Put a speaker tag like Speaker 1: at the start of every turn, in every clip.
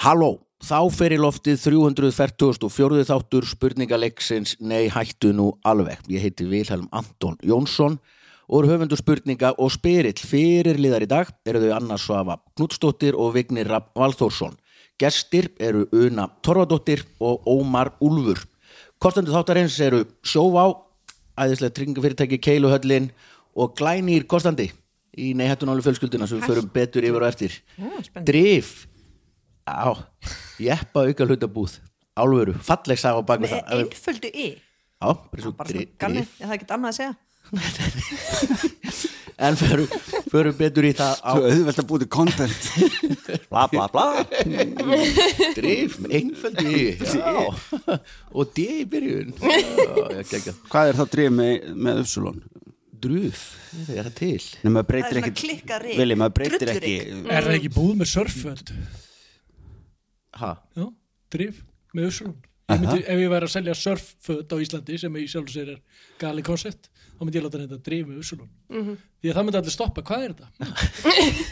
Speaker 1: Halló, þá fer í loftið 344. þáttur spurningaleiksins Nei, hættu nú alveg. Ég heiti Vilhelm Anton Jónsson og er höfundur spurninga og spyrill fyrirliðar í dag eru þau Anna Svafa Knudsdóttir og Vignir Rapp Valþórsson. Gestir eru Una Torfadóttir og Ómar Úlfur. Kostendur þáttarins eru Sjóvá, æðislega tryggingafyrirtæki Keiluhöllin og Glænýr Kostandi í Nei, hættu nú alveg fjölskylduna sem við förum betur yfir og eftir.
Speaker 2: spennandi.
Speaker 1: Drif Já, jeppa auka hlutabúð Álveru, falleg saga á baku
Speaker 2: Með
Speaker 1: það
Speaker 2: einföldu í
Speaker 1: Já, bara svo
Speaker 2: Bara
Speaker 1: dri-
Speaker 2: svona galli,
Speaker 1: drif
Speaker 2: er það ekkert annað að segja?
Speaker 1: En förum, förum betur í það á
Speaker 3: Svo auðvelt að búið til content Bla bla bla
Speaker 1: drif með einföldu í Já, og D í byrjun Já, ég kekja
Speaker 3: Hvað er þá drif með, með Upsilon?
Speaker 1: Druf, er það til?
Speaker 3: Nei, maður
Speaker 2: Það
Speaker 3: breytir
Speaker 2: er svona
Speaker 3: ekki
Speaker 2: klikkað ryk.
Speaker 3: Vili, maður breytir ekki
Speaker 2: Drulluryk.
Speaker 4: Er það ekki búið með surföld?
Speaker 1: Ha,
Speaker 4: Já, drif með Össulun Ég myndi, ef ég væri að selja surfföld á Íslandi sem í sjálf sér er gali koncept þá myndi ég láta þetta drif með Össulun
Speaker 2: Mhm.
Speaker 4: því að það myndi allir stoppa, hvað er þetta?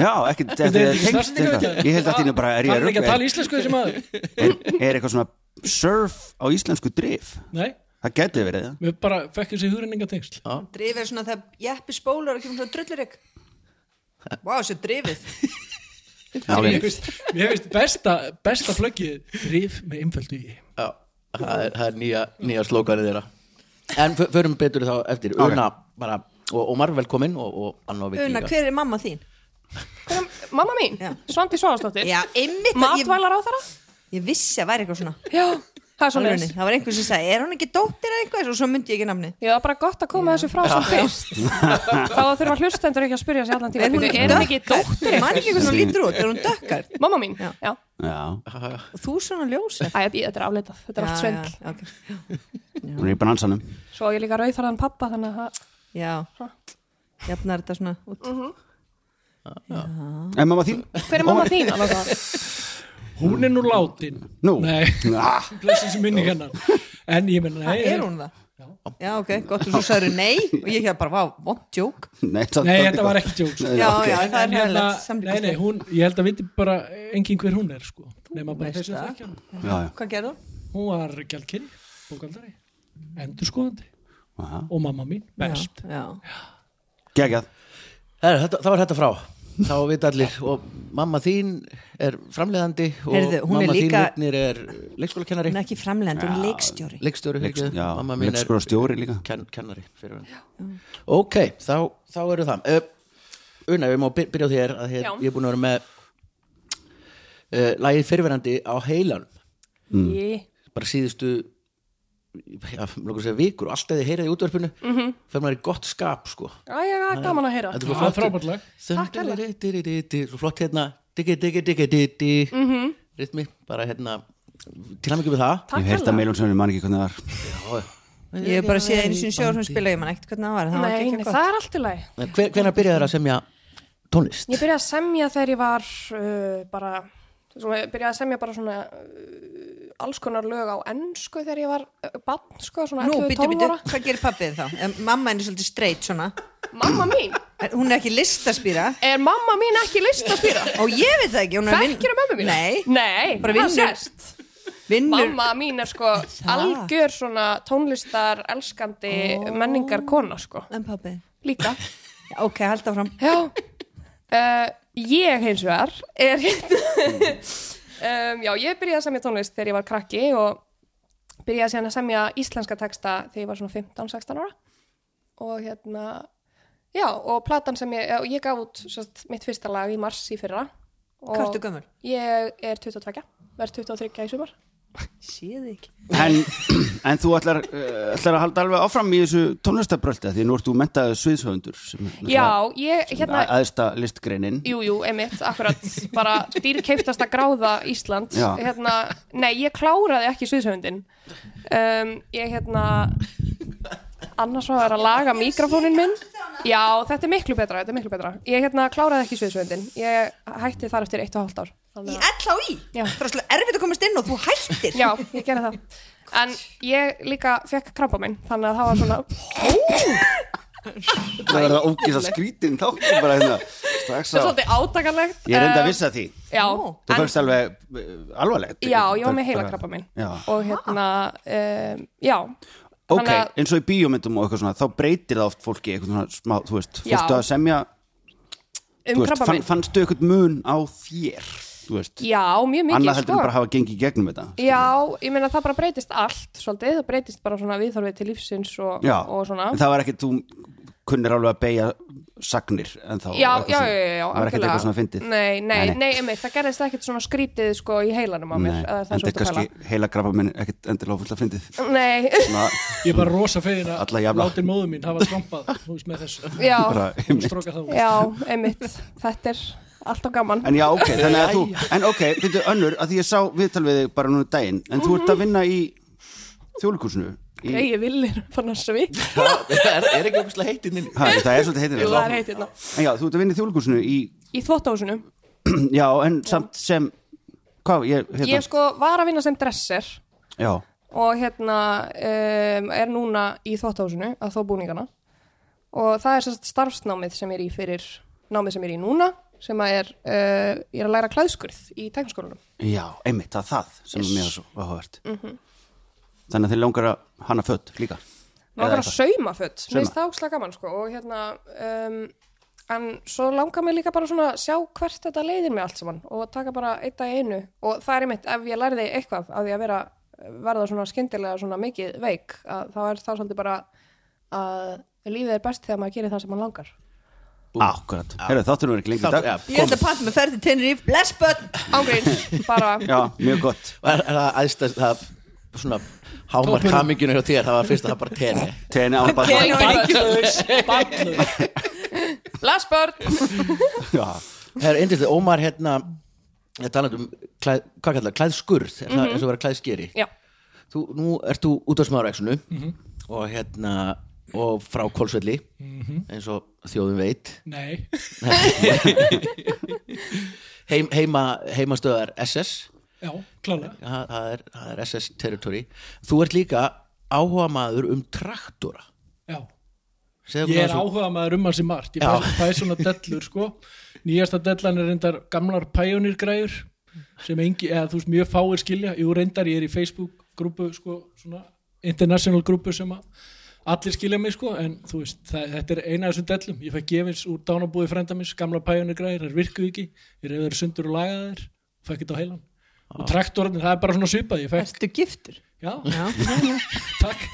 Speaker 3: Já, ekki, þetta
Speaker 4: Þetta
Speaker 3: er tengst
Speaker 4: Íslendinga
Speaker 3: eitthvað.
Speaker 4: ekki?
Speaker 3: Ég held að þínu bara, er ég
Speaker 4: Hann er ekki að tala
Speaker 3: rugg
Speaker 4: íslensku þessi maður
Speaker 3: er, er eitthvað svona surf á íslensku drif
Speaker 4: Nei,
Speaker 3: Það geti verið það
Speaker 4: við bara fekk þessi hugrenningatengsl
Speaker 2: Drifið er svona þegar jeppi spólar og kemur svona drullurik Vá, þessu er drifið
Speaker 4: Mér finnst- mér finnst besta, besta flöggið drif með einföldu í
Speaker 1: já, það er, það er nýja, nýja slókanið þeirra En fö- förum betur í þá eftir
Speaker 3: Ok.
Speaker 1: Una, bara, og Ómar, velkomin og, og Anna og Vigdís
Speaker 2: Una,
Speaker 1: líka.
Speaker 2: hver er mamma þín?
Speaker 5: Hver er- Mamma mín,
Speaker 2: Já.
Speaker 5: Svandi Svansdóttir
Speaker 2: Já, einmitt að ég,
Speaker 5: Matvælar á þara
Speaker 2: ég vissi að væri eitthvað svona
Speaker 5: Já, það er svo
Speaker 2: Alvörunni. Það var einhver sem sagði, er hún ekki dóttir eða eitthvað og svo myndi ég ekki namni
Speaker 5: Já, bara gott að koma þessu frá sem fyrst Þá þurfa hlustendur ekki að spyrja sér allan tíma
Speaker 2: Er hún
Speaker 5: Bíddu, Er hún ekki
Speaker 2: Man
Speaker 5: dóttir eitthvað?
Speaker 2: ekki hvernig hún lítur út, er hún dökkar?
Speaker 5: Mamma mín,
Speaker 2: Já.
Speaker 5: já,
Speaker 3: Já,
Speaker 2: Og þú svona ljósa
Speaker 5: Æ, ég- þetta er afleitað, þetta er allt svindl
Speaker 2: okay.
Speaker 3: hún er í bransanum
Speaker 5: Svo á ég líka rauðþarðan pappa þannig að það-
Speaker 2: Já, jafnar þetta svona út
Speaker 3: En mamma þín?
Speaker 5: Hver er mamma þín? alveg það?
Speaker 4: Hún er nú látin
Speaker 3: Nú
Speaker 4: Nei,
Speaker 3: Ah,
Speaker 4: blessin sem minni hennar En ég menna,
Speaker 2: Það
Speaker 4: nei,
Speaker 2: er hún það? Já, ok, gott og svo sagður nei og ég hef bara, vá, vond djók
Speaker 3: Nei, það-
Speaker 4: nei
Speaker 3: það-
Speaker 4: þetta var ekki tjóks
Speaker 2: Já, já,
Speaker 4: En
Speaker 2: það er
Speaker 4: hérna-
Speaker 2: hægilegt
Speaker 4: Nei, nei,
Speaker 2: samlíkast
Speaker 4: hún, ég held að viti bara engin hver hún er sko nema bara
Speaker 2: veist
Speaker 4: þess að
Speaker 2: það.
Speaker 4: þekkja hana
Speaker 3: Já, já.
Speaker 2: Hvað gerðu hún?
Speaker 4: hún var gjaldkynni, bókaldari endurskoðandi
Speaker 3: Aha.
Speaker 4: og mamma mín, best
Speaker 2: Já,
Speaker 3: Gekkjað
Speaker 1: Her, Eh, þetta, það var þetta frá þá veit allir og mamma þín er framleiðandi og
Speaker 2: Heyrðu, hún er
Speaker 1: mamma
Speaker 2: líka-
Speaker 1: þín vignir er leikskólakennari
Speaker 2: hún er ekki framlegend, hún er leikstjóri
Speaker 1: leikstjóri
Speaker 3: Leikst-
Speaker 1: leikstjóri
Speaker 3: já,
Speaker 1: mamma mín er
Speaker 3: leikskóla stjóri líka
Speaker 1: ken, kennari fyrir henni ok, þá, þá eru það uh, Una, við má byr- byrja á þér að hér,
Speaker 5: Já.
Speaker 1: ég er búin að vera með uh, lagið fyrirverandi á heilanum
Speaker 5: Ég-
Speaker 1: bara síðustu já, langar að segja vikur og alltaf þið heyrið í útverfinu mm -hmm. fyrir maður í gott skap sko
Speaker 5: Æ, ég er gaman að heyra
Speaker 1: Þetta
Speaker 4: Já,
Speaker 1: flottur-
Speaker 4: frábært lag.
Speaker 5: Takk, Ella.
Speaker 1: Þunduririririri, Svo flott hérna Diggi, diggi, diggi, diggi
Speaker 2: Mhm.
Speaker 1: Ritmi, bara hérna Til hann ekki með það
Speaker 3: Ég
Speaker 5: Takk
Speaker 3: heyrði að
Speaker 5: hella
Speaker 3: meilum sem ég man ekki hvernig það var
Speaker 2: Ég hef bara séð einu sinni sjór hún spila, ég man ekkert hvernig það var það var
Speaker 5: Nei,
Speaker 2: ekki
Speaker 5: nei,
Speaker 2: eitthvað
Speaker 5: það er allt í lagi
Speaker 1: En hver, Hvenær byrjaði þær að semja tónlist?
Speaker 5: Ég byrjaði að semja þegar ég var uh, bara, svona, ég byrjaði að semja bara svona uh, alls konar lög á ennsku þegar ég var uh, bann, sko, svona
Speaker 2: Nú,
Speaker 5: 11-12
Speaker 2: býtu, býtu,
Speaker 5: ára.
Speaker 2: hvað gerir pappið þá? En Mamma henni er svolítið streitt svona
Speaker 5: Mamma mín,
Speaker 2: En Hún er ekki listaspýra
Speaker 5: er mamma mín ekki listaspýra?
Speaker 2: Og ég veit það ekki, hún er vinn-
Speaker 5: Þekkir að mamma mín?
Speaker 2: Nei,
Speaker 5: Nei,
Speaker 2: Bara
Speaker 5: það
Speaker 2: vinnur-
Speaker 5: sést.
Speaker 2: vinnur
Speaker 5: Mamma mín er sko algjör svona tónlistar, elskandi, menningar kona, sko.
Speaker 2: En pappið
Speaker 5: Líka.
Speaker 2: Já, Ok, halda fram
Speaker 5: Já. Uh, ég hins vegar er hérna, um, já, ég byrjaði að semja tónlist þegar ég var krakki og byrjaði síðan að semja íslenska texta þegar ég var svona 15-16 ára og hérna já, og platan sem ég, og ég gaf út sérst, mitt fyrsta lag í mars í fyrra og
Speaker 2: Hvað ertu gömul?
Speaker 5: ég er 22, verð 23 í sumar
Speaker 2: Séð ekki
Speaker 3: En, en þú ætlar, uh, ætlar að halda alveg áfram í þessu tónlistabröldi því nú ert þú mentaðu sviðshöfundur sem, er náttúrulega-
Speaker 5: Já, ég, hérna,
Speaker 3: að- aðsta listgreinin
Speaker 5: Jú, jú, emitt, akkurat, bara dýrkeiftasta gráða Íslands
Speaker 3: Já.
Speaker 5: hérna, Nei, ég kláraði ekki sviðshöfundin um, Ég hérna annars var að laga mikrofónin minn Já, þetta er miklu betra, þetta er miklu betra Ég hérna kláraði ekki sviðshöfundin Ég hætti þar eftir eitt og hálft ár
Speaker 2: Í
Speaker 5: Þannig að-
Speaker 2: LHÍ?
Speaker 5: Já.
Speaker 2: Það er svolítið erfitt að komast inn og þú hættir
Speaker 5: Já, ég gerði það En ég líka fekk krabba minn Þannig að það var svona
Speaker 3: Það verða ógis að skrítin þá bara hérna, strax á
Speaker 5: þetta er svolítið átakanlegt
Speaker 3: Ég er enda
Speaker 5: Eh,
Speaker 3: að vissa því
Speaker 5: já,
Speaker 3: Þú
Speaker 5: en-
Speaker 3: fölst alveg eh, alvarlegt
Speaker 5: já, ég var
Speaker 3: Þú-
Speaker 5: með heilakrabba minn
Speaker 3: Já.
Speaker 5: og hérna, um, já
Speaker 3: Ok,
Speaker 5: Þannig að-
Speaker 3: eins og í bíómyndum og eitthvað svona þá breytir það oft fólki eitthvað svona smá, þú veist,
Speaker 5: Já.
Speaker 3: fórstu að semja
Speaker 5: um
Speaker 3: þú veist,
Speaker 5: krabba
Speaker 3: fann,
Speaker 5: minn
Speaker 3: fannstu eitthvað mun á þér þú veist,
Speaker 5: já, mjög mikið sko.
Speaker 3: annað heldur en bara að hafa gengið í gegnum þetta
Speaker 5: Já, ég meina það bara breytist allt svolítið, það breytist bara svona viðþorfið til lífsins og,
Speaker 3: Já,
Speaker 5: og svona
Speaker 3: en það var ekkert, þú kunnir alveg að beigja sagnir en þá
Speaker 5: já, já, já, já,
Speaker 3: var
Speaker 5: já,
Speaker 3: ekkert
Speaker 5: algjörlega.
Speaker 3: eitthvað svona fyndið
Speaker 5: Nei,
Speaker 3: Nei,
Speaker 5: nei, nei, nei einmitt, það gerðist ekkert svona skrítið sko í heilanum á mér
Speaker 3: Nei,
Speaker 5: eða það
Speaker 3: en
Speaker 5: er
Speaker 3: þetta er
Speaker 5: svona
Speaker 3: kannski heila grafa minn ekkert endilega fullt að fyndið
Speaker 5: Nei,
Speaker 3: Svona,
Speaker 4: Ég er bara rosa fegin að
Speaker 3: Alla jafna.
Speaker 4: látin móðu mín hafa trampað þú veist, með þessu.
Speaker 5: já,
Speaker 3: bara,
Speaker 4: Hún strókar það út.
Speaker 5: já, einmitt þetta er alltaf gaman
Speaker 3: en já, ok, þannig að þú en ok, byrju önnur, að því ég sá viðtal við þig bara núna um daginn, en þú
Speaker 5: Mhm.
Speaker 3: ert að vinna í þjóðlíkursinu í,
Speaker 5: Nei, ég vil er fann að svik
Speaker 1: er, er ekki umslega heitt inn
Speaker 3: ha, það er svolítið heitir
Speaker 5: Það er heitt hérna
Speaker 3: En já, þú ert að vinna í þjóðlíkursinu í,
Speaker 5: Í þvóttahúsinu
Speaker 3: já, en samt sem hvað, ég, hérna,
Speaker 5: Ég sko var að vinna sem dresser
Speaker 3: já
Speaker 5: og hérna um, er núna í þvóttahúsinu að þó búningana og það er sérst starfsnámið sem ég er í fyrir námið sem ég er í núna sem að er, uh, ég er að læra klæðskurð í tæknskólanum
Speaker 3: já, einmitt, það er það sem yes. mér er svo áhugavert þannig að þið langar að hanna fött líka
Speaker 5: Mér
Speaker 3: Eða
Speaker 5: langar að
Speaker 3: eitthvað.
Speaker 5: sauma fött, mér
Speaker 3: Sauma.
Speaker 5: finnst það ókslega gaman sko og hérna, um, en svo langar mér líka bara svona að sjá hvert þetta leiðir mig allt saman og taka bara eitt dag í einu og það er einmitt ef ég lærði eitthvað af því að vera, verða svona skyndilega svona mikið veik að þá er það svolítið bara að lífið er best þegar maður gerir það sem maður langar.
Speaker 3: Akkurat, herru, þáttur nú er ekki lengur í dag
Speaker 1: ja,
Speaker 2: Ég held að panta með ferð til Tenerife, les börn
Speaker 5: Ángríns, bara,
Speaker 3: Já, mjög gott
Speaker 1: er, er það aðstæð það svona hámar kaminginu hjá þér það var fyrst að það bara tenni
Speaker 3: Teni án
Speaker 2: Teni
Speaker 3: barna
Speaker 2: án-
Speaker 4: Barnlaus, barnlaus.
Speaker 5: lesbörn,
Speaker 3: Já,
Speaker 1: það er endist Ómar hérna ég talaði um klæð, hvað kallar það, klæðskurð
Speaker 2: Mhm.
Speaker 1: er það eins og vera klæðskeri
Speaker 5: já,
Speaker 1: þú, nú ert þú út af smáraexinu
Speaker 4: Mhm.
Speaker 1: og hérna og frá Kolsvelli
Speaker 4: Mhm.
Speaker 1: eins og þjóðum veit
Speaker 4: Nei,
Speaker 1: Heim, heima, heimastöðar SS
Speaker 4: já, klálega
Speaker 1: það, það, er, það er SS territory þú ert líka áhuga maður um traktora
Speaker 4: Já,
Speaker 1: Segðu okkur
Speaker 4: ég er
Speaker 1: aðeins um-
Speaker 4: áhuga maður um hans í margt Ég
Speaker 1: Já.
Speaker 4: fæ, fæ svona dellur sko Nýjasta dellan er reyndar gamlar Pioneer græjur sem engi, eða þú veist, mjög fáir skilja Jú, reyndar, ég er í Facebook grúpu sko, svona international grúpu sem að allir skilja mig sko en þú veist, það, þetta er eina af þessum dellum ég fæ gefins úr dánabúi frænda minns gamla Pioneer græjur, þær virkuðu ekki ég reyði þeir sundur og lagaði þær fæ ekki þetta á heilan og traktorinn, það er bara svona svipað ég fekk,
Speaker 2: Ertu giftur?
Speaker 4: já,
Speaker 2: Já
Speaker 4: takk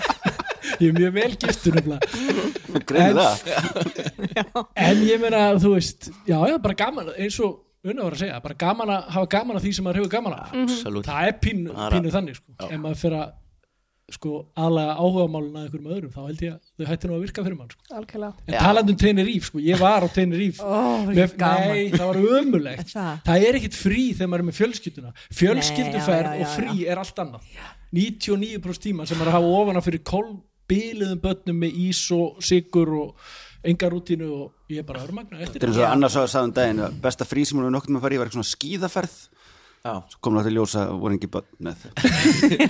Speaker 4: ég er mjög vel giftur nefnilega
Speaker 3: greinu það
Speaker 4: En ég meina, þú veist, já, já, bara gaman, eins og unna var að segja, bara gaman að hafa gaman að því sem maður hefur gaman að.
Speaker 1: Absolutt.
Speaker 4: Það er pínu,
Speaker 1: Bara-
Speaker 4: pínu þannig, sko. Ef maður fyrir að, sko, aðlega áhugamálun að einhverjum öðrum, þá held ég að þau hætti nú að virka fyrir mann, sko.
Speaker 5: algjörlega.
Speaker 4: En talandi um Tenerife, sko, ég var á Tenerife.
Speaker 2: Ó,
Speaker 4: Með-
Speaker 2: gaman.
Speaker 4: Nei, það var ömulegt.
Speaker 2: Það.
Speaker 4: það er ekkit frí þegar maður er með fjölskylduna. Fjölskylduferð
Speaker 2: Nei, já, já,
Speaker 4: og frí er allt annað. 99% tíma sem maður er að hafa ofana fyrir kolbiliðum börnum með ís og sigur og enga rútínu og ég er bara örmagna
Speaker 3: Þetta er
Speaker 4: eftir.
Speaker 3: eins og annars að sagði um daginn að besta frí sem hún er nokkuð með að fara í var eitthvað svona skíðaferð
Speaker 1: Já.
Speaker 3: Svo kom náttúrulega í ljós að voru engi börn með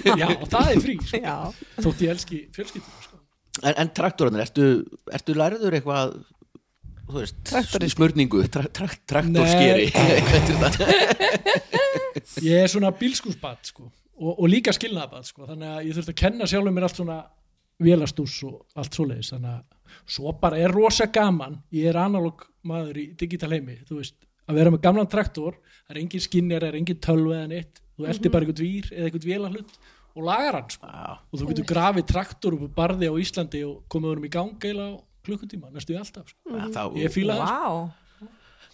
Speaker 4: Já, og það er frí, sko.
Speaker 2: Já
Speaker 4: þótt ég elski fjölskylduna, sko.
Speaker 1: En, en traktorarnir, ertu, ertu lærður eitthvað þú veist,
Speaker 2: Traktorist.
Speaker 1: smörningu tra, tra, traktorskeri Þetta er það.
Speaker 4: Ég er svona bílskúsbat, sko, og, og líka skilnaðabat, sko, þannig að ég þurfti að kenna sjálfum mér allt svona vélastús og allt svoleiðis, þannig að svo bara er rosa gaman, ég er analog maður í digital heimi, þú veist, að vera með gamlan traktor, það er engin skinnjar, það er engin tölva eða neitt, þú eldir
Speaker 1: Mhm.
Speaker 4: bara einhvern vír eða einhvern vélarhlut og lagar hann, sko, og þú getur grafið traktor upp á barði á Íslandi og komið honum í gang eila á klukkutíma, næstu við alltaf, sko.
Speaker 1: Já, þá,
Speaker 4: Ég fíla það, sko.
Speaker 2: Vá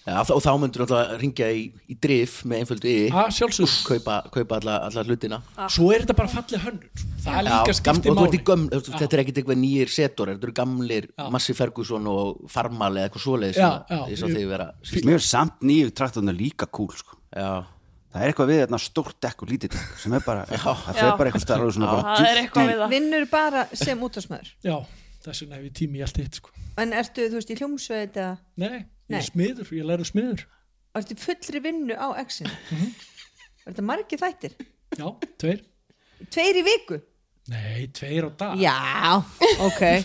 Speaker 1: já, og þá myndur alltaf ringja í, í drif með einföldu í
Speaker 4: Að sjálfsögðu.
Speaker 1: kaupa, kaupa alla, alla hlutina
Speaker 4: svo er þetta bara fallið hönnun sko. það er líka
Speaker 1: gam-
Speaker 4: skipti
Speaker 1: og þú ert
Speaker 4: máli
Speaker 1: í göml, þú- þetta er ekkit eitthvað nýjir setor þetta eru gamlir
Speaker 4: Já.
Speaker 1: Massi Ferguson og Farmal eða eitthvað svoleiðis
Speaker 4: Já, já.
Speaker 1: ég sá þig vera
Speaker 3: Mér er samt nýju traktorna líka cool sko.
Speaker 1: já,
Speaker 3: Það er eitthvað við þarna stórt dekk og lítið dekk sem er bara, það fer bara eitthvað starf svona bara
Speaker 5: Það er eitthvað við
Speaker 2: En
Speaker 5: það.
Speaker 2: vinnur bara sem útastmaður
Speaker 4: já, þess vegna hef ég tími í allt eitt sko.
Speaker 2: En ertu, þú veist, í hljómsveit eða
Speaker 4: nei, ég
Speaker 2: Nei.
Speaker 4: er smiður, ég lærðu smiður
Speaker 2: Ertu í fullri vinnu á exinu
Speaker 6: Mhm.
Speaker 2: Er þetta margir þættir?
Speaker 4: já, tveir,
Speaker 2: Tveir í viku?
Speaker 4: nei, tveir á dag
Speaker 2: Já, ok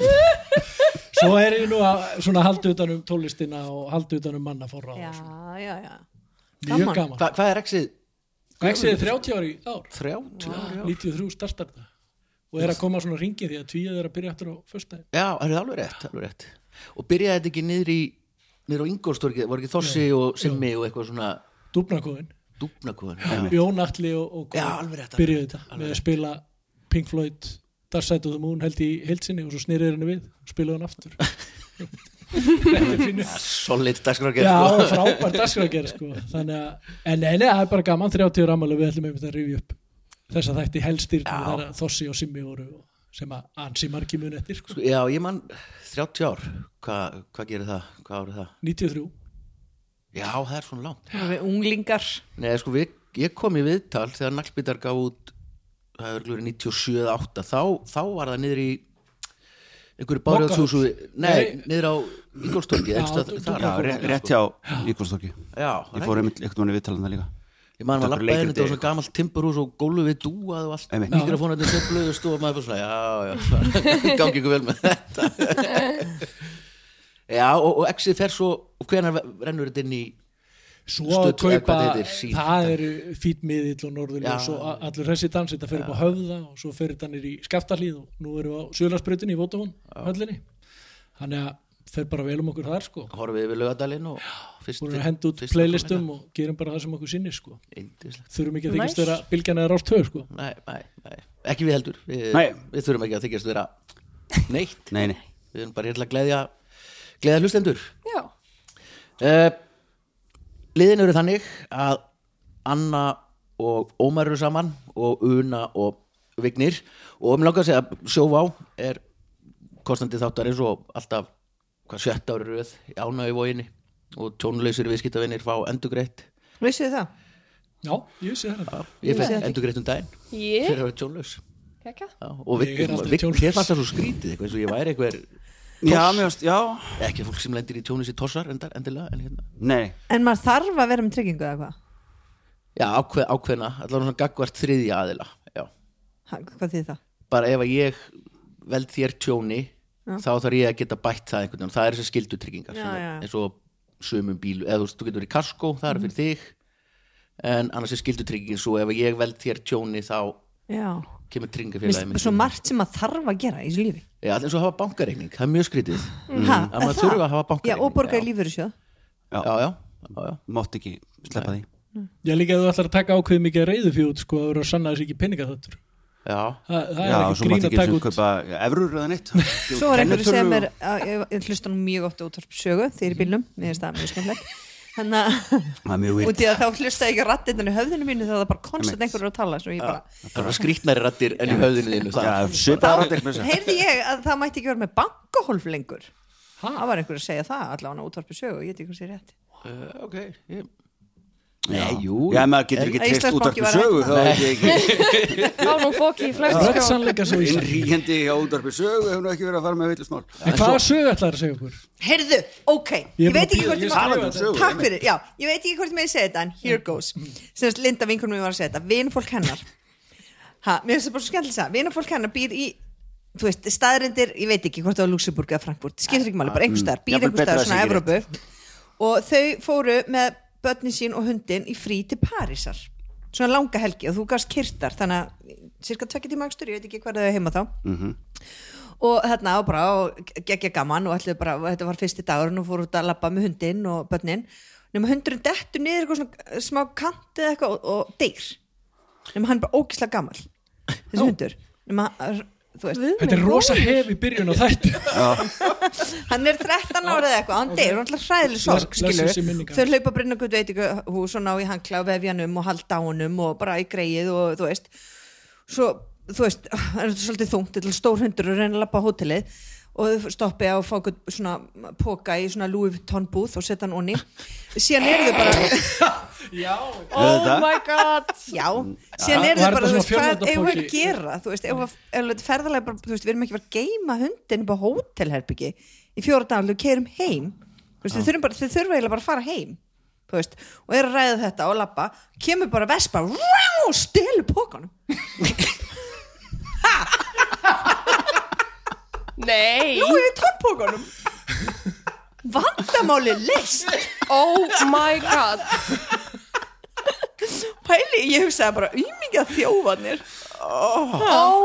Speaker 4: svo er ég nú að svona haldi utan um tólistina og haldi utan um mannaforra
Speaker 6: já,
Speaker 4: og svona.
Speaker 6: já, já
Speaker 4: mjög
Speaker 6: gaman.
Speaker 4: gaman
Speaker 1: Hva, hvað er exið?
Speaker 4: Grexið er 30 ári í ár
Speaker 1: 30 ári?
Speaker 4: 93 startar það og er að koma svona ringið því að tvíið er að byrja aftur á föstudaginn
Speaker 1: Já, það er alveg rétt, alveg rétt. Og byrjaði þetta ekki niður í, niður á Ingolstorkið, voru ekki Þossi og Simmi og eitthvað svona
Speaker 4: Dúbnakóðin,
Speaker 1: dúfnakúðan?
Speaker 4: Jón Atli og, og
Speaker 1: Já, alveg rétt, alveg
Speaker 4: byrjuðu
Speaker 1: rétt,
Speaker 4: þetta
Speaker 1: alveg
Speaker 4: með að
Speaker 1: rétt.
Speaker 4: spila Pink Floyd Dark Side of the Moon held í heilsinni og svo snýrið henni við og spilaði hann aftur Þetta er fínu
Speaker 1: Solid dagskrákið,
Speaker 4: Já,
Speaker 1: sko.
Speaker 4: frábært dagskrá að gera sko Þannig að, en neina, það er bara gaman 30 ára ammali, við ætlum einmitt að rifja upp þess að þætti helstýrn og þeirra Þossi og Simmi voru sem að ansi margi mun eftir sko.
Speaker 1: Já, ég man 30 ár. Hvað hva gerir það? Hvað árið það?
Speaker 4: 93
Speaker 1: Já, það er svona langt.
Speaker 6: Erum við unglingar
Speaker 1: Nei, sko, við, ég kom í viðtal þegar Naglbítar gaf út, það er glúrið 97 eða 8, þá, þá var það niður í einhverju bárjáðsúsu, nei,
Speaker 4: Nei.
Speaker 1: niður á Ingolstorkið,
Speaker 4: Já,
Speaker 1: einhverstað
Speaker 4: þú-
Speaker 1: þar.
Speaker 3: Já, rétt, rétt hjá Ígolstokki
Speaker 1: Já,
Speaker 3: Ég
Speaker 1: rétt.
Speaker 3: fór einmitt einhvern veginn viðtalan það líka
Speaker 1: Ég man maður
Speaker 3: Þetta er
Speaker 1: lappaði henni,
Speaker 3: leikriti,
Speaker 1: þetta var svona gamalt timburhús og gólu við dúað og allt
Speaker 3: Einmitt.
Speaker 1: mikrofónarnir söfluðust og maður bara svona, já, já, gangi ykkur vel með þetta Já, og, og exið fer svo, og hvenær rennur þetta inn í
Speaker 4: Svo að
Speaker 1: Studd, eða
Speaker 4: kaupa,
Speaker 1: hvað þetta heitir, sín.
Speaker 4: það eru fýtmiðill og norðurlega
Speaker 1: Já.
Speaker 4: og svo a- allur þessi dans, þetta fyrir upp á höfða og svo fyrir þetta nýr í skaftahlíð og nú erum við á Sjölandsbrautinni í Vótafón höllinni, þannig að fer bara vel um okkur þar sko
Speaker 1: horfið við lögadalinn og fyrst hérna.
Speaker 4: Búin að henda út um- playlistum og gerum bara það sem okkur sinni sko
Speaker 1: Indislega
Speaker 4: Þurfum ekki að þykist
Speaker 5: Nice.
Speaker 4: vera bylgjan eða rást höf sko
Speaker 1: Nei, nei, nei, ekki við heldur Við,
Speaker 3: Nei.
Speaker 1: við þurfum ekki að þykjast vera neitt
Speaker 3: Nei, nei,
Speaker 1: Við erum bara hérna að gleðja, gleðja hlustendur
Speaker 5: Já,
Speaker 1: uh, Liðin eru þannig að Anna og Ómar eru saman og Una og Vignir og um langar að segja að sjóvá er kostandi þáttarins og alltaf hvað sjött ári röð í ánægju vóginni og tjónleysir viðskiptavinir fá endugreitt
Speaker 6: Vissið þið það?
Speaker 4: Já, ég sé þetta
Speaker 1: ég fekk endugreitt um daginn
Speaker 5: ég,
Speaker 1: fyrir að vera tjónlaus
Speaker 5: ekki
Speaker 1: Já, og
Speaker 4: Ég er aldrei
Speaker 1: Vignir,
Speaker 4: tjónlaus.
Speaker 1: þér fannst það svo skrítið eitthvað eins og ég væri eitthvað
Speaker 3: já, mér varst, já
Speaker 1: ekki fólk sem lendir í tjónleysi tossar endar, endilega en hérna
Speaker 3: Nei,
Speaker 6: En maður þarf að vera með tryggingu eða hvað?
Speaker 1: Já, ákveð, ákveðna, allavega svona gagvart þriðja aðila Já,
Speaker 6: Ha, Hvað þið það?
Speaker 1: bara ef að ég veld þér tjóni þá þarf ég að geta bætt það einhvern veginn það er þessi skildutryggingar
Speaker 6: Já,
Speaker 1: sem er
Speaker 6: já.
Speaker 1: eins og sumum bílu, eða þú, veist, þú getur verið í kaskó það er fyrir
Speaker 6: Mhm.
Speaker 1: þig en annars er skildutryggingin svo ef að ég veld þér tjóni þá
Speaker 6: Já
Speaker 1: kemur tryggingafélagi
Speaker 6: Mér- Svo margt sem maður þarf að gera í þessu lífi
Speaker 1: Já, eins og að hafa bankareikning, það er mjög skrítið
Speaker 6: ha,
Speaker 1: að
Speaker 6: er
Speaker 1: maður
Speaker 6: það?
Speaker 1: þurfa að hafa
Speaker 6: Mm. Já,
Speaker 1: bankareikning
Speaker 6: og borga í lífverðisjóð
Speaker 1: Já, já, já, já.
Speaker 3: mátt ekki sleppa því
Speaker 4: Ég líka að þú ætlar að taka ákveð mikið reyðu fjút sko að vera að sanna þessi ekki peningaþáttur
Speaker 1: já.
Speaker 4: Þa, Það
Speaker 3: Já,
Speaker 4: er
Speaker 3: svo
Speaker 4: ekki
Speaker 3: mátt
Speaker 4: grín
Speaker 3: ekki
Speaker 4: að taka
Speaker 3: sem
Speaker 4: út
Speaker 3: kaupa evrur eða neitt
Speaker 6: Svo var einhverju sem er, að- ég ég hlusta nú mjög oft útvarp sögu þegar ég er í bílnum, mér finnst það mjög skemmtilegt Þannig að,
Speaker 3: Það er mjög
Speaker 6: út
Speaker 3: vilt
Speaker 6: í að þá hlusta ég ekki rattindan í höfðinu mínu þegar það bara konstant einhverju að tala Svo ég bara,
Speaker 1: Það er skrítnari rattir enn í höfðinu þínu það.
Speaker 3: Já, svipaða rættir með þess
Speaker 6: heyrði ég að það mætti ekki vera með bankahólf lengur Það var einhverju að segja það, allavega útvarp sögu, ég veit ekki hvað sé rétt
Speaker 1: Uh, ok, ég... Nei, Eh, jú
Speaker 3: Já, maður getur ekki
Speaker 6: Að
Speaker 3: treyst útarpi
Speaker 6: Íslandsbanki var
Speaker 3: sögu
Speaker 6: hægt.
Speaker 3: þá er ég ekki
Speaker 5: Þá nú fóki í flest
Speaker 4: Rödd
Speaker 5: skjól
Speaker 4: sannleika svo í sann
Speaker 3: innríkjandi hjá útarpi sögu hefur nú ekki verið að fara með villusmál
Speaker 4: En hvaða sög ætlar að segja okkur?
Speaker 6: Heyrðu, ok,
Speaker 4: Ég
Speaker 6: ég
Speaker 4: er búin
Speaker 6: veit
Speaker 4: að
Speaker 6: ekki
Speaker 4: bíða,
Speaker 6: hvort
Speaker 4: ég
Speaker 6: ég
Speaker 4: skrifaði
Speaker 6: má
Speaker 4: þetta.
Speaker 3: Sögu,
Speaker 6: Takk fyrir, já, ég veit ekki hvort ég megi segja þetta en
Speaker 3: Mm.
Speaker 6: here goes, sem þess Linda vinkunum mér var að segja þetta, vinfólk hennar ha, mér finnst það bara svo skemmtilega að segja, vinfólk hennar býr í þú veist, staðrindir, ég veit ekki hvort það var Luxemburg eða Frankfurt, skiptir ekki máli, bara einhver staðar býr
Speaker 3: Mm. Jafnvel betra
Speaker 6: einhver staðar
Speaker 3: að sé ekki
Speaker 6: svona Evrópu og þau fóru með börnin sín og hundin í frí til Parísar svona langa helgi og þú gafst kyrtar þannig að cirka tvekja tíma ekstur, ég veit ekki hvað þau heima þá og þarna og bara og geggja gaman og ætluðu bara, og þetta var fyrsti dagur og fóru út að labba með hundin og börnin nema hundurinn dettur niður eitthvað svona eh, smá kant eða eitthvað og, og deyr nema hann er bara ógislega gammal þessi hundur nema, eh, þú veist,
Speaker 4: Þetta er rosa hefi byrjun á þætti
Speaker 6: hann er 13 ára eða eitthvað, hann deyr, hann er hræðileg sorg
Speaker 4: Bless- blessuð sé minning
Speaker 6: skilur,
Speaker 4: hans.
Speaker 6: þau hlaupa brinna gutt veit ekki hús og ná í hangla og vefja hann um og halda á honum og bara í greið og þú veist svo, þú veist, það er svolítið þungt þetta er stór hundur og reyna að lappa á hótelið og þau stoppi á að fá einhvern svona póka í svona Louis Vuitton búð og setja hann onni síðan eru þau bara
Speaker 5: Oh my god
Speaker 6: já, síðan eru
Speaker 4: Var
Speaker 6: þau bara,
Speaker 4: þetta
Speaker 6: þú veist,
Speaker 4: svona
Speaker 6: hvað eigum við að
Speaker 4: fjölnota póki?
Speaker 6: gera þú veist, ef þetta ferðalega bara, þú veist, við erum ekki bara að geima hundin upp á hótelherbyggi í fjóra dagar, við keirum heim þú veist, þau þurfum bara, þau þurfa eiginlega bara að fara heim þú veist, og er að ræða þetta og labba kemur bara vespa rá, og stelur pókanum
Speaker 5: Nei,
Speaker 6: Nú er við tónpókunum Vandamáli list
Speaker 5: oh my god
Speaker 6: Pæli, ég hugsaði bara Ímingja þjófanir
Speaker 5: Oh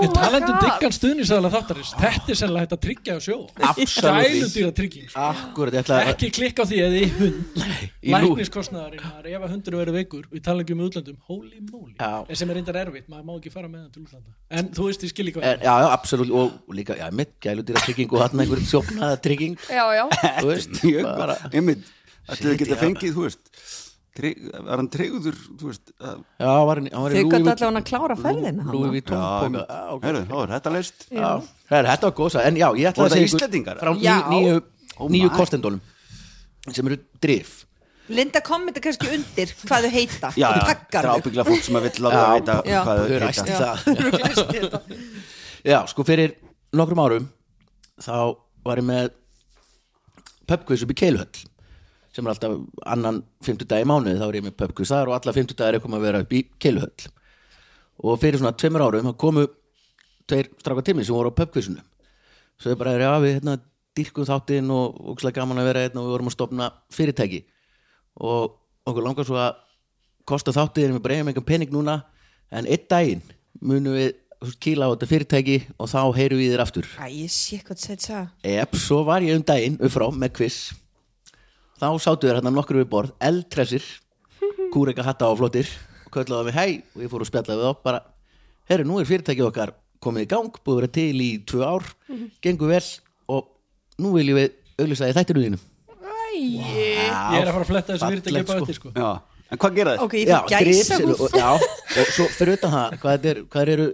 Speaker 5: my
Speaker 4: Talandi um
Speaker 5: god
Speaker 4: diggan stuðnisæðala þáttarins Þetta er sennilega hægt að tryggja á sjó
Speaker 1: Absolutt
Speaker 4: Gælundýra trygging sko.
Speaker 1: Akkurat, ég ætlaði að
Speaker 4: Ekki klikka á því að þið hund
Speaker 1: í nú-
Speaker 4: Lækniskostnaðarinn maður, Ef að hundur verið veikur Við tala ekki um útlöndum Holy moly
Speaker 1: Já.
Speaker 4: En sem er reyndar erfitt Maður má ekki fara með hann til útlanda En þú veist, ég skil
Speaker 1: En,
Speaker 4: ekki hvað
Speaker 1: Eh, já, já, absolutt, og líka, já, mitt gæludýra trygging og hann einhver sjóknaða trygging
Speaker 5: Já, já,
Speaker 1: þú veist,
Speaker 3: mjög
Speaker 1: bara
Speaker 3: gott. einmitt, ættu þau
Speaker 1: Shit,
Speaker 3: geta
Speaker 1: já.
Speaker 3: fengið þú veist, trygg, var hann treyður þú veist, að,
Speaker 1: Já, var hann, hann var
Speaker 6: Þau
Speaker 1: í
Speaker 6: gæti
Speaker 1: Louis
Speaker 6: allavega að klára ferðina
Speaker 1: Louis Vuitton póka
Speaker 3: einmitt. heyrðu, þá er þetta leist
Speaker 1: Já, það er þetta var gósa En já, ég ætla
Speaker 3: Voru
Speaker 1: að
Speaker 3: það
Speaker 1: ykkur
Speaker 3: Íslendingar?
Speaker 1: Frá
Speaker 6: Já.
Speaker 1: nýju, nýju,
Speaker 3: Oh
Speaker 1: nýju
Speaker 3: my.
Speaker 1: kostendólum Sem eru drif
Speaker 6: Linda kommenta kannski undir hvað þau heita
Speaker 3: já, já,
Speaker 6: og
Speaker 3: þetta er
Speaker 6: taggar þau
Speaker 3: ábyggla fólk sem að vill láta
Speaker 1: Já.
Speaker 3: vita
Speaker 6: Já.
Speaker 3: hvað
Speaker 1: Þau
Speaker 3: þau
Speaker 1: eru æst
Speaker 3: heita
Speaker 1: í það
Speaker 6: Þau eru glæst í þetta.
Speaker 1: Já, sko fyrir nokkrum árum Þá var ég með pubquiz upp í Keiluhöll Sem er alltaf annan fimmtudagi í mánuði Þá er ég með pubquiz þar og alla fimmtudagi er komið að vera upp í Keiluhöll Og fyrir svona tveimur árum þá komu tveir stráka timmi sem voru á pubquizinu svo þau bara er já við hérna dýrkum þáttinn og ógslag gaman að vera hérna og við vorum að stopna fyrirtæki og okkur langar svo að kosta þáttinn við breyfum einhvern pening núna en einn daginn munum við þú veist, kýla á þetta fyrirtæki og þá heyrum við þér aftur
Speaker 6: Æ, ég sé hvað þetta sagði.
Speaker 1: Ep, svo var ég um daginn upp frá með quiz þá sátu þér hérna nokkur við borð eldtressir, kúreka hatta og flottir og kölluðu á mig hei og ég fór að spjalla við þá bara herru, nú er fyrirtækið okkar komið í gang búið að vera til í tvö ár gengur vel og nú viljum við auglýsa í þættinu þínum
Speaker 4: Ég er að fara að fletta þessu
Speaker 1: fallegt,
Speaker 4: virðið ekki
Speaker 1: sko.
Speaker 4: bara sko.
Speaker 3: já, en hvað gera þeir?
Speaker 6: Ok, ég fyrir gæsa
Speaker 1: drifs- og- Já, og svo fyrir utan það hvað, þetta er, hvað þeir eru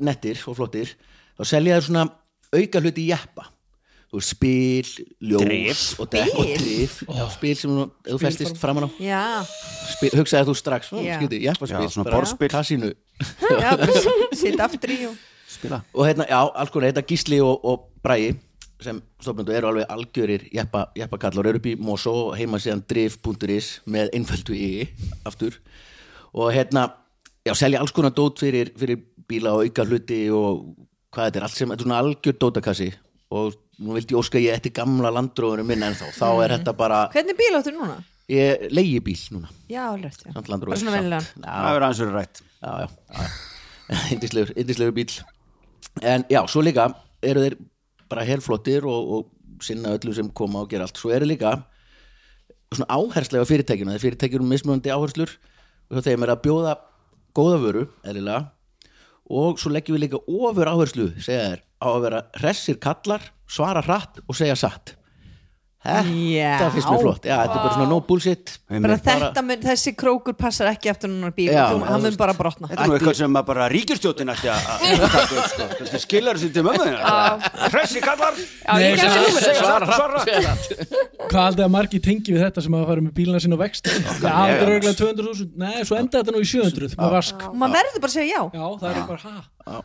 Speaker 1: nettir og flottir þá selja þeir svona auka hluti í jeppa þú veist, spil, ljós
Speaker 3: Drif.
Speaker 1: og dekk og drif já, spil sem þú- ef þú festist framan á
Speaker 6: Já,
Speaker 1: spil, hugsaði þú strax,
Speaker 6: Já.
Speaker 1: yeah. skildi, jeppa spil
Speaker 3: Já, svona borðspil.
Speaker 1: kasínu
Speaker 6: já, sitt aftur í og...
Speaker 3: spila
Speaker 1: og hérna, já, alls konar, þetta Gísli og, og Bragi sem stofnundu eru alveg algjörir jeppa, jeppakallar, eru upp í Mosó heima síðan drif.is með einföldu í aftur og hérna, já, selja alls konar dót fyrir, fyrir bíla og auka hluti og hvað þetta er, allt sem, þetta er svona algjör dótakassi og nú vildi ég óska ég eftir gamla landróðunum minn ennþá, þá er þetta bara
Speaker 6: Hvernig bíl áttu núna?
Speaker 1: ég leigi bíl núna,
Speaker 6: Já, alveg, já.
Speaker 1: samt landróður
Speaker 6: Bara svona vennilegan.
Speaker 1: Já,
Speaker 3: það verður aðeins verið rætt
Speaker 1: já, já, já. Indislegur, indislegur bíl en já, svo líka eru þeir bara helflottir og, og sinna öllu sem koma og gera allt svo eru líka svona áherslega fyrirtækjuna, þeir fyrirtækjum mismunandi áherslur og þeim er að bjóða góða vöru, eðlilega og svo leggjum við líka ofur áherslu segja þeir, á að vera hressir kallar svara hratt og segja satt þetta
Speaker 6: Já.
Speaker 1: finnst mér flott já, þetta er bara svona no bullshit
Speaker 6: Bara
Speaker 3: Einmitt.
Speaker 6: þetta mun, þessi krókur passar ekki aftur núna bíl,
Speaker 1: Já,
Speaker 6: þú,
Speaker 1: þú
Speaker 6: hann mun bara brotna.
Speaker 3: Þetta er nú eitthvað sem að bara ríkistjótin ætti að að taka upp, sko. Kannski skilar þessu til mömmuðina Hressi kallar,
Speaker 5: já
Speaker 4: Nei, sem
Speaker 5: ég gerði
Speaker 4: að-
Speaker 5: númerið
Speaker 3: segja svara, svara
Speaker 4: Hvað aldrei að margi tengi við þetta sem að fara með bílina sína á vext Það aldrei
Speaker 3: ég-
Speaker 4: örgulega 200.000 Nei, svo enda þetta nú í 700 með vask
Speaker 6: Og maður verður bara að segja já,
Speaker 4: Já, það er bara ha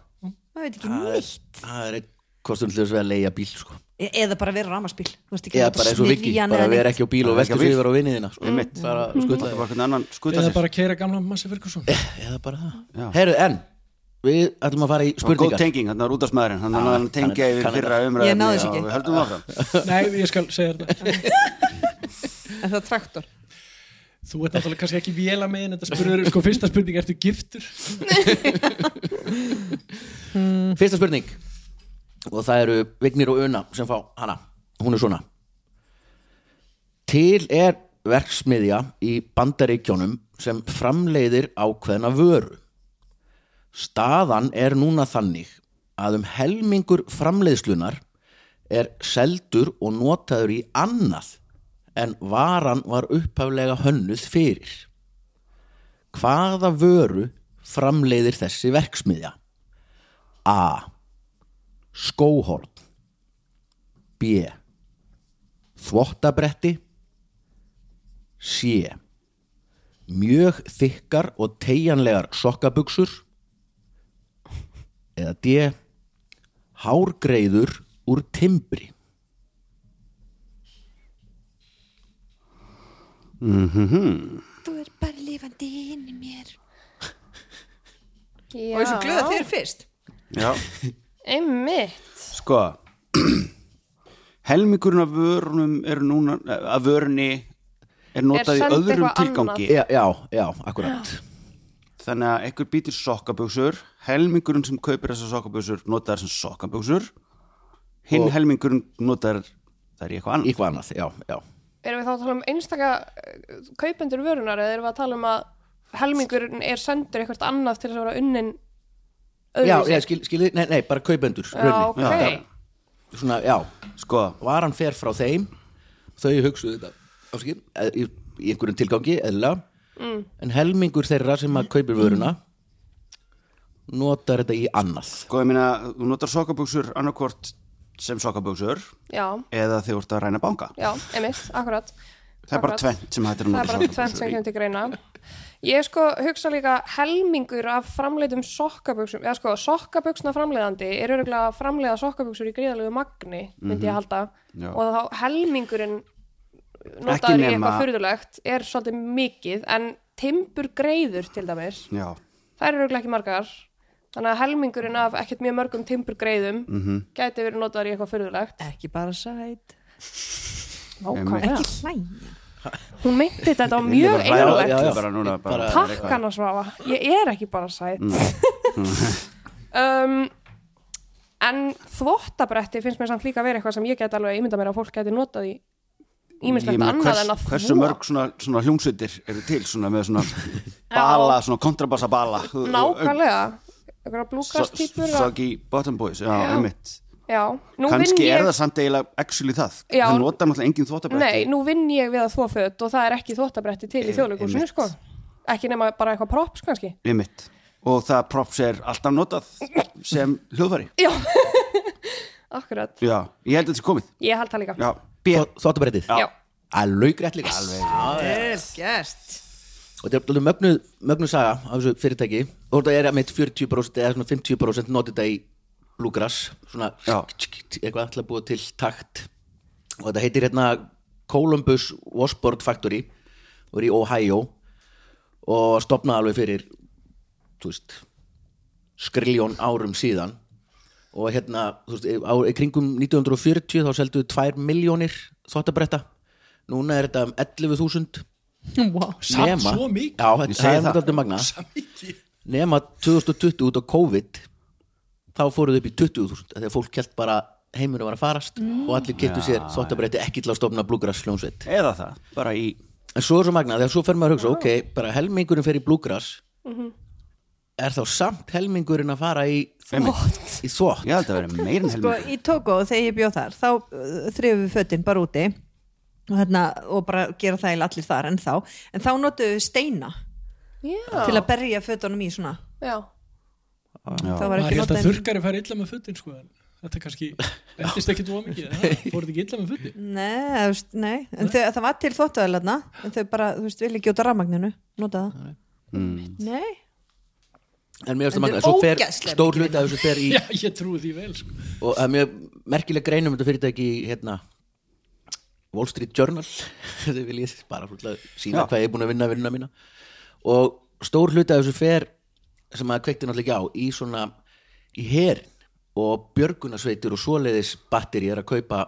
Speaker 6: maður veit ekki nýtt.
Speaker 1: það er einn kostundlega við að leigja bíl sko
Speaker 6: E- Eða bara vera ramaspíl, þú veist ekki
Speaker 1: eða
Speaker 6: láta
Speaker 1: bara eins og Viki,
Speaker 6: smyrja hann
Speaker 1: bara
Speaker 6: eða
Speaker 1: vera
Speaker 6: neitt.
Speaker 1: ekki á bíl og
Speaker 3: Bara ekki
Speaker 1: velta
Speaker 3: á bíl.
Speaker 1: fyrir vera á vinniðina sko. Mm.
Speaker 3: Einmitt.
Speaker 1: bara skuttla
Speaker 3: Það var hvernig annan skuta
Speaker 4: Eða
Speaker 3: sér
Speaker 4: bara keira gamla Massa Ferguson
Speaker 1: eða bara
Speaker 3: Já.
Speaker 1: það herru en, við ætlum að fara í
Speaker 3: Og góð
Speaker 1: spurningar
Speaker 3: tenging, þannig að rútasmaðurinn Þannig að hann tengja
Speaker 1: kann-
Speaker 3: yfir
Speaker 1: kann
Speaker 3: fyrra umræðum
Speaker 6: Ég náði þessu ekki.
Speaker 3: Við höldum áfram
Speaker 4: Nei, ég skal segja þetta
Speaker 6: Er það traktor?
Speaker 4: Þú ert náttúrulega kannski ekki véla með en þetta spurður Sko, fyrsta spurning, ertu giftur?
Speaker 1: fyrsta spurning og það eru Vignir og Una sem fá hana hún er svona til er verksmiðja í bandaríkjónum sem framleiðir ákveðna vöru staðan er núna þannig að um helmingur framleiðslunar er seldur og notaður í annað en varan var upphaflega hönnuð fyrir hvaða vöru framleiðir þessi verksmiðja? A. Skóhorn B. Þvottabretti C. Mjög þykkar og tegjanlegar sokkabuxur eða D. Hárgreiður úr timbri
Speaker 6: Þú er bara lifandi inn í mér.
Speaker 5: Já.
Speaker 6: Og ég er svo glöð að þið eru fyrst.
Speaker 3: Já,
Speaker 5: Einmitt
Speaker 3: sko helmingurinn af vörunum er núna, af vörunni er notað í
Speaker 5: send
Speaker 3: öðrum
Speaker 5: eitthvað
Speaker 3: tilgangi
Speaker 1: já, já, já, akkurat
Speaker 3: þannig að einhver býtir sokkaböksur helmingurinn sem kaupir þessar sokkaböksur notaðar sem sokkaböksur hinn
Speaker 1: Og-
Speaker 3: helmingurinn notaðar það er í eitthvað annað
Speaker 1: eitthvað annað, já, já
Speaker 5: Erum við þá að tala um einstaka eh, kaupendur vörunar eða erum við að tala um að helmingurinn er sendur eitthvað annað til þess að vera unnin
Speaker 1: já,
Speaker 5: öðruvísi?
Speaker 1: já skil, skil, nei, nei, bara kaupendur
Speaker 5: já,
Speaker 1: rauninni.
Speaker 5: ok.
Speaker 3: Já, já.
Speaker 1: svona, já,
Speaker 3: sko,
Speaker 1: varan fer frá þeim þau hugsuðu þetta afskil, í, í einhverjum tilgangi eðla en helmingur þeirra sem að kaupir vöruna notar þetta í annað
Speaker 3: sko ég meina þú notar sokkaböksur annarkvort sem sokkaböksur
Speaker 5: Já,
Speaker 3: eða þegar þú ert að ræna banka
Speaker 5: já, einmitt, akkurat.
Speaker 3: það er bara
Speaker 5: Akkurat.
Speaker 3: tvennt sem hættir að
Speaker 5: Það
Speaker 3: nota
Speaker 5: er bara tvennt sem
Speaker 3: sokkaböksur í
Speaker 5: kemur til greina. Ég sko hugsa líka helmingur af framleitum sokkaböksum, eða sko sokkaböksna framleiðandi er öruglega að framleiða sokkaböksur í gríðalegu magni, myndi ég halda.
Speaker 3: Mhm. Já.
Speaker 5: Og þá helmingurinn notaður í
Speaker 3: nema-
Speaker 5: eitthvað furðulegt er svolítið mikið, en timbur greiður til dæmis,
Speaker 3: já,
Speaker 5: það eru öruglega ekki margar. Þannig að helmingurinn af ekkert mjög mörgum timbur greiðum
Speaker 3: Mhm.
Speaker 5: gæti verið notaður í eitthvað furðulegt.
Speaker 6: ekki bara sæt
Speaker 5: Nákvæmlega.
Speaker 6: ekki hlæja
Speaker 5: Hún meinti þetta á
Speaker 3: Ég
Speaker 5: mjög
Speaker 3: er bara
Speaker 5: einulegt.
Speaker 1: já, já.
Speaker 3: bara núna bara,
Speaker 1: Bara-
Speaker 5: Takk hann að svafa, ég er ekki bara sætt
Speaker 3: Mm.
Speaker 5: um, En þvottabretti finnst mér samt líka að vera eitthvað sem ég get alveg ímynda mér að fólk geti notað í
Speaker 3: Ég
Speaker 5: ímislegt
Speaker 3: meina,
Speaker 5: annað en að
Speaker 3: hversu
Speaker 5: þvo.
Speaker 3: mörg svona, svona hljómsveitir eru til svona með svona bala, svona kontrabassa bala
Speaker 5: Nákvæmlega, eitthvað blúkastýpur að-
Speaker 3: Soggy Bottom Boys, já,
Speaker 5: Já.
Speaker 3: einmitt
Speaker 5: Já, nú vinn
Speaker 3: kannski
Speaker 5: ég
Speaker 3: er það samt eiginlega actually það
Speaker 5: Já.
Speaker 3: það notar náttúrulega engin þvóttabretti
Speaker 5: Nei, nú vinn ég við að þvo föt og það er ekki þvottabretti til í þjóðleikúsinu
Speaker 3: einmitt.
Speaker 5: sko Ekki nema bara eitthvað props kannski
Speaker 3: einmitt og það props er alltaf notað sem hljóðfari
Speaker 5: Já, akkurat
Speaker 3: já, ég held að þetta er komið
Speaker 5: Ég held það líka
Speaker 3: já, B,
Speaker 1: Þóttabrettið?
Speaker 5: Já.
Speaker 1: Að laugrætt líka Alveg
Speaker 6: vel gert
Speaker 1: Og þetta er alveg mögnu, mögnu saga af þessu fyrirtæki Og þetta er að mitt 40% eða svona 50% notið þetta í bluegrass Svona
Speaker 3: Já.
Speaker 1: eitthvað ætla að búa til takt Og þetta heitir hérna Columbus Washboard Factory Og er í Ohio Og stopnaði alveg fyrir Þú veist Skriljón árum síðan Og hérna, þú veist, á, í kringum 1940 þá selduðu 2 miljónir þvóttabretta Núna er þetta um 11.000
Speaker 4: wow, samt
Speaker 1: nema,
Speaker 4: svo mikið
Speaker 1: já, þetta-
Speaker 3: Ég
Speaker 1: það
Speaker 3: segi
Speaker 1: er
Speaker 3: það.
Speaker 1: náttúrulega magna
Speaker 4: Svo mikið.
Speaker 1: nema 2020 út á COVID þá fóruðu upp í 20.000 af því að fólk kelt bara heimur að vera að farast og allir getur sér þóttabreyti ekki til að stofna blúgrass hljónsveit
Speaker 3: eða það, bara í
Speaker 1: en svo er svo magna, þegar svo fer maður að hugsa ok, bara helmingurinn fer í blúgrass er þá samt helmingurinn að fara í þvott í þvott,
Speaker 3: ég held að vera meira en
Speaker 6: sko
Speaker 3: helming
Speaker 6: í Togo þegar ég bjóð þar þá þrjöfum við fötin bara úti og, hérna, og bara gera það eiginlega allir þar en þá, en þá notuðu við steina
Speaker 5: Já,
Speaker 6: til að berja fötunum í svona
Speaker 5: já
Speaker 6: það var
Speaker 4: maður
Speaker 6: ekki
Speaker 4: held að
Speaker 6: notað
Speaker 4: þurrkari fær illa með fötin sko en þetta kannski, endist ekki tvo mikið eða? fór þetta ekki illa með fötin
Speaker 6: Nei, þú veist, nei, en þau, það var til þvóttaðalarna en þau bara, þú veist, vilja ekki út á rafmagninu nota það
Speaker 5: Mm.
Speaker 6: Nei,
Speaker 1: en mér finnst það
Speaker 6: Þetta
Speaker 1: magna
Speaker 6: er
Speaker 1: svo fer
Speaker 6: ógeðslega
Speaker 1: stór
Speaker 6: mikið
Speaker 1: hluti af þessu fer í
Speaker 4: já, ég trúi því vel sko
Speaker 1: og það er mjög merkileg grein um þetta fyrirtæki í, hérna Wall Street Journal þau vil ég bara svona
Speaker 3: Já.
Speaker 1: sína hvað ég er búin að vinna vinnuna mína og stór hluti af þessu fer sem að kveikti náttúrulega ekki á í svona í herin og björgunasveitir og svoleiðis batteri er að kaupa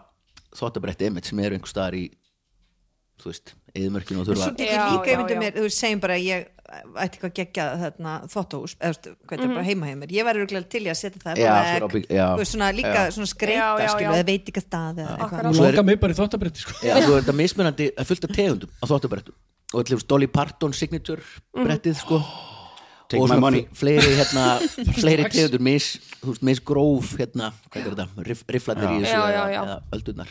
Speaker 1: þóttabretti emitt sem eru einhver staðar í þú veist, eðumörkinu og þurfa
Speaker 6: svo tekið
Speaker 5: Já,
Speaker 6: líka
Speaker 5: já,
Speaker 6: yfir
Speaker 5: já.
Speaker 6: mér, þú veist, segjum bara að ég ætti eitthvað gegja þarna þvóttahús, eða þú veist, hvað þetta er bara heima hjá mér ég væri röglega til í að setja það
Speaker 1: Já,
Speaker 6: bara
Speaker 1: svona
Speaker 6: vegg,
Speaker 1: bygg- já.
Speaker 6: þú veist, svona líka svona
Speaker 5: Já,
Speaker 6: skreita,
Speaker 5: já,
Speaker 6: skilu,
Speaker 5: já.
Speaker 6: eða veit ekki að stað eða eitthvað.
Speaker 4: nú
Speaker 1: Svo er-
Speaker 4: langar mig bara í þóttabretti sko
Speaker 1: Já, þú er þetta mismunandi, það er fullt af tegundum á þóttabrettum og allir Dolly Parton signature brettið sko
Speaker 3: Take
Speaker 1: og
Speaker 3: my
Speaker 1: svona
Speaker 3: money.
Speaker 1: fle- fleiri, hérna, fleiri
Speaker 4: Strax.
Speaker 1: tegundur mis, þú veist, mis gróf hérna, hvað er þetta, Rif, riflarnir í þessu
Speaker 5: Já, já,
Speaker 1: eða-
Speaker 5: já.
Speaker 1: eða öldunar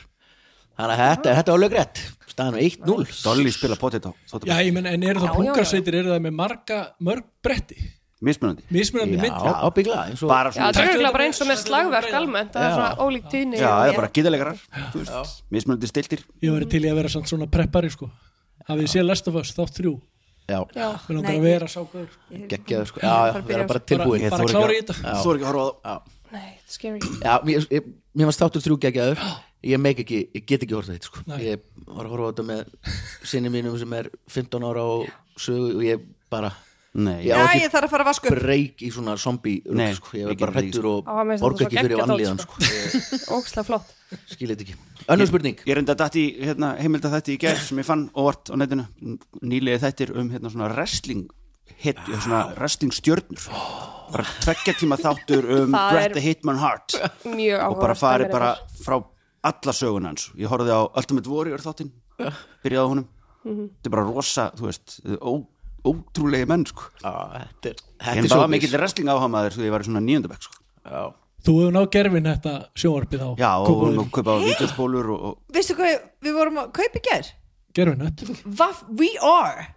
Speaker 1: þannig að þetta, þetta er alveg rétt staðan er 1-0
Speaker 3: Dolly spila potet á
Speaker 4: já, ég menn, en eru
Speaker 5: Já,
Speaker 4: það
Speaker 5: já, já.
Speaker 4: plúkarsveitir eru það með marga, mörg bretti
Speaker 3: mismunandi
Speaker 4: mismunandi
Speaker 1: Já,
Speaker 4: myndi
Speaker 1: ábyggla, eins og
Speaker 3: bara
Speaker 5: Já,
Speaker 3: svona
Speaker 5: það er
Speaker 4: Takk
Speaker 5: örugglega
Speaker 4: fyrir
Speaker 5: bara eins og með
Speaker 4: þetta.
Speaker 5: slagverk almennt, það er
Speaker 1: Já.
Speaker 5: svona ólík tíðni
Speaker 3: já,
Speaker 5: og-
Speaker 3: eða bara gíðalegarar þú veist, mismunandi stiltir
Speaker 4: ég væri til í að vera samt svona preppari sko hafið þið séð Last of Us, þátt þrjú
Speaker 1: já,
Speaker 5: Já.
Speaker 4: mér langar
Speaker 6: Nei,
Speaker 4: að vera sá gaur
Speaker 1: geggjaður sko, já, já,
Speaker 6: Bara byrja
Speaker 1: vera bara
Speaker 6: á-
Speaker 4: bara,
Speaker 1: tilbúin
Speaker 4: bara
Speaker 3: þori ekki
Speaker 4: klára í
Speaker 3: að-
Speaker 4: þetta
Speaker 3: þú er ekki að horfa á það
Speaker 5: Nei, þetta er scary
Speaker 1: Já, mér, ég, mér varst þáttur þrjú geggjaður ég, meik ekki, ég get ekki horfða þetta sko.
Speaker 4: Nei.
Speaker 1: ég var að horfa á þetta með sinni mínum sem er 15 ára og sögu og ég bara
Speaker 3: Nei,
Speaker 1: Já,
Speaker 6: Já,
Speaker 1: ekki-
Speaker 6: ég þarf að fara að vasku upp
Speaker 1: breyk í svona zombie
Speaker 3: Nei,
Speaker 1: rugg, sko. ég
Speaker 3: ég
Speaker 1: er bara
Speaker 3: get ekki,
Speaker 1: hrættur og
Speaker 5: Á, mér finnst
Speaker 1: borga
Speaker 5: þetta
Speaker 1: ekki
Speaker 5: svo
Speaker 1: fyrir
Speaker 5: geggjað dót,
Speaker 1: vanlíðan sko.
Speaker 5: sko. ógislega flott
Speaker 1: skil þetta ekki önnur spurning
Speaker 3: Ég reynda að dætt í hérna, heimilda þætti í gerð sem ég fann óvart á netinu nýlega þættir um hérna svona wrestling hit, svona wrestling stjörnur bara tveggja tíma þáttur um
Speaker 5: Það
Speaker 3: Bret
Speaker 5: er-
Speaker 3: the Hitman Hart
Speaker 5: mjög áhuga
Speaker 3: og bara farið bara frá alla söguna hans ég horfði á Ultimate Warrior þáttinn byrjaði á honum
Speaker 5: Mhm.
Speaker 3: þetta er bara rosa, þú veist ó, ótrúlegi menn sko
Speaker 1: Ah, þetta er-
Speaker 3: en
Speaker 1: þetta er
Speaker 3: bara
Speaker 1: svo
Speaker 3: mikill wrestling áhamaður þegar ég var í svona níundabæk sko.
Speaker 4: Þú hefur náð gerfin þetta sjónvarpið á
Speaker 3: já, og við erum að kaupa vídeospólur og, og
Speaker 6: Veistu hvað við vorum að kaupa í ger?
Speaker 4: gerfin þetta
Speaker 6: Vaff, we are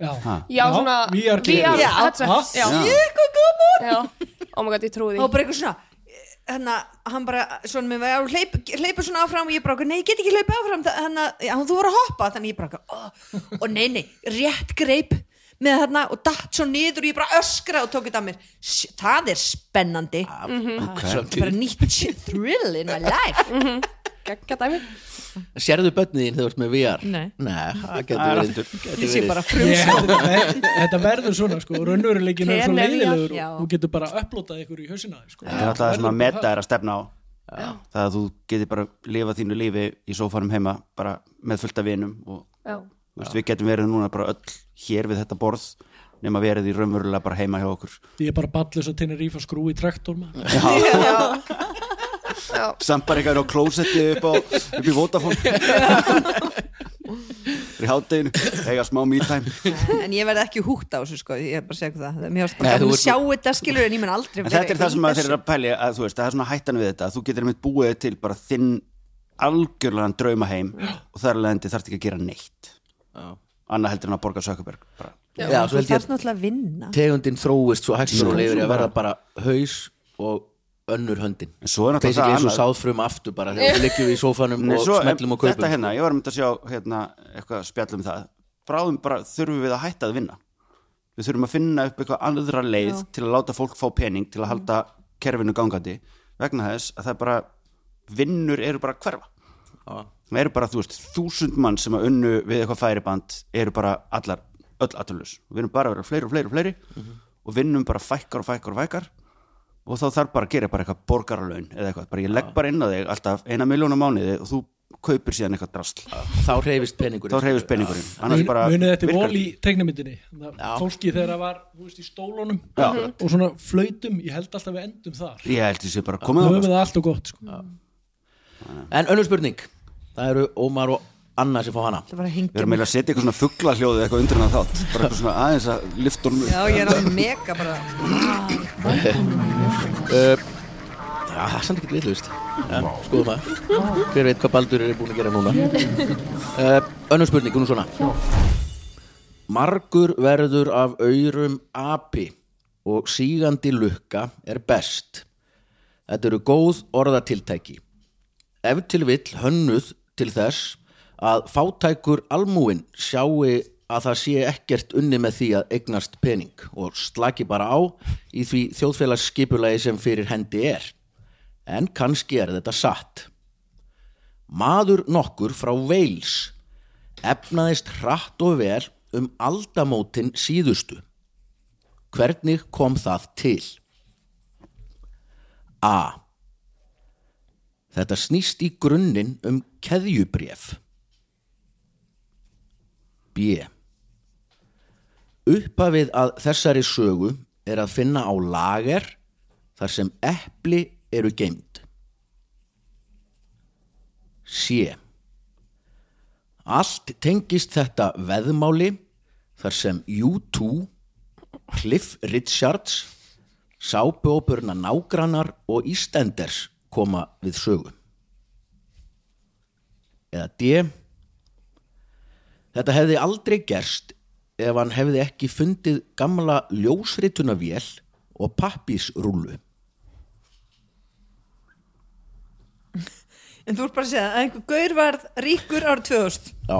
Speaker 4: Já,
Speaker 5: já, svona
Speaker 4: VR gerfin
Speaker 5: VR
Speaker 6: Já.
Speaker 5: headset, já,
Speaker 3: Já.
Speaker 6: Ykkur gaman
Speaker 5: já, ómagað, ég trúi
Speaker 6: Og
Speaker 5: því
Speaker 6: bara eitthvað svona Þannig að hann bara svona með að hleyp, hleypa svona áfram og ég bara, okkar, nei, ég get ekki hleypa áfram þannig að þú voru að hoppa þannig að ég bara, okkar, oh, og nei, nei, rétt greip með þarna og datt svo niður og ég bara öskra og tók þetta að mér Sj- það er spennandi bara
Speaker 1: okay.
Speaker 6: nýtt shit thrill in my life
Speaker 5: geggja dæmi
Speaker 1: sérðu börnin þín þegar þú ert með VR
Speaker 6: Nei.
Speaker 1: það
Speaker 3: Það er
Speaker 1: getur verið, getur
Speaker 6: ég sé
Speaker 1: verið.
Speaker 6: bara
Speaker 4: Ég,
Speaker 6: frumst
Speaker 4: þetta verður svona sko raunveruleikin er svo
Speaker 5: Tenerife,
Speaker 4: leiðilegur
Speaker 6: já.
Speaker 4: og þú getur bara upplótað ykkur í hausina á þér, sko.
Speaker 3: þetta er alltaf það sem að
Speaker 4: Verður bara
Speaker 3: meta er að stefna á það að þú getur bara lifa þínu lífi í sófanum heima bara með fullt af vinum og
Speaker 5: já,
Speaker 3: þú veist, við getum verið núna bara öll hér við þetta borð nema verið í raunverulega bara heima hjá okkur
Speaker 4: það. Ég er bara ballus að Tenerife að skrúi traktor maður.
Speaker 3: samt bara eitthvað á klósetti upp, á, upp í Vodafone í hátteginu eiga smá me time
Speaker 6: en ég verði ekki húgt á þessu sko ég er bara að segja ykkur það, mér varst
Speaker 1: Nei,
Speaker 6: bara
Speaker 1: þú
Speaker 6: að
Speaker 1: ert-
Speaker 6: sjá þetta skilur en ég menn aldrei
Speaker 3: en þetta er það sem að þeir eru að pæli að þú veist, það er svona hættan við þetta að þú getur einmitt búið til bara þinn algjörlegan draumaheim og þar leðandi þarf ekki að gera neitt
Speaker 1: Já.
Speaker 3: annað heldur en að borga sökuberg bara.
Speaker 1: Já,
Speaker 6: já,
Speaker 1: svo
Speaker 6: þú
Speaker 1: held ég
Speaker 6: þarf
Speaker 1: að
Speaker 6: náttúrulega að vinna
Speaker 1: tegundin þróist svo hægt
Speaker 3: Svo-
Speaker 1: og lifir
Speaker 3: svo
Speaker 1: að verða bara haus og önnur höndin
Speaker 3: En svo er náttúrulega
Speaker 1: basically
Speaker 3: það
Speaker 1: eins og
Speaker 3: annað-
Speaker 1: sáðfrum aftur bara þegar við liggjum við í sófanum
Speaker 3: Nei,
Speaker 1: og
Speaker 3: svo,
Speaker 1: smellum
Speaker 3: em,
Speaker 1: og kaupum
Speaker 3: þetta hérna, ég var að mynda að sjá hérna, eitthvað að spjalla um það bráðum bara þurfum við að hætta að vinna við þurfum að finna upp eitthvað aðra leið til að láta fólk fá pening til að halda kerfinu gangandi vegna þess að það er bara vinnur eru bara að hverfa
Speaker 1: Já.
Speaker 3: það eru bara, þú veist, þúsund mann sem að unnu við eitthvað færiband eru bara allar, öll aturlus við erum bara að vera fleiri og fleiri og fleiri og vinnum bara fækkar og fækkar og fækkar og þá þarf bara að gera bara eitthvað borgaralaun eða eitthvað, bara ég legg bara inn á þig alltaf eina miljónum mánuði og þú kaupir síðan eitthvað drasl,
Speaker 1: þá hreyfist peningurinn
Speaker 3: þá reyfist peningurinn annars
Speaker 4: Mun-
Speaker 3: bara
Speaker 4: munið þetta er
Speaker 3: virkar
Speaker 4: vol í teiknamyndinni Það-
Speaker 1: Já.
Speaker 4: fólki þegar það var þú veist, í stólunum
Speaker 3: Já.
Speaker 6: Mhm.
Speaker 4: og svona flautum ég held alltaf við endum þar
Speaker 3: ekki. ég held því sé bara
Speaker 4: Nú
Speaker 3: komið
Speaker 4: höfum við
Speaker 3: á
Speaker 4: það allt og gott sko.
Speaker 1: en önnur spurning það eru Ómar og Anna sem fá hana
Speaker 6: það var að
Speaker 3: við
Speaker 6: hingja
Speaker 3: erum meira að setja eitthvað svona fuggla hljóðið eitthvað undir hann þátt bara eitthvað svona aðeins að lifta honum
Speaker 6: já,
Speaker 3: upp.
Speaker 6: ég er alveg mega bara
Speaker 1: Já, það er samt ekki vitlust ja, skoðum það hver veit hvað Baldur er búin að gera núna uh, önnur spurning, hún er svona margur verður af auðrum api og sígandi lukka er best þetta eru góð orðatiltæki ef til vill hönnuð til þess að fátækur almúin sjáu að það sé ekkert unni með því að eignast pening og slaki bara á í því þjóðfélagsskipulagi sem fyrir hendi er en kannski er þetta satt. Maður nokkur frá Wales efnaðist hratt og vel um aldamótin síðustu. Hvernig kom það til? A. Þetta snýst í grunninn um keðjubréf. B. Uppafið að þessari sögu er að finna á lager þar sem epli eru geimd. C. Allt tengist þetta veðmáli þar sem U2, Cliff Richards, sápuópurna nágrannar og Ístenders koma við sögu. Eða D. Þetta hefði aldrei gerst ef hann hefði ekki fundið gamla ljósritunavél og pappísrúlu.
Speaker 6: en þú ert bara að segja að einhver gaur varð ríkur árið 2000
Speaker 1: Já.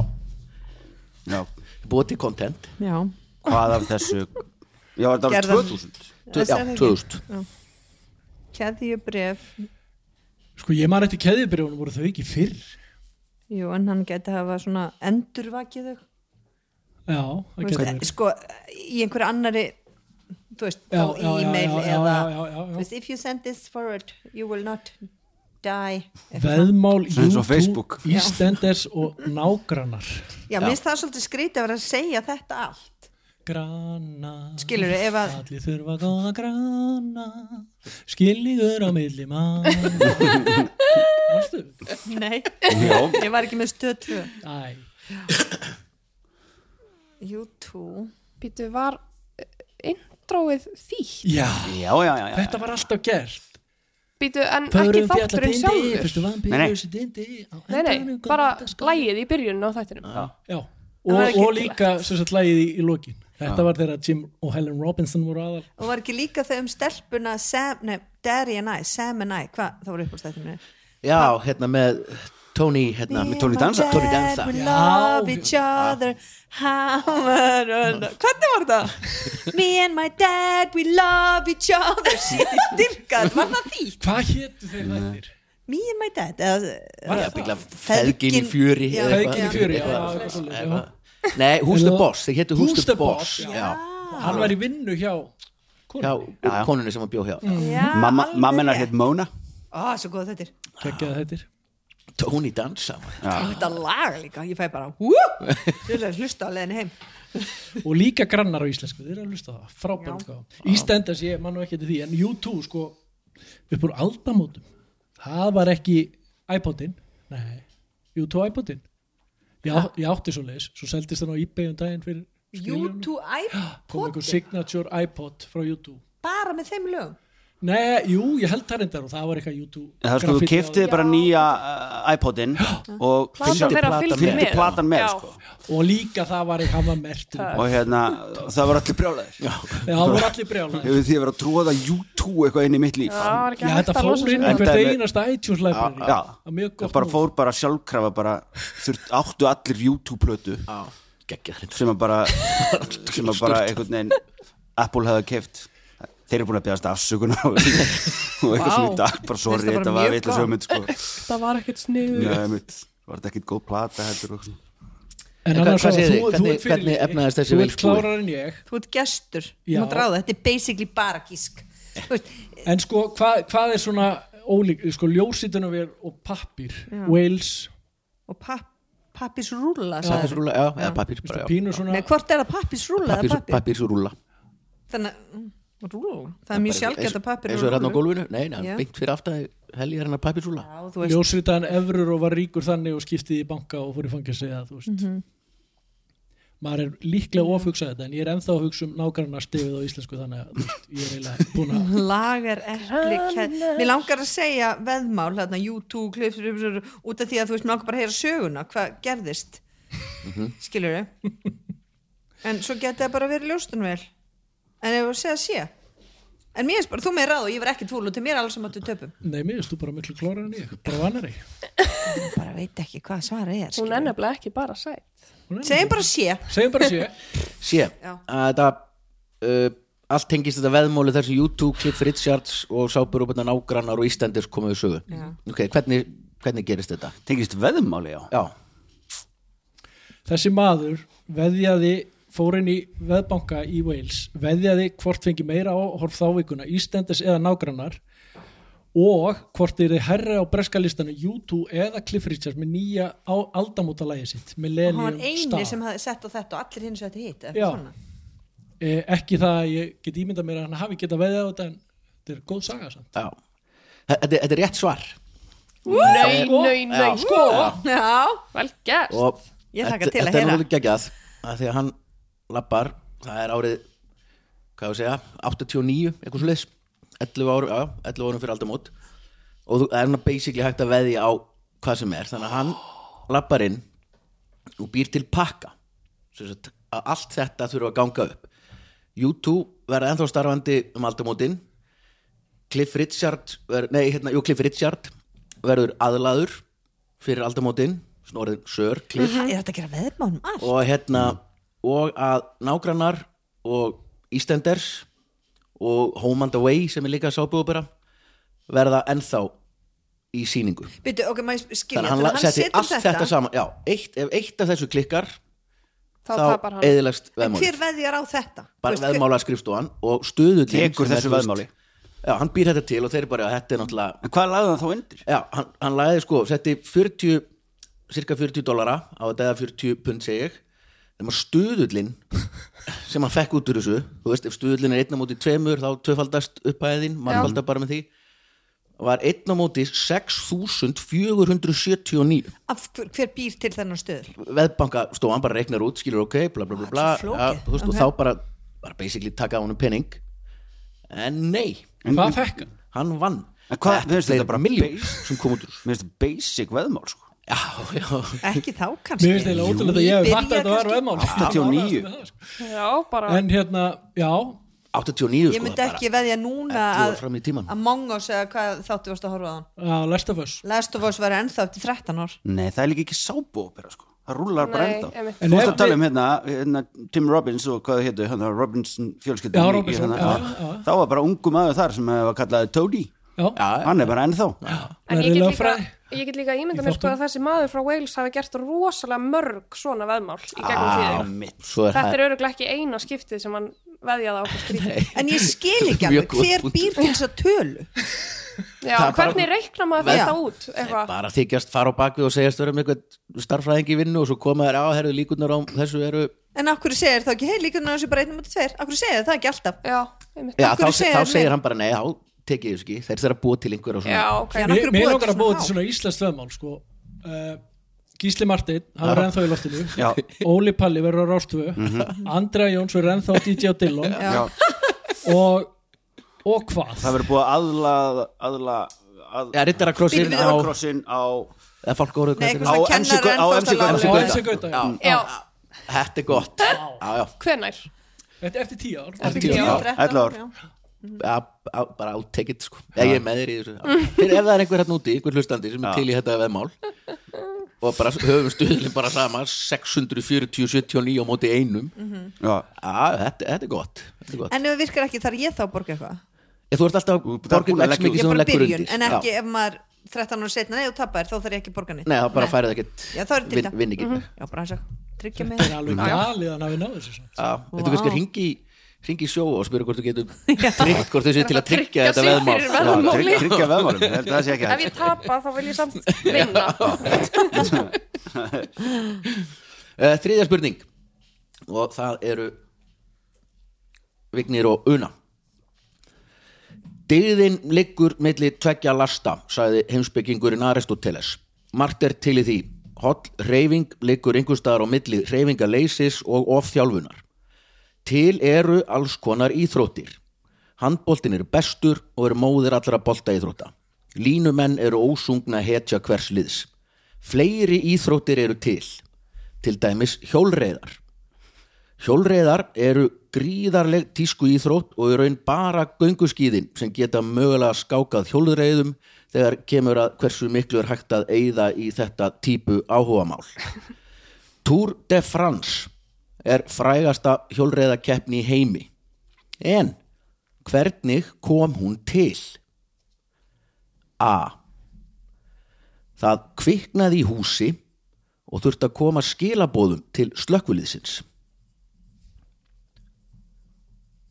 Speaker 3: Já.
Speaker 1: Búið til content.
Speaker 6: já,
Speaker 3: hvað af þessu já, þetta var
Speaker 6: Gerðan.
Speaker 3: 2000
Speaker 1: Tvö- Já, 2000.
Speaker 6: keðjubref
Speaker 4: sko ég man eftir keðjubrjónum voru þau ekki fyrr
Speaker 6: jú, en hann geti hafa svona endurvakið þau Þú
Speaker 4: já, það
Speaker 6: veist,
Speaker 4: getur
Speaker 6: eh,
Speaker 4: verið
Speaker 6: sko, í einhverju annari þú veist,
Speaker 4: e- Já,
Speaker 6: þá
Speaker 4: já, já,
Speaker 6: e-mail
Speaker 4: já, já,
Speaker 6: eða,
Speaker 4: já, já, já.
Speaker 6: þú veist, if you send this forward you will not die eitthvað.
Speaker 4: veðmál,
Speaker 3: Svona eins og
Speaker 4: YouTube,
Speaker 3: Facebook.
Speaker 4: Íslenders og nágrannar
Speaker 6: já, minnst það svolítið skrítið að vera að segja þetta allt
Speaker 4: grannar
Speaker 6: Skilurðu, ef að-
Speaker 4: allir þurfa góða grannar skiljiður á milli mann Varstu?
Speaker 6: nei,
Speaker 3: Já.
Speaker 6: ég var ekki með stöð 2
Speaker 4: Æ,
Speaker 6: YouTube
Speaker 5: Býtu, var eh, introið þýtt?
Speaker 4: já,
Speaker 3: já, já, já, já.
Speaker 4: þetta var alltaf gert
Speaker 5: Býtu, en ekki þátturinn sjálfur?
Speaker 3: Nei, nei.
Speaker 5: Nei, nei, bara lægið í byrjunum á þættinum.
Speaker 4: Já,
Speaker 5: Það
Speaker 4: og,
Speaker 5: er ekki
Speaker 4: og líka sem sagt lagið í, í lokin þetta var þegar Jim og Helen Robinson voru aðal
Speaker 6: og var ekki líka þau um stelpuna Sam, nei, Derry and I, Sam and I hvað, það voru upp á stættinu
Speaker 1: já, hérna með Tony hérna,
Speaker 3: Með Tony Danza.
Speaker 1: Tony Danza.
Speaker 6: We
Speaker 4: Já.
Speaker 6: love each other Hammer and Hvernig var það? Me and my dad, we love each other Sýtti styrkað, var það því?
Speaker 4: Hvað héttu þeir lættir?
Speaker 6: Me and my dad eða,
Speaker 4: Var
Speaker 1: Já,
Speaker 4: það?
Speaker 1: byggla feðgin í fjöri
Speaker 6: Já,
Speaker 1: eða eitthvað.
Speaker 4: Feðgin í fjöri, já,
Speaker 1: Eitthvað.
Speaker 4: eitthvað svoleiðis,
Speaker 1: Eitthvað. Nei, Who's the
Speaker 4: Eða-
Speaker 1: Boss, þeir hétu Who's the Boss
Speaker 4: já.
Speaker 1: já,
Speaker 4: Hann var í vinnu hjá
Speaker 1: já,
Speaker 4: konunni
Speaker 3: Já.
Speaker 1: konunni sem hann bjó hjá
Speaker 4: Mm.
Speaker 6: Já,
Speaker 3: Mamma
Speaker 6: alveg
Speaker 3: mamma hérna- hennar
Speaker 6: rétt.
Speaker 3: hétt Mona
Speaker 6: Ó, svo góð þetta er
Speaker 4: Kekkaði þetta
Speaker 1: Tony Danza
Speaker 3: Ah.
Speaker 6: Ó, Þetta lag líka, ég fæ bara Hú, ég vil að hlusta á leiðinu heim
Speaker 4: Og líka grannar á íslensku, þeir eru að hlusta á það Frábært hvað Ístenders, ég mann nú ekki til því En U2 sko, upp úr aldamótum Það var ekki iPodin Nei, U2 iPodin Ég, á, ég átti svo leis Svo seldist hann á eBay um daginn fyrir skiljónum.
Speaker 6: YouTube
Speaker 4: Kom einhver
Speaker 6: iPod
Speaker 4: signature iPod frá U2
Speaker 6: Bara með þeim lögum
Speaker 4: Nei, jú, ég held það reyndar og það var eitthvað U2
Speaker 3: Það er sko, þú
Speaker 4: graffiti á því.
Speaker 3: kiftið bara nýja uh, iPodin og
Speaker 5: Platan þeirra fylgdi
Speaker 3: fylgdi
Speaker 5: með.
Speaker 3: platan með
Speaker 5: Já.
Speaker 3: sko.
Speaker 4: og líka það var í hafa mertur
Speaker 3: og hérna, það var allir brjálæðir
Speaker 4: það voru allir brjálæðir
Speaker 3: hefur því að vera að tróða YouTube eitthvað inn í mitt líf
Speaker 5: Já, það var ekki
Speaker 4: Já,
Speaker 5: hægt
Speaker 4: þetta
Speaker 5: að losa
Speaker 4: fór
Speaker 3: sig.
Speaker 4: inn í
Speaker 5: sig.
Speaker 3: einhver-
Speaker 4: hvert
Speaker 3: Þetta er-
Speaker 4: einasta iTunes library
Speaker 3: Já,
Speaker 4: Það er mjög
Speaker 3: það
Speaker 4: gott
Speaker 3: bara
Speaker 4: nú.
Speaker 3: fór bara sjálfkrafa bara, þurft, áttu allir YouTube-plötu
Speaker 1: geggja þetta
Speaker 3: sem að bara sem að bara einhvern veginn Apple hefði keft þeir eru búin að beðast afsökunar og og eitthvað svona í dag, bara sorry,
Speaker 6: Mér
Speaker 3: þetta
Speaker 6: finnst það bara
Speaker 3: var
Speaker 6: mjög
Speaker 3: vitlega
Speaker 6: gott.
Speaker 3: sögumund sko.
Speaker 5: Það var ekkert sniður.
Speaker 3: Já, einmitt, var þetta ekkit góð plata heldur og svona
Speaker 4: en
Speaker 1: En
Speaker 4: annars
Speaker 1: hvað- hvað
Speaker 4: var
Speaker 1: segið
Speaker 4: þú,
Speaker 1: þið?
Speaker 4: þú
Speaker 1: Hvernig-
Speaker 4: ert fyrir
Speaker 1: hvernig efnaðist þessi
Speaker 4: þú
Speaker 1: vel
Speaker 4: ert
Speaker 1: búið?
Speaker 4: klárar en ég
Speaker 6: Þú ert gestur,
Speaker 4: Já.
Speaker 6: þú mátt ráða Þetta er basically bara gísk
Speaker 1: Eh.
Speaker 6: Þú veist,
Speaker 4: en sko hvað, hvað er svona ólík sko ljósitunarver og pappir Wales,
Speaker 6: Og papp, pappis rúla sagði
Speaker 1: Pappirsrúla, já, eða pappir
Speaker 4: veistu, pínu svona
Speaker 6: Nei, hvort er það pappisrúla eða pappir?
Speaker 1: Pappirsrúla
Speaker 6: Þannig að, mm, rúla, það er mjög sjálfgætt að pappir
Speaker 1: Eins og er hann á gólfinu, nei, nei,
Speaker 6: Já.
Speaker 1: hann beint fyrir aftan heljar hann að pappirsrúla
Speaker 6: Já, þú veist,
Speaker 4: ljósitaðan efrur og var ríkur þannig og skiptið í banka og fór í fangelsi eða þú veist
Speaker 6: Mhm.
Speaker 4: maður er líklega ofhugsað þetta en ég er ennþá að hugsa um nágrannar stifið á íslensku þannig að þú veist, ég er eiginlega búin að
Speaker 6: lagar epli keð- Mér langar að segja veðmál, hérna, YouTube, klifsur, út af því að þú veist, mér langar bara að heyra söguna, hvað gerðist, skilur þau? En svo geti það bara verið ljóstunvel, en ef þú segja sé, en mér er bara, þú með ráð og ég var ekki tvúl og til mér er alls að máttu töpum.
Speaker 4: Nei, mér erst þú bara miklu klórar en ég, bara vannari.
Speaker 6: Ég bara veit ekki hvað svara er,
Speaker 5: Hún er
Speaker 6: skilur þau.
Speaker 5: nefnilega ekki bara sætt.
Speaker 6: Segjum bara sé,
Speaker 4: Segjum bara sé,
Speaker 1: Sé,
Speaker 6: Já.
Speaker 1: að þetta uh, allt tengist þetta veðmóli þessu YouTube, Cliff Richards og sáburúbunna nágrannar og Íslandis komuðu sögu Ok, hvernig, hvernig gerist þetta?
Speaker 3: tengist veðumáli, já
Speaker 1: Já,
Speaker 4: þessi maður veðjaði, fór inn í veðbanka í Wales, veðjaði hvort fengi meira á horf þávíkuna, Íslendis eða nágrannar og hvort þeir eru herra á breskalistanu YouTube eða Cliff Richards með nýja á aldamóta lægi sitt,
Speaker 6: hann var
Speaker 4: Millennium
Speaker 6: eini
Speaker 4: Star.
Speaker 6: sem hafði sett á þetta og allir hins vegar hitt,
Speaker 4: Já.
Speaker 6: eitthvað svona.
Speaker 4: Eh, ekki það að ég get ímyndað mér að hann hafi getað veðjað á þetta en þetta er góð saga samt.
Speaker 1: já Þetta, þetta er rétt svar
Speaker 5: Nei, nei, nei, sko.
Speaker 6: Já,
Speaker 5: Vel gert.
Speaker 1: og
Speaker 6: Ég hlakka
Speaker 1: þetta-
Speaker 6: til að
Speaker 1: þetta er
Speaker 6: heyra.
Speaker 1: náttúrulega geggjað að því að hann lappar það er árið, hvað ég að segja 89, eitthvað svo 11 árum, já, 11 árum fyrir aldamót og þú- það er hann basically hægt að veðja á hvað sem er, þannig að hann lappar inn og býr til pakka sem sagt, að allt þetta þurfa að ganga upp U2 verða ennþá starfandi um aldamótin Cliff Richard ver, nei, hérna, jú, Cliff Richard verður aðlaður fyrir aldamótin snorðin Sör, Cliff
Speaker 6: Ha, er þetta að gera veðmánum allt?
Speaker 1: og hérna
Speaker 3: Mm.
Speaker 1: og að nágrannar og Ístenders og Home and Away sem er líka sábúðbera verða ennþá í sýningu
Speaker 6: Býtu, ok, maður skilja,
Speaker 1: þannig að hann, hann setti allt þetta, saman já, eitt, ef eitt af þessu klikkar
Speaker 5: Þá tapar hann.
Speaker 1: eðilagst
Speaker 6: En
Speaker 1: veðmáli
Speaker 6: hver veðjar á þetta?
Speaker 1: bara
Speaker 6: Þú veist, hver-
Speaker 1: veðmála skrifstofan og stöðullin
Speaker 3: Tekur
Speaker 1: sem er,
Speaker 3: þessu
Speaker 1: þú veist-
Speaker 3: veðmáli.
Speaker 1: já, hann býr þetta til og þeir bara, þetta er náttúrulega
Speaker 3: En hvað lagði hann þá undir?
Speaker 1: Já, hann, hann lagði sko, setti 40 cirka 40 dollara á þetta eða 40 pund segi ég þegar maður stuðullin sem hann fekk út úr þessu þú veist, ef stuðullin er einn á móti tveimur þá tvöfaldast upphæðin, mannfaldar bara með því var einn á móti 6479
Speaker 6: Af hver, hver býr til þennan stöð?
Speaker 1: veðbanka stóðan bara reiknar út, skilur ok bla bla bla bla,
Speaker 6: Ah, þetta er flókið.
Speaker 1: þú veist,
Speaker 6: Ok.
Speaker 1: og þá bara, bara basically taka á honum penning en nei,
Speaker 4: Hvað fekk hann?
Speaker 1: hann vann
Speaker 3: En hvað- mér finnst þetta bara
Speaker 1: miljón
Speaker 3: base.
Speaker 1: sem kom út úr þessu.
Speaker 3: Mér finnst þetta basic veðmál sko.
Speaker 1: já, já,
Speaker 6: Ekki þá kannski.
Speaker 4: Mér finnst eiginlega ótrúlega að ég hef
Speaker 6: Byrja
Speaker 4: fatt að þetta var
Speaker 6: kannski-
Speaker 4: veðmál
Speaker 3: 89.
Speaker 4: Ég var að aðeins með það, sko.
Speaker 5: Já, bara
Speaker 4: En hérna, já,
Speaker 1: 89
Speaker 6: Ég
Speaker 1: sko, það er
Speaker 6: myndi
Speaker 1: bara-
Speaker 6: ekki veðja núna
Speaker 1: Ellefu
Speaker 6: að
Speaker 1: fram í tímann.
Speaker 6: Among Us eða hvað þáttu varst að horfa á hann.
Speaker 4: á Last of Us
Speaker 6: Last of Us var ennþá eftir 13 ár.
Speaker 3: Nei, það er líka ekki sábóopera sko. Það rúlar bara
Speaker 5: Nei,
Speaker 3: ennþá
Speaker 5: einmitt.
Speaker 3: Þú veist
Speaker 4: En
Speaker 3: að tala um hérna, hérna Tim Robbins og hvað það hétu, hérna Robinson fjölskyldan
Speaker 4: Já,
Speaker 3: í- í
Speaker 4: Robinson,
Speaker 3: hérna-
Speaker 4: já,
Speaker 3: Já.
Speaker 4: já.
Speaker 3: Þá var bara ungu maður þar sem eh, var kallaði Toady
Speaker 4: Já,
Speaker 1: já,
Speaker 3: Hann er bara ennþá
Speaker 5: En
Speaker 4: lærði
Speaker 5: ég get, líka,
Speaker 4: lögfræði.
Speaker 5: ég get líka ímynda
Speaker 4: Í
Speaker 5: mér sko
Speaker 4: þáttum.
Speaker 5: að þessi maður frá Wales hafi gert rosalega mörg svona veðmál í gegnum
Speaker 1: Já,
Speaker 5: tíðina.
Speaker 1: mitt. svo er
Speaker 5: Þetta
Speaker 1: Ah, það
Speaker 5: er öruglega ekki eina skiptið sem hann veðjaði á okkur skrítið.
Speaker 6: En ég skil ekki
Speaker 1: Mjög
Speaker 6: alveg
Speaker 1: góð
Speaker 6: hver
Speaker 1: punktur.
Speaker 6: býr til þess að tölu.
Speaker 5: Já,
Speaker 1: Það er bara-
Speaker 5: hvernig reikna maður
Speaker 6: Já.
Speaker 5: þetta út? Eitthvað?
Speaker 1: bara þykjast fara á bakvið og segjast vera með eitthvað starffræðing í vinnu og svo koma þær á herðu líkunar á þessu eru
Speaker 6: En af hverju segir það ekki, hei líka náttúrulega bara einn mútið tveir, af hverju segir það ekki alltaf?
Speaker 5: Já, einmitt.
Speaker 1: já,
Speaker 6: Af
Speaker 1: þá,
Speaker 6: hverju
Speaker 1: segir,
Speaker 6: segja
Speaker 1: þá
Speaker 6: þeir
Speaker 1: segir
Speaker 6: mér?
Speaker 1: hann bara nei, þá tekið þessu ekki þeir þeirra búa til einhver og svona
Speaker 5: Já, ok.
Speaker 6: Já, En af
Speaker 4: Mér
Speaker 6: hverju
Speaker 4: mér
Speaker 6: búa
Speaker 4: langar
Speaker 6: þetta
Speaker 4: að búa
Speaker 6: svona
Speaker 4: til svona íslenskt veðmál sko. uh, Gísli Martin hann er ennþá í loftinu
Speaker 3: Já. Mhm.
Speaker 4: Óli Palli verður á Rástvö Andrea Jóns verður ennþá á DJ á Dillon
Speaker 3: Já.
Speaker 4: og, og hvað?
Speaker 3: Það verður búið að aðla, aðla að,
Speaker 1: Já, rittarakrossinn
Speaker 6: Bíddu,
Speaker 1: á,
Speaker 6: bíddu,
Speaker 3: Krossin á
Speaker 1: eða fólk orðið
Speaker 6: Nei,
Speaker 1: hvað
Speaker 6: eitthvað
Speaker 3: Á
Speaker 1: þetta er.
Speaker 6: svona
Speaker 3: MC
Speaker 6: kennar
Speaker 3: á MC Gauta.
Speaker 4: Það var aðeins
Speaker 6: ennþá
Speaker 4: að gauta já.
Speaker 1: Já,
Speaker 5: Já,
Speaker 1: þetta er gott já, já,
Speaker 5: hvenær?
Speaker 4: Þetta er eftir tíu ár
Speaker 1: Eftir
Speaker 5: tíu
Speaker 1: tíu
Speaker 5: ár.
Speaker 1: ár.
Speaker 3: ellefu ár.
Speaker 1: Já, á- bara á tekið sko. ég er með þér í þessu Já. fyrir ef það er einhver hérna úti, einhver hlustandi sem er til í þetta veðmál og bara höfum stuðlinn bara sama 640-79 á móti einum
Speaker 3: Já,
Speaker 1: Já, þetta, þetta er gott, þetta er gott.
Speaker 6: En ef það virkar ekki þarf ég þá að borga eitthvað?
Speaker 1: En, Þú ert alltaf
Speaker 3: Þú- það er
Speaker 1: borgið
Speaker 3: búin að
Speaker 1: vex
Speaker 3: leggja út.
Speaker 1: mikið
Speaker 6: Ég
Speaker 1: sem
Speaker 6: er
Speaker 1: þú
Speaker 6: bara
Speaker 1: leggur
Speaker 6: byrjun,
Speaker 1: undir
Speaker 6: en ekki
Speaker 1: Já.
Speaker 6: ef maður 13 ára setna, nei og tapar, þá þarf ég ekki að borga neitt.
Speaker 1: Nei, það bara
Speaker 6: Nei.
Speaker 1: færið ekkert
Speaker 6: Já, þá er til Mhm.
Speaker 1: vin,
Speaker 6: það.
Speaker 1: vinn ekki
Speaker 6: Já, bara eins og tryggja mig.
Speaker 4: Það er alveg galið að hafi náðu þessu samt.
Speaker 1: Já, Þetta
Speaker 6: Vá.
Speaker 1: er kannski að ringi ringi í sjó og spyrja hvort þú getur tryggt hvort þessu til að tryggja
Speaker 5: tryggja
Speaker 1: þetta
Speaker 5: sig
Speaker 1: veðmál Já.
Speaker 5: fyrir veðmál.
Speaker 3: já
Speaker 5: Veðmáli.
Speaker 3: trygg- tryggja veðmálum Ég held að Það sé ekki
Speaker 5: Ef
Speaker 3: hægt
Speaker 5: ég tapa þá vil ég samt vinna.
Speaker 1: Eh, Þriðja spurning og það eru Vignir og Una Dygðin liggur milli tveggja lasta, sagði heimsbyggingurinn Aristoteles. Margt er til í því. Holl reyfing liggur einhverstaðar á milli reyfingaleysis og ofþjálfunar. Til eru alls konar íþróttir. Handboltin eru bestur og eru móðir allra bolta íþrótta. Línumenn eru ósungna hetja hvers liðs. Fleiri íþróttir eru til. Til dæmis hjólreiðar. Hjólreiðar eru gríðarleg tísku íþrótt og eru einn bara gönguskíðin sem geta mögulega skákað hjólreiðum þegar kemur að hversu miklu er hægt að eyða í þetta típu áhugamál. Tour de France er frægasta hjólreiðakeppni í heimi. En hvernig kom hún til? A. Það kviknaði í húsi og þurfti að koma skilabóðum til slökkviliðsins.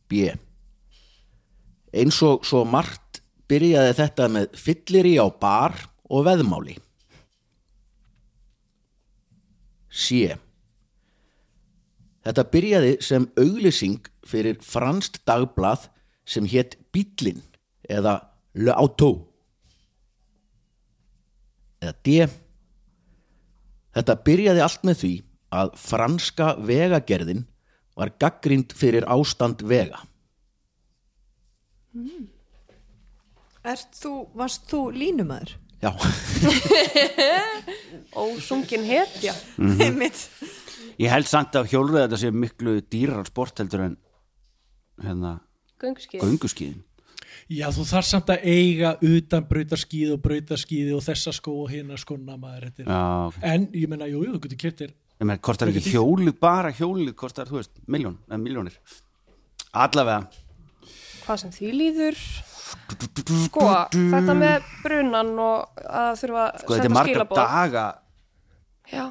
Speaker 1: B. Eins og svo margt byrjaði þetta með fyllir á bar og veðmáli. C. Þetta byrjaði sem auglýsing fyrir franst dagblað sem hétt Bíllinn eða Le Auto. Eða D. Þetta byrjaði allt með því að franska vegagerðin var gaggrind fyrir ástand vega.
Speaker 6: Ert þú, varst þú línumæður?
Speaker 1: Já,
Speaker 5: Ósungin hetja.
Speaker 6: Einmitt.
Speaker 3: Ég held samt að hjólrið þetta sé miklu dýrar sport heldur en hérna,
Speaker 5: Gönguskið.
Speaker 3: gönguskíðin
Speaker 4: Já, þú þarf samt að eiga utan brautaskíð og brautaskíði og þessa skó og hérna skona maður þetta er-
Speaker 3: Já, ok
Speaker 4: En ég menna, jú, jú, þú getur kiptir
Speaker 3: Ég meina, kostar ekki hjólið, bara hjólið kostar, þú veist, miljón, eða miljónir Allavega sko,
Speaker 5: Hvað sem því líður. Sko, þetta með brunan og að þurfa að
Speaker 3: Sko, þetta er
Speaker 5: senda
Speaker 3: margar
Speaker 5: skilaboð.
Speaker 3: daga
Speaker 5: Já,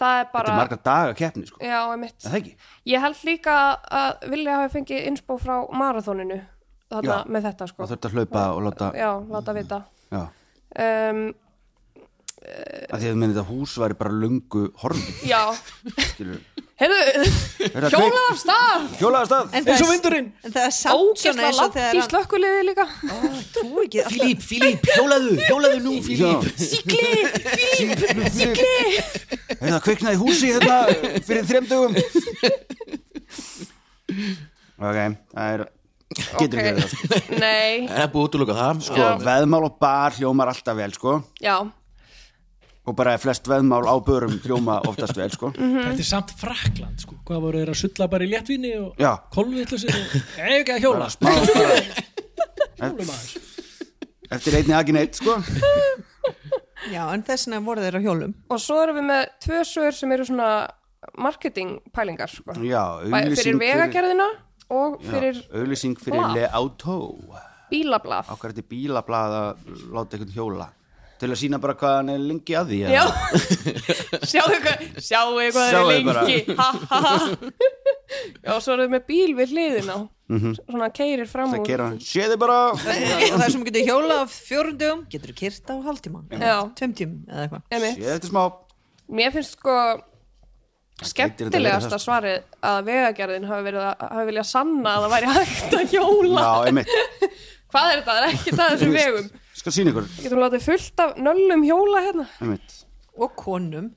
Speaker 5: það er
Speaker 3: þetta er
Speaker 5: bara Sko.
Speaker 3: marga daga keppni sko.
Speaker 5: já, einmitt
Speaker 3: Er það ekki
Speaker 5: ég held líka að vilja hafa fengið innspó frá marathóninu þarna
Speaker 3: Já.
Speaker 5: með þetta sko
Speaker 3: það þurft að hlaupa og láta já.
Speaker 5: já, láta vita um,
Speaker 3: að því að minni þetta hús væri bara lungu horfi
Speaker 5: já,
Speaker 3: skilur
Speaker 5: heyrðu hjólað af stað
Speaker 3: hjólaða stað
Speaker 6: En það
Speaker 4: eins og
Speaker 6: er-
Speaker 4: vindurinn
Speaker 6: En það er samt svona
Speaker 5: ógisla
Speaker 6: eins og
Speaker 5: langt í
Speaker 6: þegar hann
Speaker 5: slökkuliði líka
Speaker 6: Trú ekki alltaf
Speaker 1: Fílíp, Fílíp, hjólaðu, hjólaðu nú Fílíp
Speaker 5: síkli,
Speaker 3: Sigli það kviknaði húsi hérna fyrir þrem dögum ok, það er getur
Speaker 5: Ok.
Speaker 3: ekki verið það sko.
Speaker 5: nei,
Speaker 1: Það er búið að útloka það sko.
Speaker 5: Já.
Speaker 3: veðmál og bar hljómar alltaf vel sko
Speaker 5: já
Speaker 3: og bara flest veðmál á börum hljóma oftast vel sko
Speaker 5: Mhm.
Speaker 6: Mhm.
Speaker 4: Þetta er samt Frakland sko. Hvað voru þeir að sulla bara í léttvinni og
Speaker 3: Já.
Speaker 4: kolvitlu sér og eiga að hjóla
Speaker 3: Má bara,
Speaker 4: Hjólum aðeins.
Speaker 3: eftir einni akin eitt sko
Speaker 6: Já, en þess vegna voru þeir á hjólum
Speaker 5: og svo erum við með tvö sögur sem eru svona marketing pælingar sko.
Speaker 3: já,
Speaker 5: Bæ- fyrir vegagerðina og fyrir
Speaker 3: auðlýsing fyrir
Speaker 5: Blað.
Speaker 3: le auto
Speaker 5: bílablaf
Speaker 3: ákvæður þetta bílablað að láta einhvern hjóla til að sína bara hvað hann er lengi að því eða?
Speaker 5: Já, sjáu hvað, sjáu hvað það
Speaker 3: Sjáðu
Speaker 5: er
Speaker 3: bara.
Speaker 5: lengi ha, ha, ha. Já, svo erum við með bíl við hliðin á Svona keirir fram
Speaker 3: Mhm. það
Speaker 5: úr
Speaker 3: gera hann, sé þið bara
Speaker 6: Og það sem getur hjóla á fjórundum Getur kyrt á hálftíma
Speaker 5: Já,
Speaker 6: Tveim tímum eða eitthvað
Speaker 5: emi,
Speaker 3: sé þetta smá
Speaker 5: mér finnst sko
Speaker 3: gæti þetta verið
Speaker 5: skemmtilegasta
Speaker 3: það, sko.
Speaker 5: svarið að vegagerðin hafi verið að hafi viljað sanna að það væri hægt að hjóla
Speaker 3: já, einmitt,
Speaker 5: Hvað er þetta? Það er ekkert að þessum vegum
Speaker 3: skal sína ykkur
Speaker 5: Getum við látið fullt af nöllum hjóla hérna
Speaker 3: einmitt,
Speaker 6: Og konum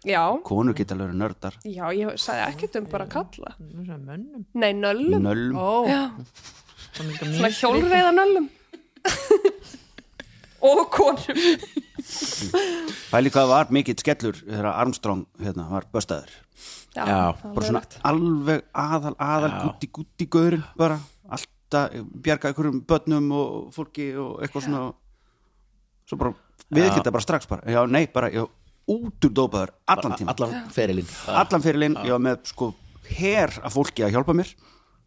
Speaker 5: Já,
Speaker 3: konur geta lögur nördar
Speaker 5: já, ég sagði ekkert um bara kalla
Speaker 6: Nú svona Mönnum
Speaker 5: Nei, nöllum
Speaker 3: nölm,
Speaker 6: Ó,
Speaker 5: Já,
Speaker 6: það er líka mjög-
Speaker 5: svona hjólreiðanöllum og konum
Speaker 3: pæli hvað var mikill skellur þegar Armstrong hérna, var böstaður
Speaker 5: já,
Speaker 1: Já,
Speaker 5: það er
Speaker 3: bara svona
Speaker 5: leiðilegt.
Speaker 3: alveg aðal, aðal gutti, gutti gaurin bara, alltaf bjarga einhverjum börnum og fólki og eitthvað svona svo bara, við ekki þetta bara strax bara, já, nei, bara, já, út úr dópaður allan tíma,
Speaker 1: Allan ferilinn
Speaker 3: allan fyrirlinn ég var með, sko, her af fólki að hjálpa mér,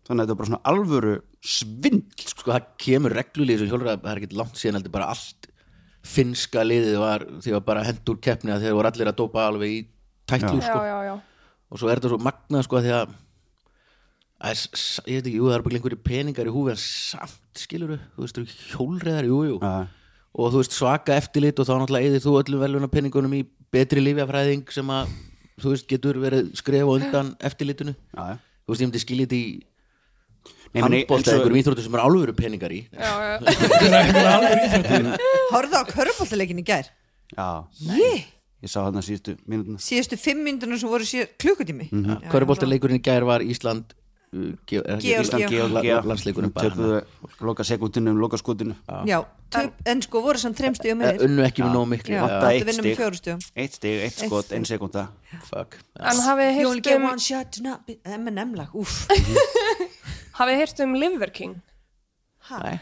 Speaker 3: þannig að þetta var bara svona alvöru svindl, sko
Speaker 1: Sko það kemur reglulega í þessu hjólræða Það er ekkert langt síðan heldur bara allt Finnska liðið var Því var bara hendur keppni að þeir voru allir að dópa alveg í tætlu
Speaker 5: já,
Speaker 1: sko.
Speaker 5: já, já,
Speaker 1: Og svo er þetta svo magnað sko Því að Æ, s- s- ég veit ekki, jú, það eru bara einhverju peningar í húfi en samt, skilur þú veist, hjólreðar, jú, jú
Speaker 3: Já.
Speaker 1: og þú veist, svaka eftirlit og þá náttúrulega eðir þú öllum veluna peningunum í betri lífjafræðing sem að, þú veist, getur verið skref á undan eftirlitinu
Speaker 3: Já, já.
Speaker 1: þú veist, ég myndi skilja þetta í
Speaker 3: Nei, meni,
Speaker 1: handbólt
Speaker 3: eins
Speaker 1: eða
Speaker 3: og-
Speaker 1: einhverjum íþróttu sem er álveru peningar í
Speaker 5: já, já.
Speaker 6: Horfðu á körfaltileikin í gær
Speaker 3: Já,
Speaker 6: Jé,
Speaker 3: ég sá þarna síðustu mínútuna
Speaker 6: síðustu fimm myndunum sem voru síðan klukkutími
Speaker 1: Mhm.
Speaker 6: Já,
Speaker 1: Körubolta leikurinn í gær var Ísland uh, Ge- er ekki-
Speaker 6: Georgía.
Speaker 1: Ísland
Speaker 3: Já,
Speaker 1: Georgía landsleikurinn bara hann.
Speaker 3: töpuðu loka sekundinu um loka skotinu
Speaker 6: Já, töp, en sko voru samt þremstu um
Speaker 1: Eh,
Speaker 6: þeir
Speaker 1: unnu ekki með nóg miklu
Speaker 6: Já,
Speaker 1: Já,
Speaker 3: vantaði eitt
Speaker 6: þetta vinnum
Speaker 3: stig.
Speaker 6: fjórustu
Speaker 3: eitt stig, eitt skot, ein sekunda
Speaker 1: fuck. Já.
Speaker 5: en hafið
Speaker 6: You only
Speaker 5: heyrt
Speaker 6: get
Speaker 5: um
Speaker 6: one shot to not be M&M lag, úff
Speaker 5: hafið heyrt um Liver King
Speaker 1: Nei.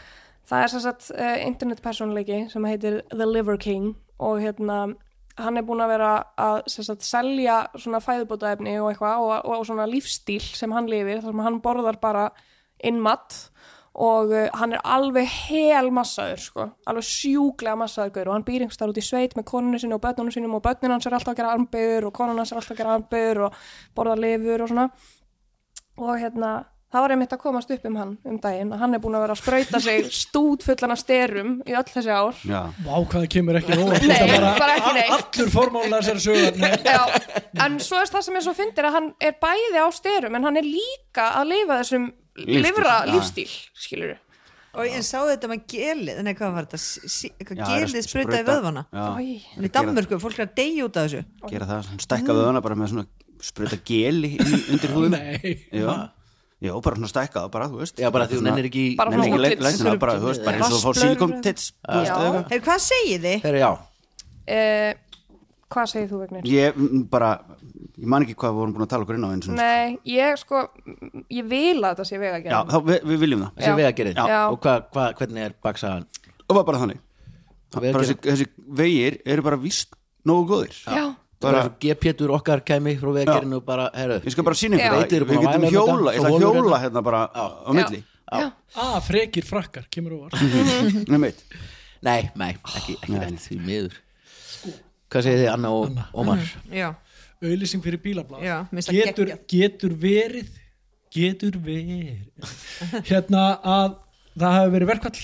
Speaker 5: það er sem sagt uh, internetpersonleiki sem heitir The Liver King og hérna hann er búin að vera að sem sagt, selja svona fæðubótaefni og eitthvað og, og svona lífstíl sem hann lifir þar sem hann borðar bara inn mat og uh, hann er alveg hel massaður sko, alveg sjúklega massaður gaur og hann býr einhverstaðar út í sveit með konunni sinni og börnunum sinum og börnin hans er alltaf að gera armböður og konun hans er alltaf að gera armböður og borða lifur og svona og hérna það var einmitt að komast upp um hann um daginn að hann er búin að vera að sprauta sig stút fullan af sterum í öll þessi ár
Speaker 3: Já,
Speaker 4: Vá hvað það kemur ekki róa
Speaker 5: Nei, bara ekki neitt.
Speaker 4: Allur formála þessari sögur Nei,
Speaker 5: Já, en svo er það sem ég svo fyndir að hann er bæði á sterum en hann er líka að lifa þessum
Speaker 3: Lífstíl,
Speaker 5: livra
Speaker 3: já.
Speaker 5: lífstíl, skilur við
Speaker 6: Og ég sá þetta með gelið, nei hvað var þetta, sí- sí-
Speaker 3: Já,
Speaker 6: eitthvað
Speaker 3: það er að
Speaker 6: gelið sprautaði vöðvana
Speaker 3: já,
Speaker 6: En í Danmörku, fólk er að deyja út af þessu
Speaker 3: gera það, svona stækka vöðuna bara með svona spruta geli í, undir húðum
Speaker 4: Nei.
Speaker 3: já, já, bara svona stækka það bara, þú veist
Speaker 1: Já, bara því þú
Speaker 3: Svona-
Speaker 1: nennir ekki í-
Speaker 5: Bara
Speaker 3: nennir
Speaker 5: svona
Speaker 3: ekki
Speaker 5: útlits.
Speaker 3: læsina, bara, þú veist, bara eins og þú fór
Speaker 6: Vatnsblöðrur.
Speaker 3: sílikum tits þú veist,
Speaker 5: Já.
Speaker 3: eða eitthvað.
Speaker 6: Heyrðu, hvað segið þið?
Speaker 1: Herra, já,
Speaker 5: eh, Hvað segir þú, Vegnir?
Speaker 3: ég mm, bara, ég man ekki hvað við vorum búin að tala okkur inn á eins og
Speaker 5: Nei, ég sko ég vil að þetta sé vega
Speaker 3: já, þá, við, við viljum það
Speaker 5: Já.
Speaker 1: þessi vegagerið
Speaker 5: Já.
Speaker 1: og hva, hva, hvernig er baksaðan
Speaker 3: og var bara þannig bara þessi, þessi vegir eru bara víst nógu góðir
Speaker 5: Já.
Speaker 1: bara
Speaker 3: bara,
Speaker 1: G-pétur okkar kæmi frá vegagerinu og bara, herru
Speaker 3: ég skal bara sína
Speaker 5: Já.
Speaker 3: ykkur
Speaker 1: Veit,
Speaker 3: það
Speaker 1: eru búin
Speaker 3: við
Speaker 1: að
Speaker 3: getum
Speaker 1: væla
Speaker 3: hjóla,
Speaker 1: þetta,
Speaker 3: ég ætla
Speaker 1: svo
Speaker 3: að
Speaker 1: holur
Speaker 3: hjóla
Speaker 1: þetta.
Speaker 3: hérna bara á milli
Speaker 4: að frekir frakkar kemur róa
Speaker 3: Nei, meitt.
Speaker 1: Nei, nei, ekki, ekki rétt því miður Hvað segir þið Anna og Ómar?
Speaker 6: Já,
Speaker 4: auðlýsing fyrir bílablað
Speaker 6: Já, mér finnst það
Speaker 4: getur,
Speaker 6: geggjað.
Speaker 4: getur verið getur verið hérna að það hafi verið verkvall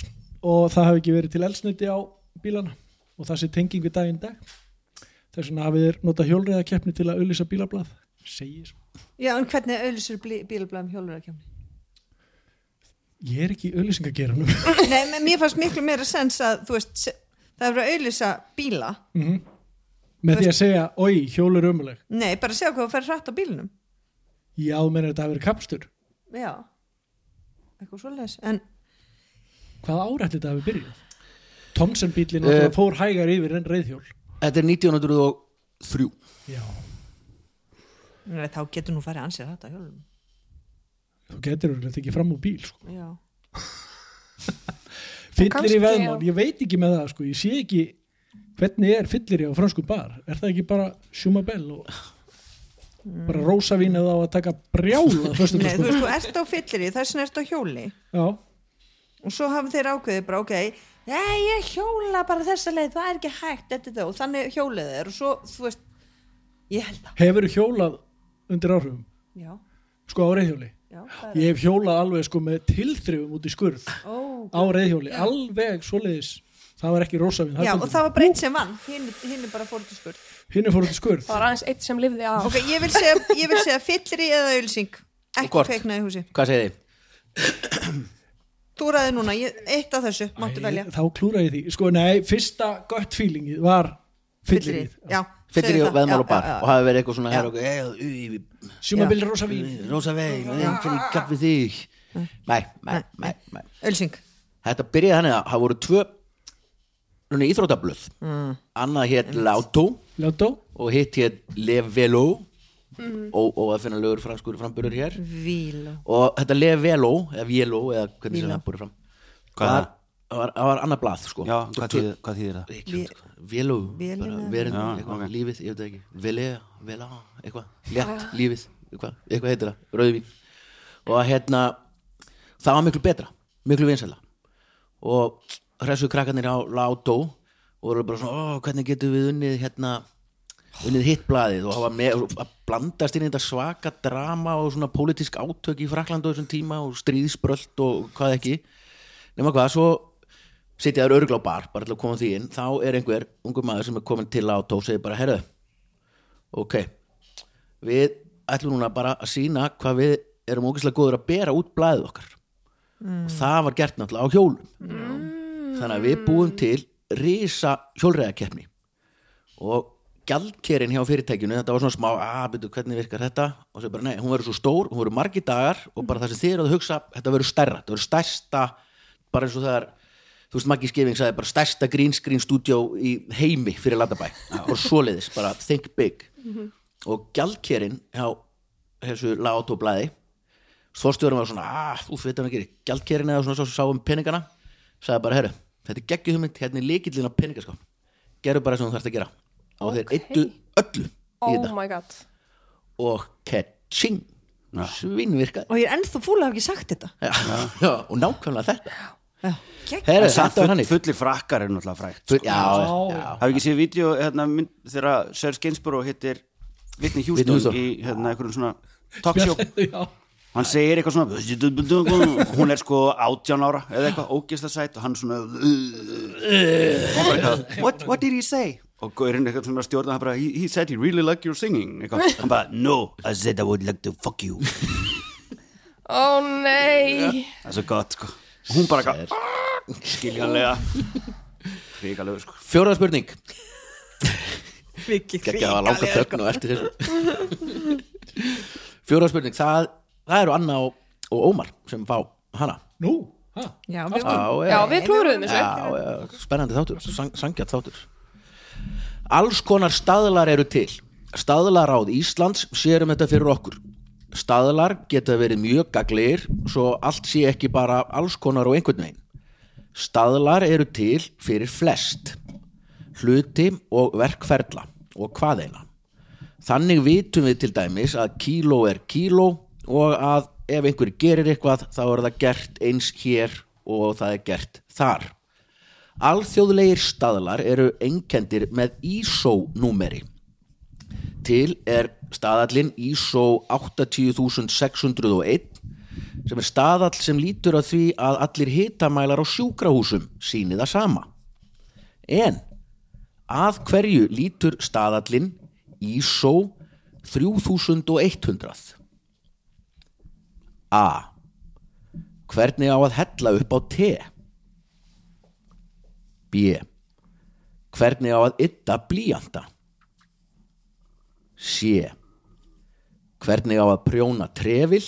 Speaker 4: og það hafi ekki verið til elsniti á bílana og það sé tenging við daginn í dag þess vegna hafið þeir nota hjólreiðakeppni til að auðlýsa bílablað segir svo
Speaker 6: Já, en hvernig auðlýsir bílablaðum hjólurakefni?
Speaker 4: ég er ekki auðlýsingageranum
Speaker 6: Nei, men mér fannst miklu meira sens að þú veist, se- það er verið að auðlýsa bíla
Speaker 4: með því að segja, oi, hjólur ömuleg
Speaker 6: Nei, bara að segja hvað þú fer hratt á bílnum
Speaker 4: já, menn þetta hafi verið kapstur
Speaker 6: Já, eitthvað svoleiðis En
Speaker 4: hvaða árætti þetta hafi byrjað Thomson bílinn
Speaker 6: Eh,
Speaker 4: uh, fór hægar yfir en reyðhjól
Speaker 1: Þetta er 1903
Speaker 4: já,
Speaker 6: nei, þá getur nú farið ansið hratt á hjólum
Speaker 4: þú getur þetta ekki fram úr bíl sko.
Speaker 6: Já,
Speaker 4: fyllir
Speaker 5: kannski,
Speaker 4: í veðmál,
Speaker 5: já.
Speaker 4: ég veit ekki með það sko. ég sé ekki hvernig er fyllir í á fransku bar er það ekki bara sjúmabell og bara rósavín eða á að taka brjála fyrstu
Speaker 6: nei, þú
Speaker 4: sko.
Speaker 6: veist, þú ert á fyllir í þessin ert á hjóli
Speaker 4: já,
Speaker 6: og svo hafa þeir ákveðið bara, ok Nei, ég hjóla bara þessa leið, það er ekki hægt þetta þá, þannig hjólið er og svo, þú veist, ég held það
Speaker 4: hefur hjólað undir áhrifum
Speaker 6: Já,
Speaker 4: sko á reyðhjóli
Speaker 6: já, það er
Speaker 4: ég hef hjólað alveg sko með tilþrifum út í skurð
Speaker 6: Ó,
Speaker 4: á reyðhjóli, alveg svoleiðis það var ekki rósavín
Speaker 6: Já, og það var bara einn sem vann, hinn, hinn er bara fórtiskurð
Speaker 4: hinn er fór út í skurð
Speaker 5: það var aðeins eitt sem lifði af
Speaker 6: Ok, ég vil segja, ég vil segja fyllir í eða ölsing
Speaker 1: Og
Speaker 6: Ekki
Speaker 1: hvort?
Speaker 6: kveiknaði húsi
Speaker 1: Hvað segið þið?
Speaker 6: Þú ræði núna, ég, eitt af þessu, máttu
Speaker 4: Æ,
Speaker 6: velja
Speaker 4: þá klúra ég því, sko nei, fyrsta gött feelingið var
Speaker 6: Fyllir í,
Speaker 4: fyllirið
Speaker 6: já
Speaker 1: Fyllir í
Speaker 6: segðu það.
Speaker 1: veðmál og
Speaker 6: Já,
Speaker 1: bar
Speaker 6: já, já.
Speaker 1: og hafi verið eitthvað svona
Speaker 6: Já.
Speaker 1: herra okkur
Speaker 4: sjúmabill rosa vín
Speaker 1: Rósa vegin, einn fyrir kapp við þig Nei, nei, nei, nei
Speaker 6: Ölsing,
Speaker 1: Þetta byrjaði þannig að það voru tvö svona íþrótabluð mm. annað hétt Lautó
Speaker 4: Lotto,
Speaker 1: og hitt hétt Levelo og, og að finna lögur franskur framburður hér
Speaker 6: víl
Speaker 1: og þetta Levelo eða Velo eða hvernig sem
Speaker 6: Velo.
Speaker 1: það búið fram
Speaker 3: Hvað er
Speaker 1: var, var, það var annað blað sko
Speaker 3: Já, hvað þýðir, hvað þýðir það?
Speaker 1: Velo,
Speaker 6: Vélin eða-
Speaker 1: verin,
Speaker 3: Já,
Speaker 1: eitthvað,
Speaker 3: ok.
Speaker 1: lífið, ég veit það ekki Vele, vela, eitthvað, létt, lífið eitthvað, eitthvað heitir það, rauðvín og hérna það var miklu betra, miklu vinsæla og hressu krakkarnir á Lautó og voru bara svona, ó, hvernig getum við unnið hérna unnið hitt blaðið og hafa með að blandast inn í þetta svaka drama og svona pólitísk átök í Fraklandu þessum tíma og stríðsbrölt og hvað ekki nema hvað, svo sitja þær örgla á bar, bara til að koma því inn þá er einhver ungur maður sem er komin til á og segir bara, herðu ok, við ætlum núna bara að sína hvað við erum ógeðslega góður að bera út blaðið okkar og það var gert náttúrulega á hjólum þannig að við búum til risa hjólreiðakeppni og gjaldkerinn hjá fyrirtækinu þetta var svona smá, að byrju, hvernig virkar þetta og svo bara, nei, hún verður svo stór, hún verður margi dagar og bara það sem þið eru að hugsa, þetta verður stærra þetta verður stærsta, bara eins og það er þú veist, Maggi Skefing sagði bara stærsta green screen studio í heimi fyrir Landabæ og svoleiðis, bara think big og gjaldkerinn hjá þessu látóblæði Þorstjórum var svona, "Ah, að, úf, veitum við gerir gjaldkerinn eða svona svo sá um peningana sagði bara, herru, þetta er geggjum hugmynd hérna er líkillin á peningaskap gerðu bara sem þú þarft að gera og þeir eittu öllu í
Speaker 5: oh
Speaker 1: þetta
Speaker 5: my god
Speaker 1: og catching svinvirkaði
Speaker 6: Og ég er ennþá fúlega ekki sagt þetta
Speaker 1: já, já, og nákvæmlega þetta
Speaker 6: Gegn-
Speaker 1: herru,
Speaker 3: En samt
Speaker 1: þetta var hann
Speaker 3: full- fullir frakkar er náttúrulega frægt
Speaker 1: já, já,
Speaker 4: Já,
Speaker 1: já,
Speaker 3: Hafið ekki séð vídeo hérna, mynd, þegar Serge Gainsborough hittir Whitney Houston
Speaker 1: Houston.
Speaker 3: í hérna, einhverjum svona talkshow
Speaker 4: já,
Speaker 3: hann segir eitthvað svona hún er sko átján ára eða eitthvað ógista sætt og hann svona Hann bara eitthvað, what, what did he say? og gaurinn eitthvað svona stjórna hann bara, he, he said he really liked your singing eitthvað. hann bara, no, I said I would like to fuck you
Speaker 5: ó nei
Speaker 3: það er svo gott sko Og hún bara eitthvað, "Ah," skiljanlega hrigalegu sko
Speaker 1: fjóraða spurning
Speaker 6: Mikið
Speaker 1: geggja það var langa þögn og eftir þessu fjóraða spurning það, það eru Anna og, og Ómar sem fá hana
Speaker 4: nú ha,
Speaker 6: Já, við
Speaker 1: já,
Speaker 5: já við klúruðum þessu
Speaker 1: Já, já, spennandi þáttur, sang, sangjart þáttur Alls konar staðlar eru til Staðlaráð Íslands sérum þetta fyrir okkur Staðlar geta verið mjög gaglegir svo allt sé ekki bara alls konar og einhvern veginn Staðlar eru til fyrir flest hluti og verkferla og hvaðeina Þannig vitum við til dæmis að kíló er kíló og að ef einhver gerir eitthvað þá er það gert eins hér og það er gert þar. Alþjóðlegir staðlar eru einkendir með ISO-númeri. til er staðallin ISO 80601 sem er staðall sem lítur að því að allir hitamælar á sjúkrahúsum síni það sama. En að hverju lítur staðallin ISO 3100? A. Hvernig á að hella upp á te? B. Hvernig á að ytta blíjanda? C. Hvernig á að prjóna trefill?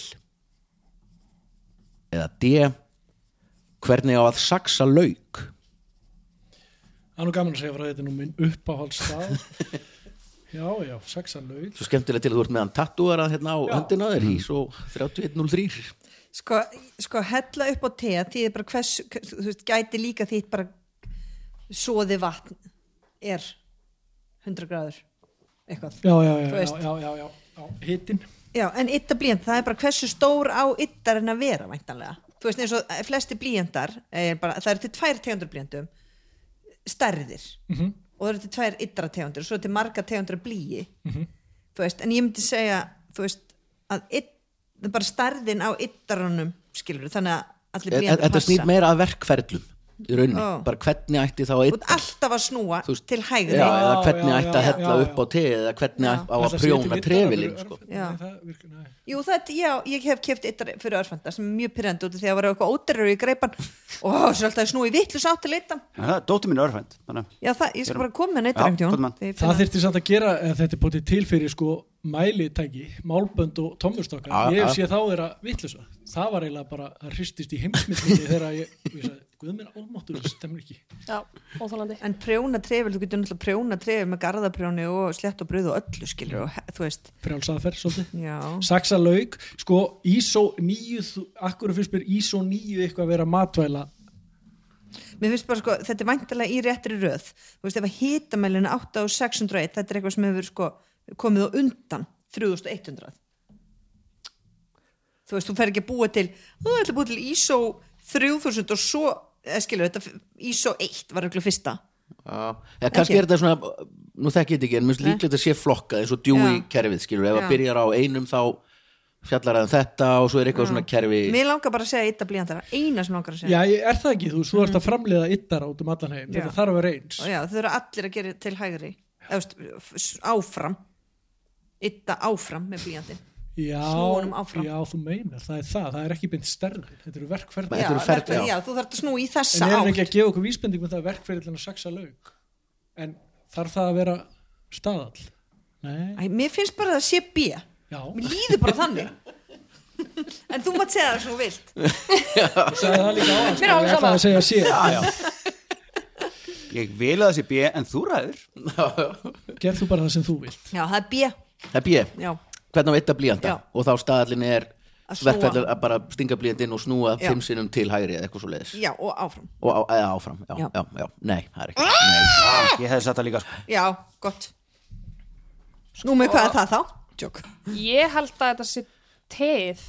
Speaker 1: Eða D. Hvernig á að saksa lauk?
Speaker 4: Það er nú gaman að segja frá þetta er nú minn uppáhaldsstað Já, já, saxa laug
Speaker 1: Svo skemmtilegt til að þú ert meðan tattúarað hérna á höndina á þér
Speaker 4: Mm.
Speaker 1: í svo 3103
Speaker 6: sko, sko hella upp á te því bara hvers, þú veist, gæti líka því bara soði vatn er 100 gráður eitthvað
Speaker 4: Já, já, já,
Speaker 6: Þú
Speaker 4: já,
Speaker 6: veist.
Speaker 4: já, já, já, já. Hittin
Speaker 6: Já, en ytta blíjant, það er bara hversu stór á yttar en að vera væntanlega þú veist eins og flesti blíjantar er bara, það eru til tvær tegundur blíjantum stærðir
Speaker 1: Mhm.
Speaker 6: -hmm. og það eru til tvær yttara tegundur, svo er til marga tegundur af blíi,
Speaker 1: Mhm.
Speaker 6: -hmm. þú veist en ég myndi segja, þú veist að yt, bara stærðin á yttaranum skilur, þannig að allir blíjantar
Speaker 1: E, Þetta snýr meira að verkferlum í rauninni,
Speaker 6: Ó.
Speaker 1: bara hvernig ætti þá að
Speaker 6: Þú ert
Speaker 1: ytta
Speaker 6: alltaf að snúa
Speaker 1: Þú veist,
Speaker 6: til hægri
Speaker 1: Já, eða hvernig
Speaker 4: já,
Speaker 1: ætti að
Speaker 4: já,
Speaker 1: hella
Speaker 4: já,
Speaker 1: upp á te eða hvernig á að
Speaker 4: Ætla sé
Speaker 1: prjóna
Speaker 4: til
Speaker 1: trefilinn
Speaker 4: vitar,
Speaker 1: sko.
Speaker 4: það er-
Speaker 6: Já.
Speaker 4: nei, það virkar- nei.
Speaker 6: Jú, það, er- já, ég hef keft eittar fyrir örfanda sem er mjög pyrrandi út af því að það var eitthvað óterrur í greipan og það er alltaf að snúi vittlu sátt til eittan
Speaker 3: En það, dóttir mín er örfænd þannig að
Speaker 6: Já, það, ég skal bara koma með
Speaker 3: Já,
Speaker 6: neittar
Speaker 3: komdu með hann.
Speaker 4: Það þyrfti samt að gera eða þetta er bótið til fyrir sko mælitæki, málbönd og tommustokkar
Speaker 1: Já,
Speaker 4: ég
Speaker 1: já.
Speaker 4: sé þá þeirra vittlusa það var eiginlega bara, það hristist í heimsmyndinni þegar ég, ég sagði, guð mér ómáttur það stemur ekki
Speaker 5: já, óþólandi
Speaker 6: En prjóna trefil, þú getur náttúrulega prjóna trefil með garðaprjóni og slett og bröð og öllu skilur og he- þú veist,
Speaker 4: frjálsaðferð svolítið
Speaker 6: já
Speaker 4: Saxa lauk, sko ISO 9, þú- akkur fyrst mér ISO 9 eitthvað að vera matvæla
Speaker 6: Mér finnst bara sko, þetta er væntalega í réttri röð Þú veist, ef að hitamælinu 8 og 601 þetta er eitthvað sem hefur sko komið á undan 3100 Þú veist, þú fer ekki að búa til þú ætla að búa til ISO 3000 og svo, eða skilur þetta f- ISO 1 var eitthvað fyrsta
Speaker 1: Já, eða kannski er þetta svona nú þekki ég þetta ekki, en mjög líklegt að sé flokkað eins og djúi
Speaker 6: Eh? Já.
Speaker 1: kerfið, skilur, ef
Speaker 6: Já.
Speaker 1: að byrjar á einum þá fjallar það um þetta og svo er eitthvað svona kerfi
Speaker 6: Mér langar bara að segja eitt að blíjandara, eina sem langar að segja
Speaker 4: Já, ég, er það ekki, þú, svo ert að framleiða yttar út um allan heim,
Speaker 6: Mhm. Já.
Speaker 4: þetta þarf að vera eins
Speaker 6: Og já, þau eru allir að gera til hægri eða, veist, f- s- áfram ytta áfram með blíjandin
Speaker 4: Já,
Speaker 6: Snúa honum áfram.
Speaker 4: já, þú meinar, það er það, það er ekki beint stærð, þetta eru verkferðin
Speaker 1: Nei.
Speaker 6: já,
Speaker 1: eru ferli,
Speaker 6: verkfæri-
Speaker 1: já.
Speaker 6: já, þú þarf að snú í þessa
Speaker 4: En er það
Speaker 6: átt
Speaker 4: ekki að gefa okkur vísbending með það verkferðin að saxa lauk En þarf það að vera staðall? Nei,
Speaker 6: Æ, mér finnst bara að það sé B
Speaker 4: já,
Speaker 6: mér líður bara þannig en þú mátt segja það sem þú vilt
Speaker 4: ég sagði það líka á hans
Speaker 5: Mér er alveg
Speaker 4: Ég ætlaði að segja sér,
Speaker 3: ég vil að það sé B en þú ræður
Speaker 4: gerð þú bara það sem þú vilt
Speaker 6: já, það er B
Speaker 1: það er bíð,
Speaker 6: já,
Speaker 1: Eh, hvernig á eitt að blíjanda
Speaker 6: Já.
Speaker 1: og þá staðallin er
Speaker 6: Að snúa.
Speaker 1: verkfællur að bara stinga blíjandinn og snúa
Speaker 6: Já.
Speaker 1: fimm sinnum til hægri eða eitthvað svo leiðis
Speaker 6: já, og áfram
Speaker 1: og á, eða áfram, já,
Speaker 6: Já.
Speaker 1: já, já, nei, það er ekki nei.
Speaker 3: ah, ég hefði sagt það líka sko.
Speaker 6: já, gott snú með hvað er það þá? Jók.
Speaker 5: Ég held að þetta sé teið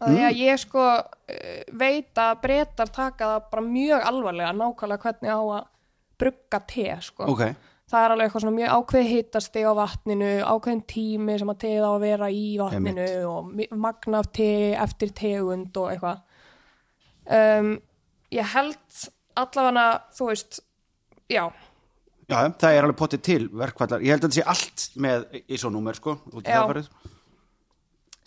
Speaker 5: að því að
Speaker 3: Mm.
Speaker 5: ég sko eh, veit að breytar taka það bara mjög alvarlega nákvæmlega hvernig á að brugga te sko.
Speaker 3: ok,
Speaker 5: Það er alveg eitthvað svona mjög ákveð hittast á vatninu, ákveðin tími sem að teið á að vera í vatninu
Speaker 3: Einmitt.
Speaker 5: og mi- magn af te, eftir tegund og eitthvað. Um, ég held allavega, þú veist, já,
Speaker 3: já, það er alveg potið til verkvallar ég held að það sé allt með ISO númer sko, út í
Speaker 5: Já.
Speaker 3: það farið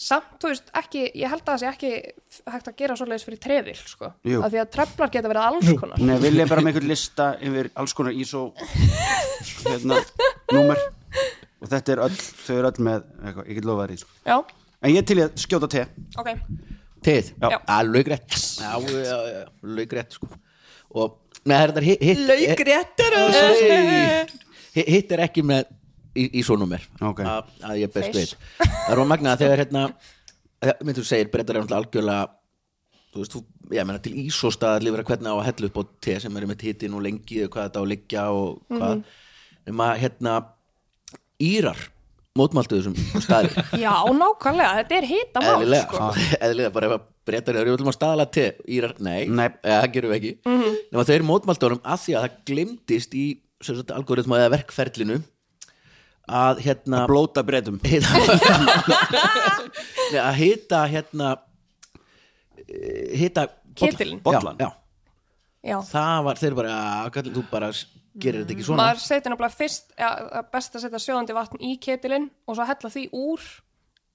Speaker 5: samt, þú veist, ekki, ég held að það sé ekki f- hægt að gera svoleiðis fyrir trefil, sko.
Speaker 3: Jú.
Speaker 5: Af því að treflar geta verið alls konar.
Speaker 3: Nei, vil ég bara með einhvern lista yfir alls konar ISO hérna, númer og þetta er öll, þau eru öll með eitthvað, ég get lofað því sko.
Speaker 5: Já,
Speaker 3: en ég er til í að skjóta te
Speaker 5: ok.
Speaker 1: Teið,
Speaker 3: Já.
Speaker 1: alveg rétt Já, já, já, alveg rétt sko og, nei, það er hitt
Speaker 6: laugréttur og
Speaker 1: Nei. Hi- hitt er ekki með í, í svonumir
Speaker 3: Ok.
Speaker 1: að, að ég best veit
Speaker 5: Fish.
Speaker 1: það er magnað að þegar hérna þegar- myndir þú segir breytar er náttúrulega algjörlega þú veist, þú, ég meina til ísóstaðar lífur að hvernig á að hella upp á te sem er með hittin og lengi og hvað þetta á að liggja og hvað nema hérna Írar mótmæltu þessum staði
Speaker 5: Já, nákvæmlega, þetta er hita mál,
Speaker 1: eðlilega,
Speaker 5: sko.
Speaker 1: eðlilega bara ef að breytar eru, við viljum að staðala til írar, nei,
Speaker 3: Nei.
Speaker 1: Eða, það gerum við ekki mm
Speaker 5: Mhm.
Speaker 1: -hmm. nema þeir mótmæltunum að því að það glimtist í sem sagt, algoritma eða verkferlinu að hérna
Speaker 3: að blóta breytum
Speaker 1: Nei, að hita hérna eh, hita
Speaker 5: Ketilinn.
Speaker 1: bollan
Speaker 3: Bollan.
Speaker 1: já, já.
Speaker 5: já
Speaker 1: það var, þeir bara, "Ah, kallinn, þú bara s- gerir þetta ekki svona
Speaker 5: maður setja náttúrulega fyrst ja, það er best að setja sjóðandi vatn í ketilinn og svo hella því úr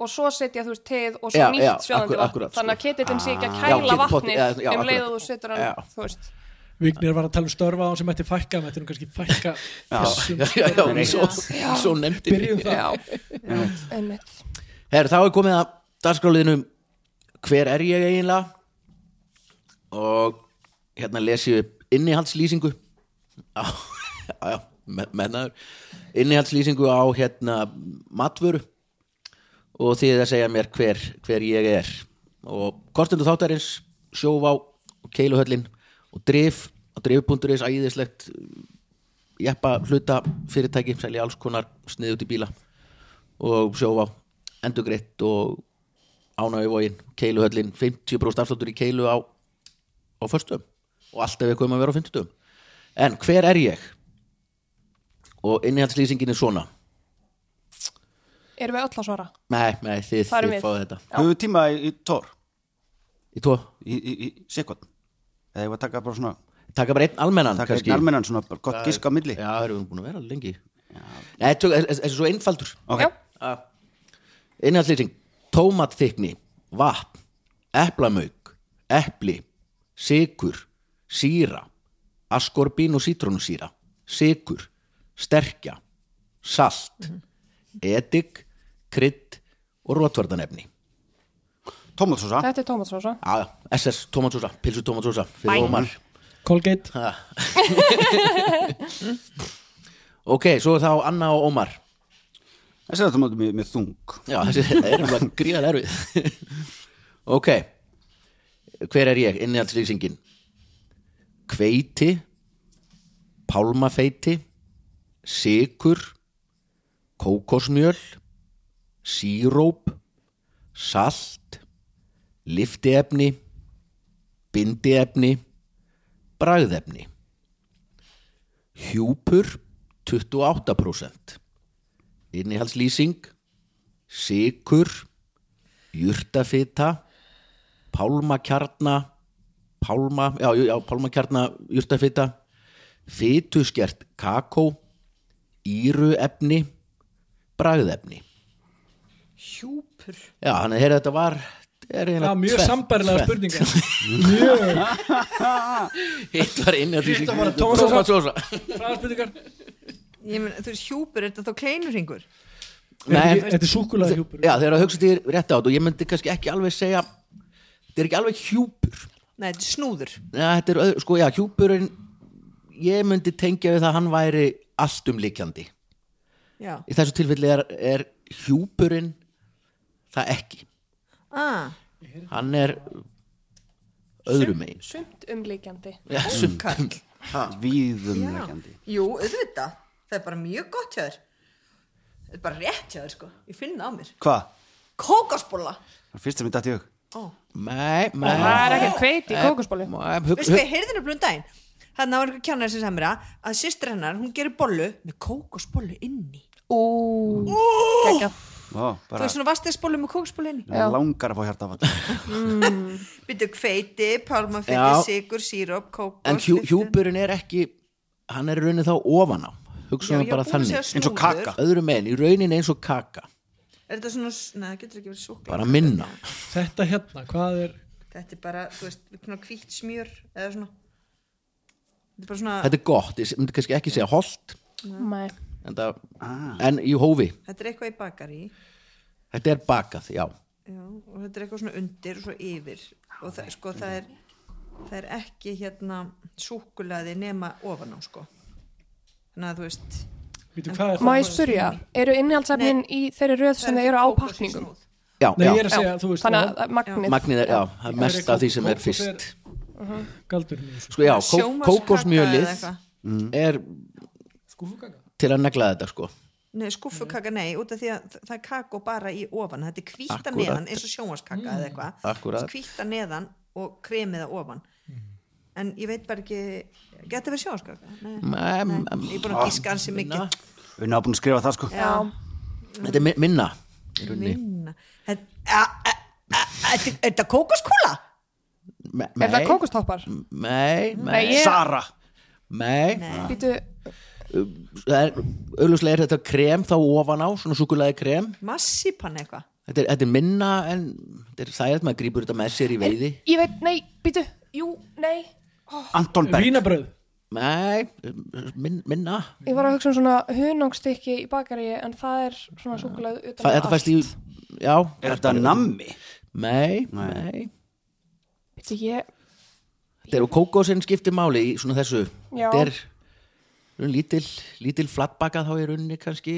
Speaker 5: og svo setja þú veist teið og svo
Speaker 1: Já, já,
Speaker 5: nýtt sjóðandi
Speaker 1: akkur-
Speaker 5: vatn
Speaker 1: akkurat, sko.
Speaker 5: þannig að ketilinn sé ekki að
Speaker 1: Ah.
Speaker 5: kæla
Speaker 1: Já, ketil-
Speaker 5: vatnið
Speaker 1: já, já,
Speaker 5: um leið
Speaker 1: akkurat.
Speaker 5: og þú setur hann
Speaker 1: Já.
Speaker 5: þú veist
Speaker 4: Vignir var að tala um störfa á hann sem ætti fækka hann ætti nú kannski fækka þessum
Speaker 1: já, já, já,
Speaker 4: störfum.
Speaker 1: svo, svo nefndi
Speaker 4: Byrjum það.
Speaker 5: já, einmitt
Speaker 1: Her, þá er komið að dagskráliðinu hver er ég eiginlega og hérna les ég upp innihaldslýsingu á, á me- mennaður innihaldslýsingu á hérna matvöru og því að segja mér hver, hver ég er og kortendur þáttarins sjóvá og keiluhöllin og drif og drif.is æðislegt jeppa hluta fyrirtæki selja alls konar sniði út í bíla og sjóvá endugreitt og ánægjuvógin, keiluhöllin 50% afsláttur í keilu á á föstum og allt ef við komum að vera á 50 en hver er ég? og innihaldslýsingin er svona
Speaker 5: erum við öll að svara
Speaker 1: nei, nei, þið,
Speaker 5: Þar erum
Speaker 1: þið
Speaker 5: við.
Speaker 1: fáið þetta
Speaker 3: höfum við tíma í, í tór
Speaker 1: í tvo,
Speaker 3: í, í, í sekund eða ég var að taka bara svona
Speaker 1: taka bara einn almennan
Speaker 3: taka
Speaker 1: kannski.
Speaker 3: einn almennan svona bara gott gisk á milli
Speaker 1: já, það erum við búin að vera lengi nei, tök- þessi er svo einfaldur
Speaker 3: ok,
Speaker 5: já,
Speaker 1: Innhaldslýsing Tómatþykni, vatn, eplamauk, epli, sykur, síra, askorbín og sítrónusíra, sykur, sterkja, salt, edik, krydd og rótvartanefni. Ah.
Speaker 3: tómatsósa
Speaker 5: þetta er tómatsósa
Speaker 1: Já, já, SS, tómatsósa, pilsu tómatsósa, fyrir Ómar.
Speaker 4: Colgate
Speaker 1: Ok, svo er þá Anna og Ómar.
Speaker 3: þessi er tómatum með, með þung
Speaker 1: Já, þessi þetta er umlega gríðan erfið Ok Hver er ég? Innihaldslýsingin Hveiti Pálmafeiti Sikur Kókosmjöl Síróp Salt Liftiefni Bindiefni Bragðefni Hjúpur 28% Innihaldslýsing Sikur Jurtafita Pálmakjarna Pálma, já, jú, já, pálmakjarna Jurtafita Fituskert kakó Íruefni Bragðefni
Speaker 6: hjúpur
Speaker 1: Já, hann er, heyrðu, þetta var er
Speaker 4: Já, mjög sambærilega spurningar Mjög
Speaker 1: Hitt var inn
Speaker 4: Hitt var Tómas Sosa.
Speaker 1: Sosa
Speaker 4: fræða spurningar
Speaker 6: ég meina, þú veist, hjúpur, er þetta þá kleinurringur
Speaker 1: Nei,
Speaker 4: Þetta er súkulega hjúpur
Speaker 1: já, þegar að hugsa þér rétt á þetta og ég myndi kannski ekki alveg segja þetta er ekki alveg hjúpur
Speaker 6: nei, þetta er snúður
Speaker 1: Já, þetta er, öðru- sko, já, hjúpurinn ég myndi tengja við það að hann væri alltumlíkjandi.
Speaker 6: já,
Speaker 1: Í þessu tilfelli er, er hjúpurinn það ekki.
Speaker 6: ah,
Speaker 1: Hann er öðrum einn.
Speaker 5: sumt umlíkjandi
Speaker 1: Já, sumt.
Speaker 6: kall
Speaker 3: víðumlegjandi
Speaker 6: jú, auðvitað, það er bara mjög gott hjá þér þetta er bara rétt hjá þér, sko ég finn það á mér,
Speaker 3: hvað?
Speaker 6: kókasbóla
Speaker 3: það er fyrst sem ég dætti í hug
Speaker 1: Nei, nei.
Speaker 5: það er ekkert hveit
Speaker 1: Eh,
Speaker 5: í kókusbólu
Speaker 1: Nei, hug-
Speaker 6: veistu
Speaker 1: hug-
Speaker 6: hvað, heyrðinu blum daginn þannig að var einhver kjánari sem samir að að sýstir hennar, hún gerir bollu með kókasbólu inni
Speaker 5: ú, geggjað.
Speaker 3: Ó,
Speaker 6: þú
Speaker 3: bara
Speaker 6: veist svona vastegsbólu með kókasbólu inni
Speaker 5: Já.
Speaker 3: langar að fá hjarta af
Speaker 6: Byttu kveiti,
Speaker 1: Já.
Speaker 6: pálmafeiti, sigur, síróp, kókos
Speaker 1: En hjú, hjúpurinn er ekki, hann er í raunin þá ofan á. Hugsaðum bara þannig.
Speaker 3: Eins og kaka.
Speaker 1: Öðrum einn, í raunin eins og kaka.
Speaker 6: Er þetta svona, s- neða, það getur ekki verið súkla
Speaker 1: Bara minna.
Speaker 4: Þetta hérna, hvað er
Speaker 6: Þetta er bara, þú veist, svona hvítt smjör eða svona Þetta er bara svona,
Speaker 1: Þetta er gott, ég myndi kannski ekki segja holt,
Speaker 5: Nei.
Speaker 1: en, það,
Speaker 6: Ah.
Speaker 1: en í hófi.
Speaker 6: þetta er eitthvað í bakari
Speaker 1: Þetta er bakað, já.
Speaker 6: já, og þetta er eitthvað svona undir og svo yfir og það, sko, það er það er ekki hérna súkulaði nema ofan á, sko Þannig að þú veist
Speaker 4: Vítu, hvað er
Speaker 5: má
Speaker 4: það?
Speaker 5: ég spurja, eru innihaldsefnin í þeirri röð sem þau eru á pakningum
Speaker 1: Já,
Speaker 4: Nei,
Speaker 1: já.
Speaker 4: ég er að segja, þú veist
Speaker 5: þannig að magnið
Speaker 1: Magnið er, já, það er mest af því sem er fyrst
Speaker 5: Mhm.
Speaker 4: Galdur mjög
Speaker 1: Sko já, kó
Speaker 6: Sjónvarpskaka
Speaker 1: kókosmjölið
Speaker 6: eða eitthvað.
Speaker 1: er
Speaker 4: Skúfuganga
Speaker 1: til að negla þetta sko
Speaker 6: Nei, skúffukaka nei, út af því að þa- það er kakó bara í ofan, þetta er kvíta
Speaker 1: Akkúrat.
Speaker 6: neðan eins og sjónvarskaka eða
Speaker 1: Akkúrat.
Speaker 6: eitthvað kvíta neðan og kremiða ofan en ég veit bara ekki geti verið sjónvarskaka? Nei,
Speaker 1: Mæ, mæ, mm.
Speaker 6: ég er búin að gíska hansi mikið
Speaker 1: minna.
Speaker 3: við erum búin að skrifa það sko
Speaker 5: Já.
Speaker 1: Þetta er mi- minna í rauninni.
Speaker 6: Minna. Þetta- a- a- a- Þetta er þetta kókoskúla?
Speaker 1: Me-
Speaker 5: Er það
Speaker 1: Nei,
Speaker 5: kókustoppar?
Speaker 1: Nei,
Speaker 5: Nei,
Speaker 1: nei,
Speaker 5: ég,
Speaker 3: Sara,
Speaker 1: nei
Speaker 5: býtu,
Speaker 1: Það er- Augljóslega er þetta krem þá ofan á Svona súkulaði krem
Speaker 6: Massipan eitthvað
Speaker 1: Þetta er, þetta er minna en þetta er það er að maður grýpur þetta með sér í veiði
Speaker 5: ég veit, nei, býtu, jú, nei,
Speaker 3: Anton Berg
Speaker 4: Vínabröð
Speaker 1: Nei, min, minna
Speaker 5: ég var að hugsa um svona hunangstykki í bakaríi en það er svona súkulegð utan
Speaker 1: Fa, Þetta fæst í Já,
Speaker 3: Er þetta nammi?
Speaker 1: Nei, nei,
Speaker 3: Nei.
Speaker 5: Býtu, ég,
Speaker 1: Þetta eru kókósinn skiptir máli í svona þessu
Speaker 5: Já.
Speaker 1: Þetta er svona lítil, lítil flatbaka þá er unni kannski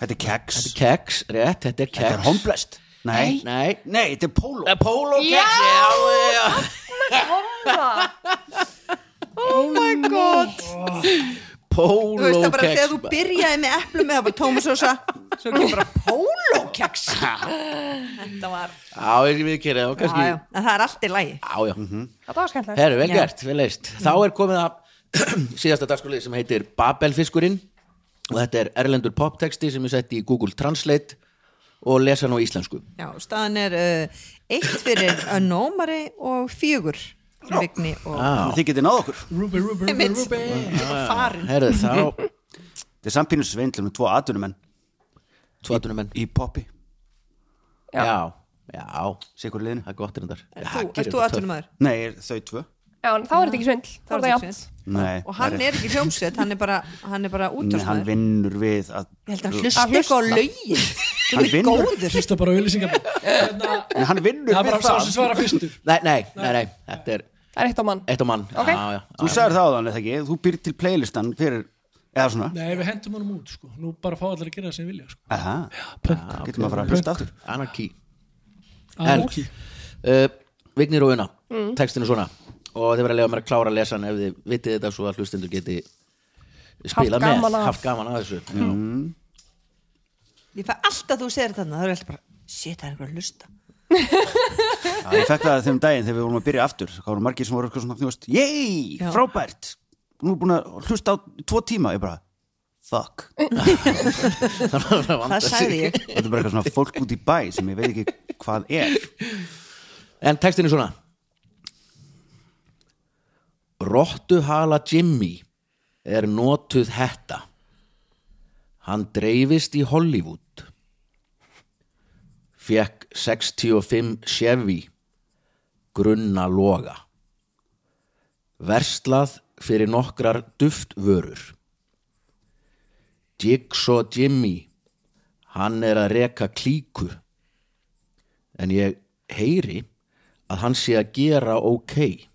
Speaker 3: Þetta er keks
Speaker 1: Þetta er keks, rétt, þetta er keks
Speaker 3: Þetta er homblest Nei,
Speaker 1: Nei,
Speaker 3: nei, þetta er polo
Speaker 1: Eh, póló keks
Speaker 5: Já!
Speaker 1: já, já.
Speaker 5: Komla
Speaker 6: Oh my god Þú veist það
Speaker 1: Póló
Speaker 6: bara þegar þú
Speaker 1: keks
Speaker 6: byrjaði með eplum með það var tómasósa Svo kemur bara pólókeks Þetta var
Speaker 1: Já, ég við kera það,
Speaker 6: já,
Speaker 1: kannski
Speaker 6: já. En það er allt í lagi
Speaker 1: Já, já
Speaker 5: Þetta var skemmtilegt
Speaker 1: Herru, vel gert, vel leist. Þá er komið að síðasta dagskrálið sem heitir Babelfiskurinn og þetta er erlendur poptexti sem ég setti í Google Translate og lesa hann á íslensku.
Speaker 6: Já, staðan er uh, eitt fyrir eh, nómari og fjögur fyrir Vigni og
Speaker 1: Já,
Speaker 3: Þið getið náð okkur
Speaker 4: Ruby, Ruby, Ruby,
Speaker 6: Einmitt.
Speaker 4: Ruby
Speaker 6: og farin
Speaker 1: herru, þá
Speaker 3: Þetta er sampínu sveindlum með tvo atvinnumenn
Speaker 1: tvoðunum enn.
Speaker 3: í poppi,
Speaker 5: Já.
Speaker 1: Já, já,
Speaker 3: sikur liðinu
Speaker 1: það er gott reyndar. Já,
Speaker 6: Þú,
Speaker 1: Ah, gerir
Speaker 6: ert
Speaker 1: þetta
Speaker 6: þú aðtunum aður?
Speaker 3: Nei, er þau tvö
Speaker 5: Já, en þá er þetta ekki svindl Þá er þetta jafn
Speaker 3: Nei,
Speaker 6: Og hann
Speaker 3: það
Speaker 6: er ekki hljómsveit, hann er bara, hann er bara
Speaker 3: Nei, hann
Speaker 6: útráðsmaður
Speaker 3: vinnur við að
Speaker 6: Ég held að hann
Speaker 5: Að
Speaker 6: hlusta eitthvað á
Speaker 5: hlusta.
Speaker 6: lögin
Speaker 3: Hann
Speaker 6: Þú er
Speaker 3: vinnur.
Speaker 6: góður
Speaker 4: Hlusta bara á auðlýsingar Hérna,
Speaker 3: Nei, hann vinnur
Speaker 4: Það
Speaker 3: við
Speaker 4: var á sá sem
Speaker 3: það
Speaker 4: svara fyrstur
Speaker 1: töff. Nei, nei, nei, nei, þetta er
Speaker 5: Það er eitt á mann
Speaker 1: eitt á mann.
Speaker 5: Ok.
Speaker 1: Já, já,
Speaker 3: Þú sagðir það á þannig ekki, þú býr til playlistan fyrir, eða svona
Speaker 4: Nei, við hendum honum út sko. Nú bara fá allir að gera það sem vilja sko.
Speaker 3: Aha, getur maður að fara að hlusta aftur
Speaker 1: anarkí. En-
Speaker 4: Anarki.
Speaker 1: Uh, Vignir og Una, mm. textin er svona og þið verða að lega mér að klára að lesa hann ef þið vitið þetta svo að hlustendur geti spilað með,
Speaker 5: gaman af.
Speaker 1: haft gaman að þessu. Já.
Speaker 6: Ég fæ alltaf þú segir þetta þannig, það er alltaf bara Shit, það er einhver að hlusta
Speaker 3: Já, Ég fekk það þeim daginn þegar við vorum að byrja aftur þá voru margir sem voru eitthvað svona þjóðast Yey,
Speaker 6: Já.
Speaker 3: frábært Nú er búin að hlusta á tvo tíma Ég bara, fuck
Speaker 6: Það sagði ég
Speaker 3: Þetta er bara eitthvað svona fólk út í bæ sem ég veit ekki hvað er
Speaker 1: En textin er svona Rottuhala Jimmy er notuð hetta Hann dreifist í Hollywood Fekk 65 Chevy Grunna loga Verslað fyrir nokkrar duftvörur Jigsaw Jimmy Hann er að reka klíku en ég heyri að hann sé að gera ok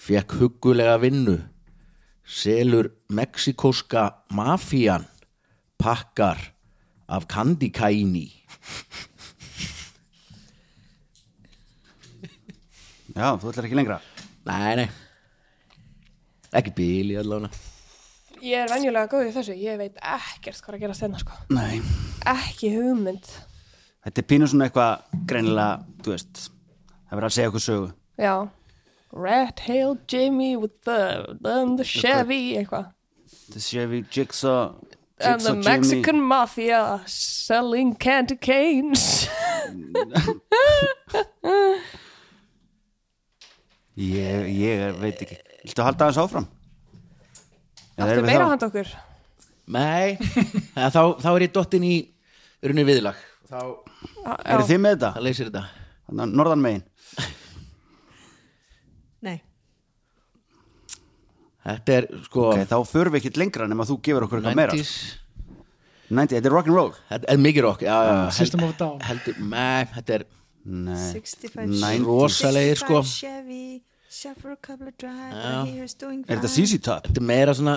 Speaker 1: fekk huggulega vinnu selur mexikóska mafían pakkar af kandikæni
Speaker 3: Já, þú ætlar ekki lengra
Speaker 1: nei, nei ekki bíl í allavega
Speaker 5: Ég er venjulega góð í þessu Ég veit ekkert hvað er að gera stendna sko
Speaker 3: Nei,
Speaker 5: Ekki hugmynd
Speaker 3: þetta er pínu svona eitthvað greinilega, þú veist Það verður að segja okkur sögu
Speaker 5: Já Red Hail Jimmy with the, the, the Chevy eitthvað
Speaker 3: The Chevy Jigsaw
Speaker 5: And
Speaker 3: Jigsaw
Speaker 5: Uh, the
Speaker 3: Jimmy.
Speaker 5: Mexican Mafia selling candy canes
Speaker 3: Ég, ég er- veit ekki Viltu að halda aðeins áfram? Eða
Speaker 5: Þetta
Speaker 3: erum
Speaker 5: er
Speaker 3: við
Speaker 5: meira
Speaker 3: þá-
Speaker 5: handa okkur
Speaker 1: nei, þá, þá, þá er ég dottin í runni viðlag þá,
Speaker 3: Eru þið með
Speaker 1: þá
Speaker 3: þetta?
Speaker 1: leysir þetta
Speaker 3: Þarna Norðan megin
Speaker 6: Nei,
Speaker 1: þetta er sko
Speaker 3: okay, Þá förum við ekkert lengra nema þú gefur okkur eitthvað meira
Speaker 1: 90s
Speaker 3: 90, þetta er rock'n'roll
Speaker 1: þetta er mikið rokk já, já, já,
Speaker 4: System of a Down.
Speaker 1: heldur, nei, þetta er
Speaker 6: 65
Speaker 3: Nei.
Speaker 1: rosalegir sko
Speaker 6: 65 Chevy, Chevrolet Cobra Drive, I hear it's doing
Speaker 3: Er þetta
Speaker 6: fine.
Speaker 3: CC Top?
Speaker 1: þetta er meira svona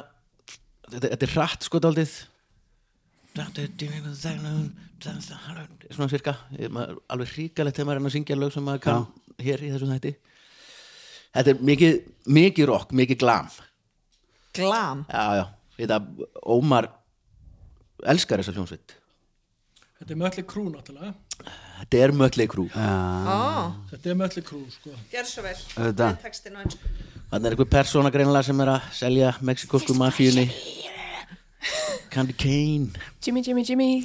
Speaker 1: þetta, þetta er hratt sko daldið svona cirka Ég- maður- alveg hríkalegt þegar maður er enn að syngja lög sem maður kann hér í þessum þætti þetta er mikið, mikið rock, mikið glam
Speaker 6: Glam
Speaker 1: já, já, þetta Ómar elskar þessa hljómsveit
Speaker 4: Þetta er mölli krú náttúrulega
Speaker 1: þetta er mötli krú
Speaker 6: Ó,
Speaker 4: Þetta er mölli krú sko.
Speaker 6: gerð svo vel
Speaker 3: Ah. Auðvitað.
Speaker 6: Textin og ennsku
Speaker 1: Þannig er einhver persóna greinlega sem er að selja mexikosku mafíunni Candy Cane
Speaker 5: Jimmy, Jimmy, Jimmy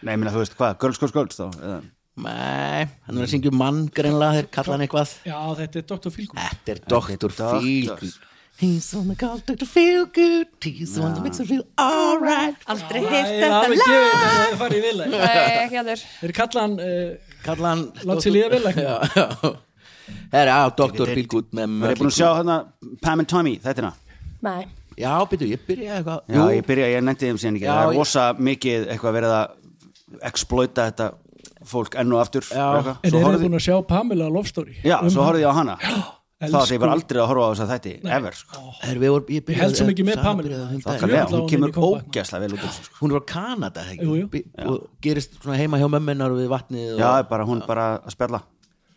Speaker 3: Nei, minna, þú veist hvað, girls, girls, girls þá eða,
Speaker 1: Nei, hann er að syngja um mann greinlega þeir kalla hann eitthvað
Speaker 4: Já, þetta er Dr. Fílgur
Speaker 1: Þetta er Dr.
Speaker 3: Dr.
Speaker 1: Feelgood He's on the call Dr. Feelgood He's the one that makes her feel alright
Speaker 6: Aldrei heyrt
Speaker 4: Það er
Speaker 6: þetta
Speaker 4: alveg
Speaker 6: lag
Speaker 4: gefið, það er farið í viðlega
Speaker 5: Nei, ekki allir
Speaker 4: Þeir kalla hann uh,
Speaker 1: Kalla hann
Speaker 4: Látt sér líða vel ekki.
Speaker 1: Já, já Það er á Dr. Feelgood með
Speaker 3: Við erum búin að sjá hérna Pam and Tommy, þetta er hana
Speaker 5: Nei,
Speaker 1: Já, byrju, ég byrja eitthvað
Speaker 3: Já,
Speaker 1: Jú,
Speaker 3: ég byrja, ég nefndi þeim síðan ekki
Speaker 1: Já,
Speaker 3: Það er
Speaker 1: ég-
Speaker 3: rosa mikið eitthvað verið að exploita þetta fólk enn og aftur
Speaker 1: Já.
Speaker 3: eitthvað.
Speaker 4: En
Speaker 3: Svo
Speaker 4: eru þið
Speaker 3: horfði-
Speaker 4: búin að sjá Pamela Love Story Um
Speaker 3: Já, svo horfði ég á hana
Speaker 4: elsku.
Speaker 3: Það sem ég var aldrei að horfa á þess að þetta, ever sko.
Speaker 1: Herru, við vorum- ég
Speaker 4: Ég
Speaker 1: byrjaði
Speaker 4: held svo mikið með
Speaker 1: sama
Speaker 4: Pamela.
Speaker 1: byrjaði á þeim
Speaker 4: Það
Speaker 1: daginn.
Speaker 3: Þannig
Speaker 4: Jú,
Speaker 3: að
Speaker 4: allavega
Speaker 3: hún
Speaker 4: hún
Speaker 3: kemur
Speaker 4: er í comeback.
Speaker 3: ógæslega vel út úr sér sko.
Speaker 1: Hún er á Kanada, ekki?
Speaker 4: Jú, jú.
Speaker 1: Bi- Og gerist svona heima hjá mömmunar við vatnið og...
Speaker 3: Já, bara, hún bara að spjalla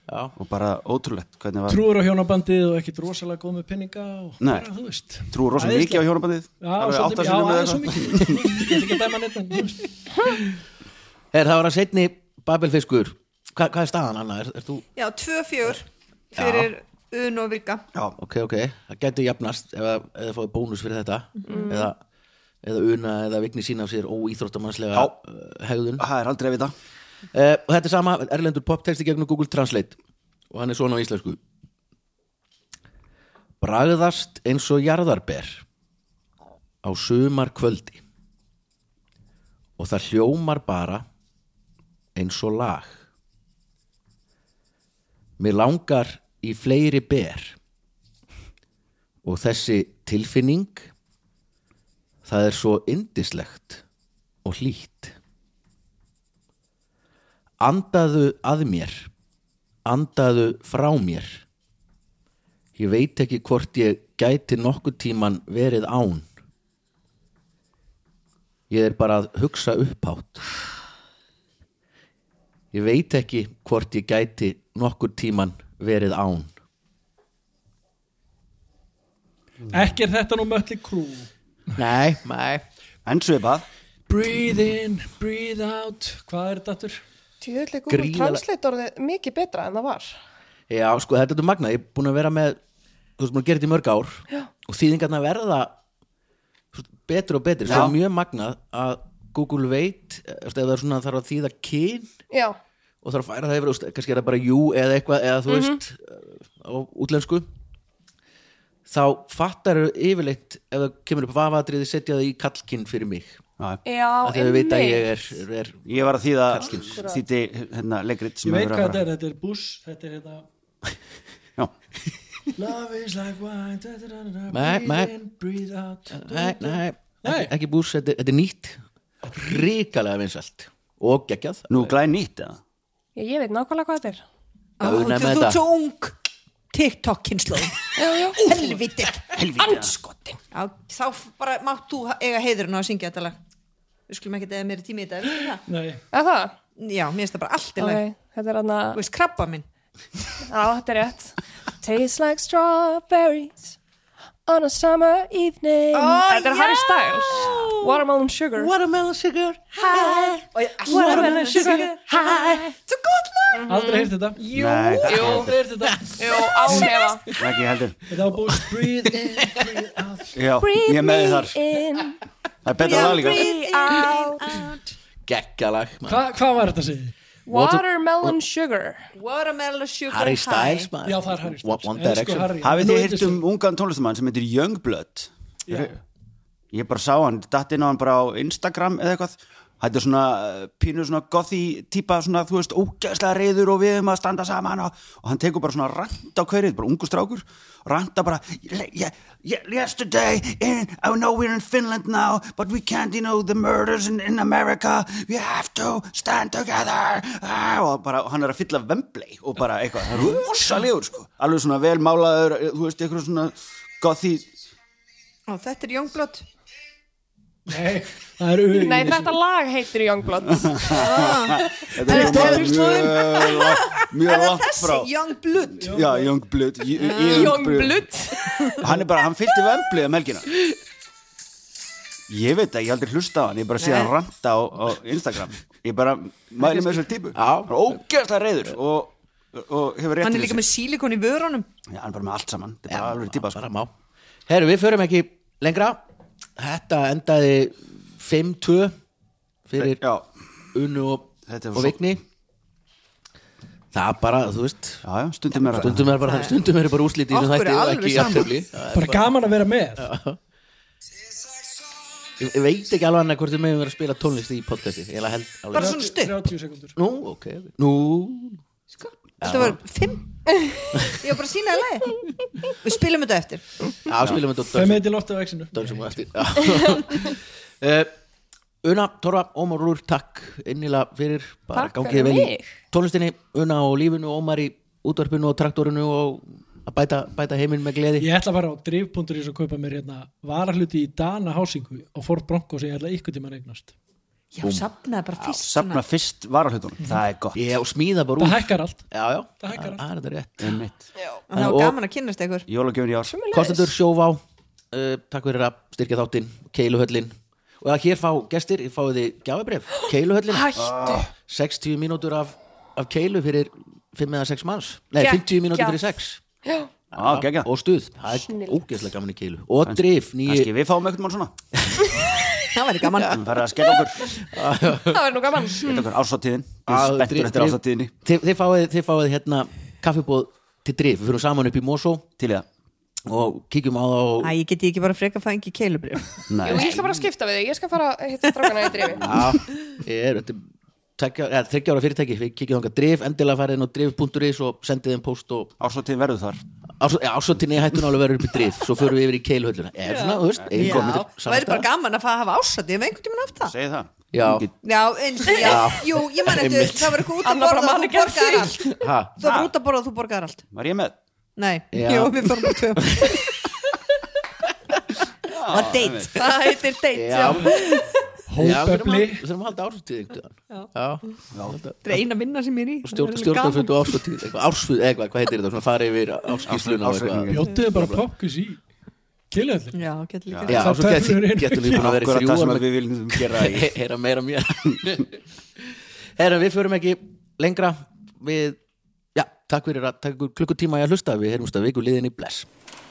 Speaker 1: Já.
Speaker 3: og bara ótrúlegt hvernig var
Speaker 4: Trúur á hjónabandið og ekkit rosalega góð með pinninga
Speaker 3: um-
Speaker 4: og
Speaker 3: Nei.
Speaker 4: bara, þú veist
Speaker 3: Trú rosa
Speaker 4: Æðislegt.
Speaker 3: mikið á hjónabandið
Speaker 4: Já,
Speaker 3: Alveg átta
Speaker 4: svolítið, já,
Speaker 3: sinnum eða
Speaker 4: aðeins svo
Speaker 3: eitthvað.
Speaker 4: mikið Ég ætla ekki að dæma neitt en, þú veist.
Speaker 1: Er það var að setni Babelfiskur Hva, Hvað er staðan Anna? Er, er þú...
Speaker 6: Já, tvö fjör fyrir un og virka
Speaker 3: Já,
Speaker 1: Ok, ok, það getur jafnast ef að- ef þið fáið bónus fyrir þetta eða, eða una eða vigni sína af sér óíþróttamannslega
Speaker 3: Já.
Speaker 1: uh, hegðun uh,
Speaker 3: það er aldrei að vita
Speaker 1: Eh, og Þetta er sama erlendur poptexti gegnum Google Translate og hann er svona á íslensku Bragðast eins og jarðarber á sumar kvöldi og það hljómar bara eins og lag Mér langar í fleiri ber og þessi tilfinning það er svo indislegt og hlýtt Andaðu að mér Andaðu frá mér Ég veit ekki hvort ég gæti nokkuð tíman verið án Ég er bara að hugsa upphátt Ég veit ekki hvort ég gæti nokkuð tíman verið án
Speaker 4: Ekki er þetta nú mötli krú
Speaker 1: Nei, nei
Speaker 3: En svipað,
Speaker 4: Breathe in, breathe out Hvað er þetta aftur?
Speaker 5: tjóðlega Google
Speaker 1: Gríðarlega-
Speaker 5: Translate orðið mikið betra en það var
Speaker 1: Já, sko, þetta er þetta magna, ég er búin að vera með þú veist, búin að gera þetta í mörg ár Já. og þýðingarna verða svo betri og betri, það
Speaker 3: Já.
Speaker 1: er mjög magnað að Google veit, eftir ef það er svona þarf að þýða kyn
Speaker 5: Já,
Speaker 1: og þarf að færa það yfir, þú veist, kannski er það bara jú eða eitthvað, eða þú veist eh, á útlensku þá fattar þau yfirleitt ef það kemur upp vafatriði, setja það í kallkinn fyrir mig,
Speaker 3: já,
Speaker 5: já,
Speaker 1: að þau veit að ég er, er
Speaker 3: ég var að þýða þýtti hérna leikrit sem
Speaker 4: Ég veit
Speaker 3: hefur
Speaker 4: hvað
Speaker 3: að
Speaker 4: þetta
Speaker 3: fara
Speaker 4: er, þetta er Bush Þetta er hérna
Speaker 3: Já,
Speaker 4: Love is like wine da, da, da, da, da,
Speaker 1: Nei,
Speaker 4: Breathe
Speaker 1: nei.
Speaker 4: in, breathe out da, da,
Speaker 1: Nei,
Speaker 4: da.
Speaker 1: nei,
Speaker 4: Nei.
Speaker 1: Ekki, ekki bús, þetta, þetta er nýtt ríkalega vinsælt og geggjað
Speaker 3: nú glæði nýtt eða
Speaker 5: Ég, ég veit nákvæmlega hvað þetta er
Speaker 1: Já,
Speaker 6: Ó,
Speaker 1: við
Speaker 6: Þú
Speaker 1: nefnum
Speaker 6: þú
Speaker 1: þetta.
Speaker 6: ert svo ung TikTok kynnslóð Helviti
Speaker 5: Andskotin
Speaker 6: Já, Þá f- bara mátt þú ha- eiga heiðurinn á að syngja þetta lag Við skulum ekki eða mér tími í þetta er það?
Speaker 4: Nei,
Speaker 5: Er það?
Speaker 6: Já, mér finnst það bara allt í lagi
Speaker 5: Ok, þetta er hann
Speaker 6: Þú veist, krabba minn
Speaker 5: Já, þetta er rétt Tastes like strawberries On a summer evening Þetta er Harry Styles Watermelon sugar
Speaker 1: Watermelon sugar
Speaker 5: Watermelon sugar
Speaker 6: Svo gott lag
Speaker 4: aldrei heyrt þetta Jú,
Speaker 3: Nei, það-
Speaker 4: aldrei heyrt þetta
Speaker 5: Jú, ánefa
Speaker 3: ekki heldur
Speaker 4: Þetta var Bush Breathe in, breathe out
Speaker 3: Já, ég er með þið þar,
Speaker 5: in
Speaker 3: það er betra lag líka
Speaker 1: Geggjalag maður.
Speaker 4: Hva, Hvað var þetta að segja?
Speaker 5: Watermelon sugar
Speaker 6: Watermelon sugar
Speaker 1: Harry Styles maður.
Speaker 4: Já, það er Harry
Speaker 1: One,
Speaker 4: Styles
Speaker 1: one
Speaker 4: Elsku
Speaker 1: Direction
Speaker 4: Harry.
Speaker 3: Hafið
Speaker 4: Nú
Speaker 3: þið
Speaker 4: yndislegur.
Speaker 3: heyrt um ungan tónlistamann sem heitir Youngblood
Speaker 4: Já.
Speaker 3: Ég bara sá hann, datt inn á hann bara á Instagram eða eitthvað Þetta er svona uh, pínu svona gothi típa svona, þú veist, ógæslega reyður og við um að standa saman og, og hann tekur bara svona rant á hverjið, bara ungu strákur ranta bara yeah, yeah, yesterday, in, I know we're in Finland now, but we can't, you know the murders in, in America we have to stand together ah, og bara, hann er að fylla vemblei og bara eitthvað, það er rosalegur sko alveg svona velmálaður, þú veist, eitthvað svona gothi,
Speaker 6: Ó, Þetta er Jónblót
Speaker 4: Nei, það er auðvitað
Speaker 5: Nei, þetta lag heitir Youngblood
Speaker 3: þetta er mjög langt- mjög langt
Speaker 6: Þessi
Speaker 3: frá
Speaker 6: Jónblót
Speaker 3: Já, Youngblood J- Youngblood
Speaker 5: Youngblood
Speaker 3: Hann er bara, hann fylgti vemblið um helgina Ég veit það, ég hef aldrei hlusta á hann Ég bara sé hann ranta á, á Instagram Ég bara mæli með þessar típu
Speaker 1: Já.
Speaker 3: Hann er ógeðslega reyður og og hefur rétt
Speaker 6: hann er
Speaker 3: fyrir
Speaker 6: líka með sílikon í vörunum
Speaker 3: sér. Já, hann er bara með allt saman, þetta er bara alveg típa sko.
Speaker 1: bara má Herru, við förum ekki lengra Þetta endaði 5-2 fyrir
Speaker 3: Já,
Speaker 1: Unnu og,
Speaker 3: Þetta var
Speaker 1: og
Speaker 3: svo-
Speaker 1: Vigni Það er bara, þú veist
Speaker 3: já, já, stundum er
Speaker 1: Stundum er bara, stundum er bara úslítið sem
Speaker 6: Okkur er
Speaker 1: þætti og
Speaker 6: alveg
Speaker 1: ekki
Speaker 6: sama.
Speaker 1: jafntefli.
Speaker 4: bara gaman að vera með
Speaker 1: Ég ég veit ekki alveg annað hvort þið meðum vera að spila tónlist í podcasti Ég held
Speaker 6: Bara
Speaker 1: alveg
Speaker 6: svona stutt.
Speaker 4: 30 sekundur
Speaker 1: Nú, ok Nú
Speaker 6: þetta var fimm ég var bara að sína að lagi við spilum þetta eftir
Speaker 1: Já, spilum við
Speaker 4: það
Speaker 1: þetta
Speaker 4: er með til loftið á exinu
Speaker 1: dansum og eftir uh, Una, Torfa, Ómar og Rúr, takk innilega fyrir, bara
Speaker 5: Takk
Speaker 1: gangið
Speaker 5: fyrir
Speaker 1: vel í
Speaker 5: mig.
Speaker 1: tónlistinni, Una og lífinu Ómar í útvarpinu og traktorinu og að bæta, bæta heiminn með gleði
Speaker 4: ég ætla að fara á drif.is og kaupa mér hérna varahluti í Dana Hásingu og Ford Bronco sem ég ætla ykkur tíma að eignast
Speaker 6: já, safnaði bara fyrst
Speaker 3: Safna fyrst varahlutunum, það er gott
Speaker 1: ég og smíða bara
Speaker 4: það
Speaker 1: úr
Speaker 4: hækkar allt
Speaker 1: Já, já,
Speaker 4: Það hækkar
Speaker 1: það er þetta rétt
Speaker 3: Einmitt.
Speaker 6: og það
Speaker 1: Og-
Speaker 6: var gaman að kynnast ykkur
Speaker 3: Jólagjöfin í ár
Speaker 1: Kostendur sjóvá, uh, takk fyrir að styrkja þáttinn, keiluhöllin og að hér fá gestir, ég fáið þið gjafabrif, keiluhöllin
Speaker 5: Hættu
Speaker 1: 60 mínútur af, af keilu fyrir 5 eða 6 manns, nei
Speaker 5: Geggjað.
Speaker 1: 50 mínútur fyrir 6
Speaker 5: Já,
Speaker 3: Já, geggjað.
Speaker 1: og stuð, það er ógeðslega gaman í keilu og drif, nýju
Speaker 3: Kannski við fáum einhvern mann svona
Speaker 6: það væri gaman
Speaker 3: Við verðum að skella okkur,
Speaker 5: það var nú gaman
Speaker 3: skella okkur ásatíðin Ég er spenntur eftir ásatíðinni
Speaker 1: Ah, þið, þið, fáið, þið fáið hérna kaffibóð til drif, við fyrir saman upp í Mosó
Speaker 3: Til í það
Speaker 1: og kíkjum á það og
Speaker 6: Æ, ég geti ekki bara freka að fengi keilubrif
Speaker 3: Nei.
Speaker 5: Jú, ég ætla bara að skipta við þig, ég skal fara að hitta strákana í drifi
Speaker 1: Já, ég er þetta er þryggja ára fyrirtæki, við kíkjum þangað drif endilega farið inn á drif.is og sendið þeim post og
Speaker 3: Ásatíðin verður þar
Speaker 1: ásvöndinni hættun alveg verður upp í drif svo förum við yfir í keiluhölluna er svona, þú veist,
Speaker 6: já,
Speaker 1: einhver myndir
Speaker 6: það væri bara gaman að fá að hafa ásætti ef einhvern tímann haft það
Speaker 3: Segði það
Speaker 1: Já.
Speaker 3: Engin-
Speaker 6: já, eins og já, jú, ég man eftir
Speaker 1: Einmitt.
Speaker 6: það var eitthvað út að
Speaker 5: Anna bara
Speaker 6: borða og
Speaker 5: man
Speaker 6: þú
Speaker 5: ekki eftir
Speaker 6: borgar
Speaker 5: því.
Speaker 6: allt
Speaker 1: gaman
Speaker 6: það var út að borða og þú borgar allt
Speaker 3: Var ég með?
Speaker 6: nei,
Speaker 1: Já.
Speaker 6: já, við fórum að tvö og date, það heitir date
Speaker 1: Já,
Speaker 6: já.
Speaker 1: Hópefli
Speaker 4: Hópefli.
Speaker 1: Við þurfum að halda ársfutíð einhvern veginn. Já.
Speaker 6: þetta er eina minna sem ég er í Það er gaman.
Speaker 1: Stjórnafund og ársfutíð eitthvað, Ársfutíð, eitthvað, hvað heitir þetta? Svona farið yfir árskísluna og eitthvað.
Speaker 3: Ársreikningin.
Speaker 4: bjóttuðu bara popkus í keiluhöllin
Speaker 6: já, getur líka
Speaker 1: Já,
Speaker 4: Það
Speaker 1: svo
Speaker 4: töflur
Speaker 1: getur
Speaker 4: eru
Speaker 1: getur
Speaker 3: Akkurat
Speaker 1: líka búin að vera í þrjú
Speaker 3: það sem
Speaker 1: ár
Speaker 3: að við viljum gera í-
Speaker 1: með Heyra meira mér Herra, við förum ekki lengra Við, já, takk fyrir að takk ykkur klukkutíma í að hlusta Við heyrumst að viku liðin í bless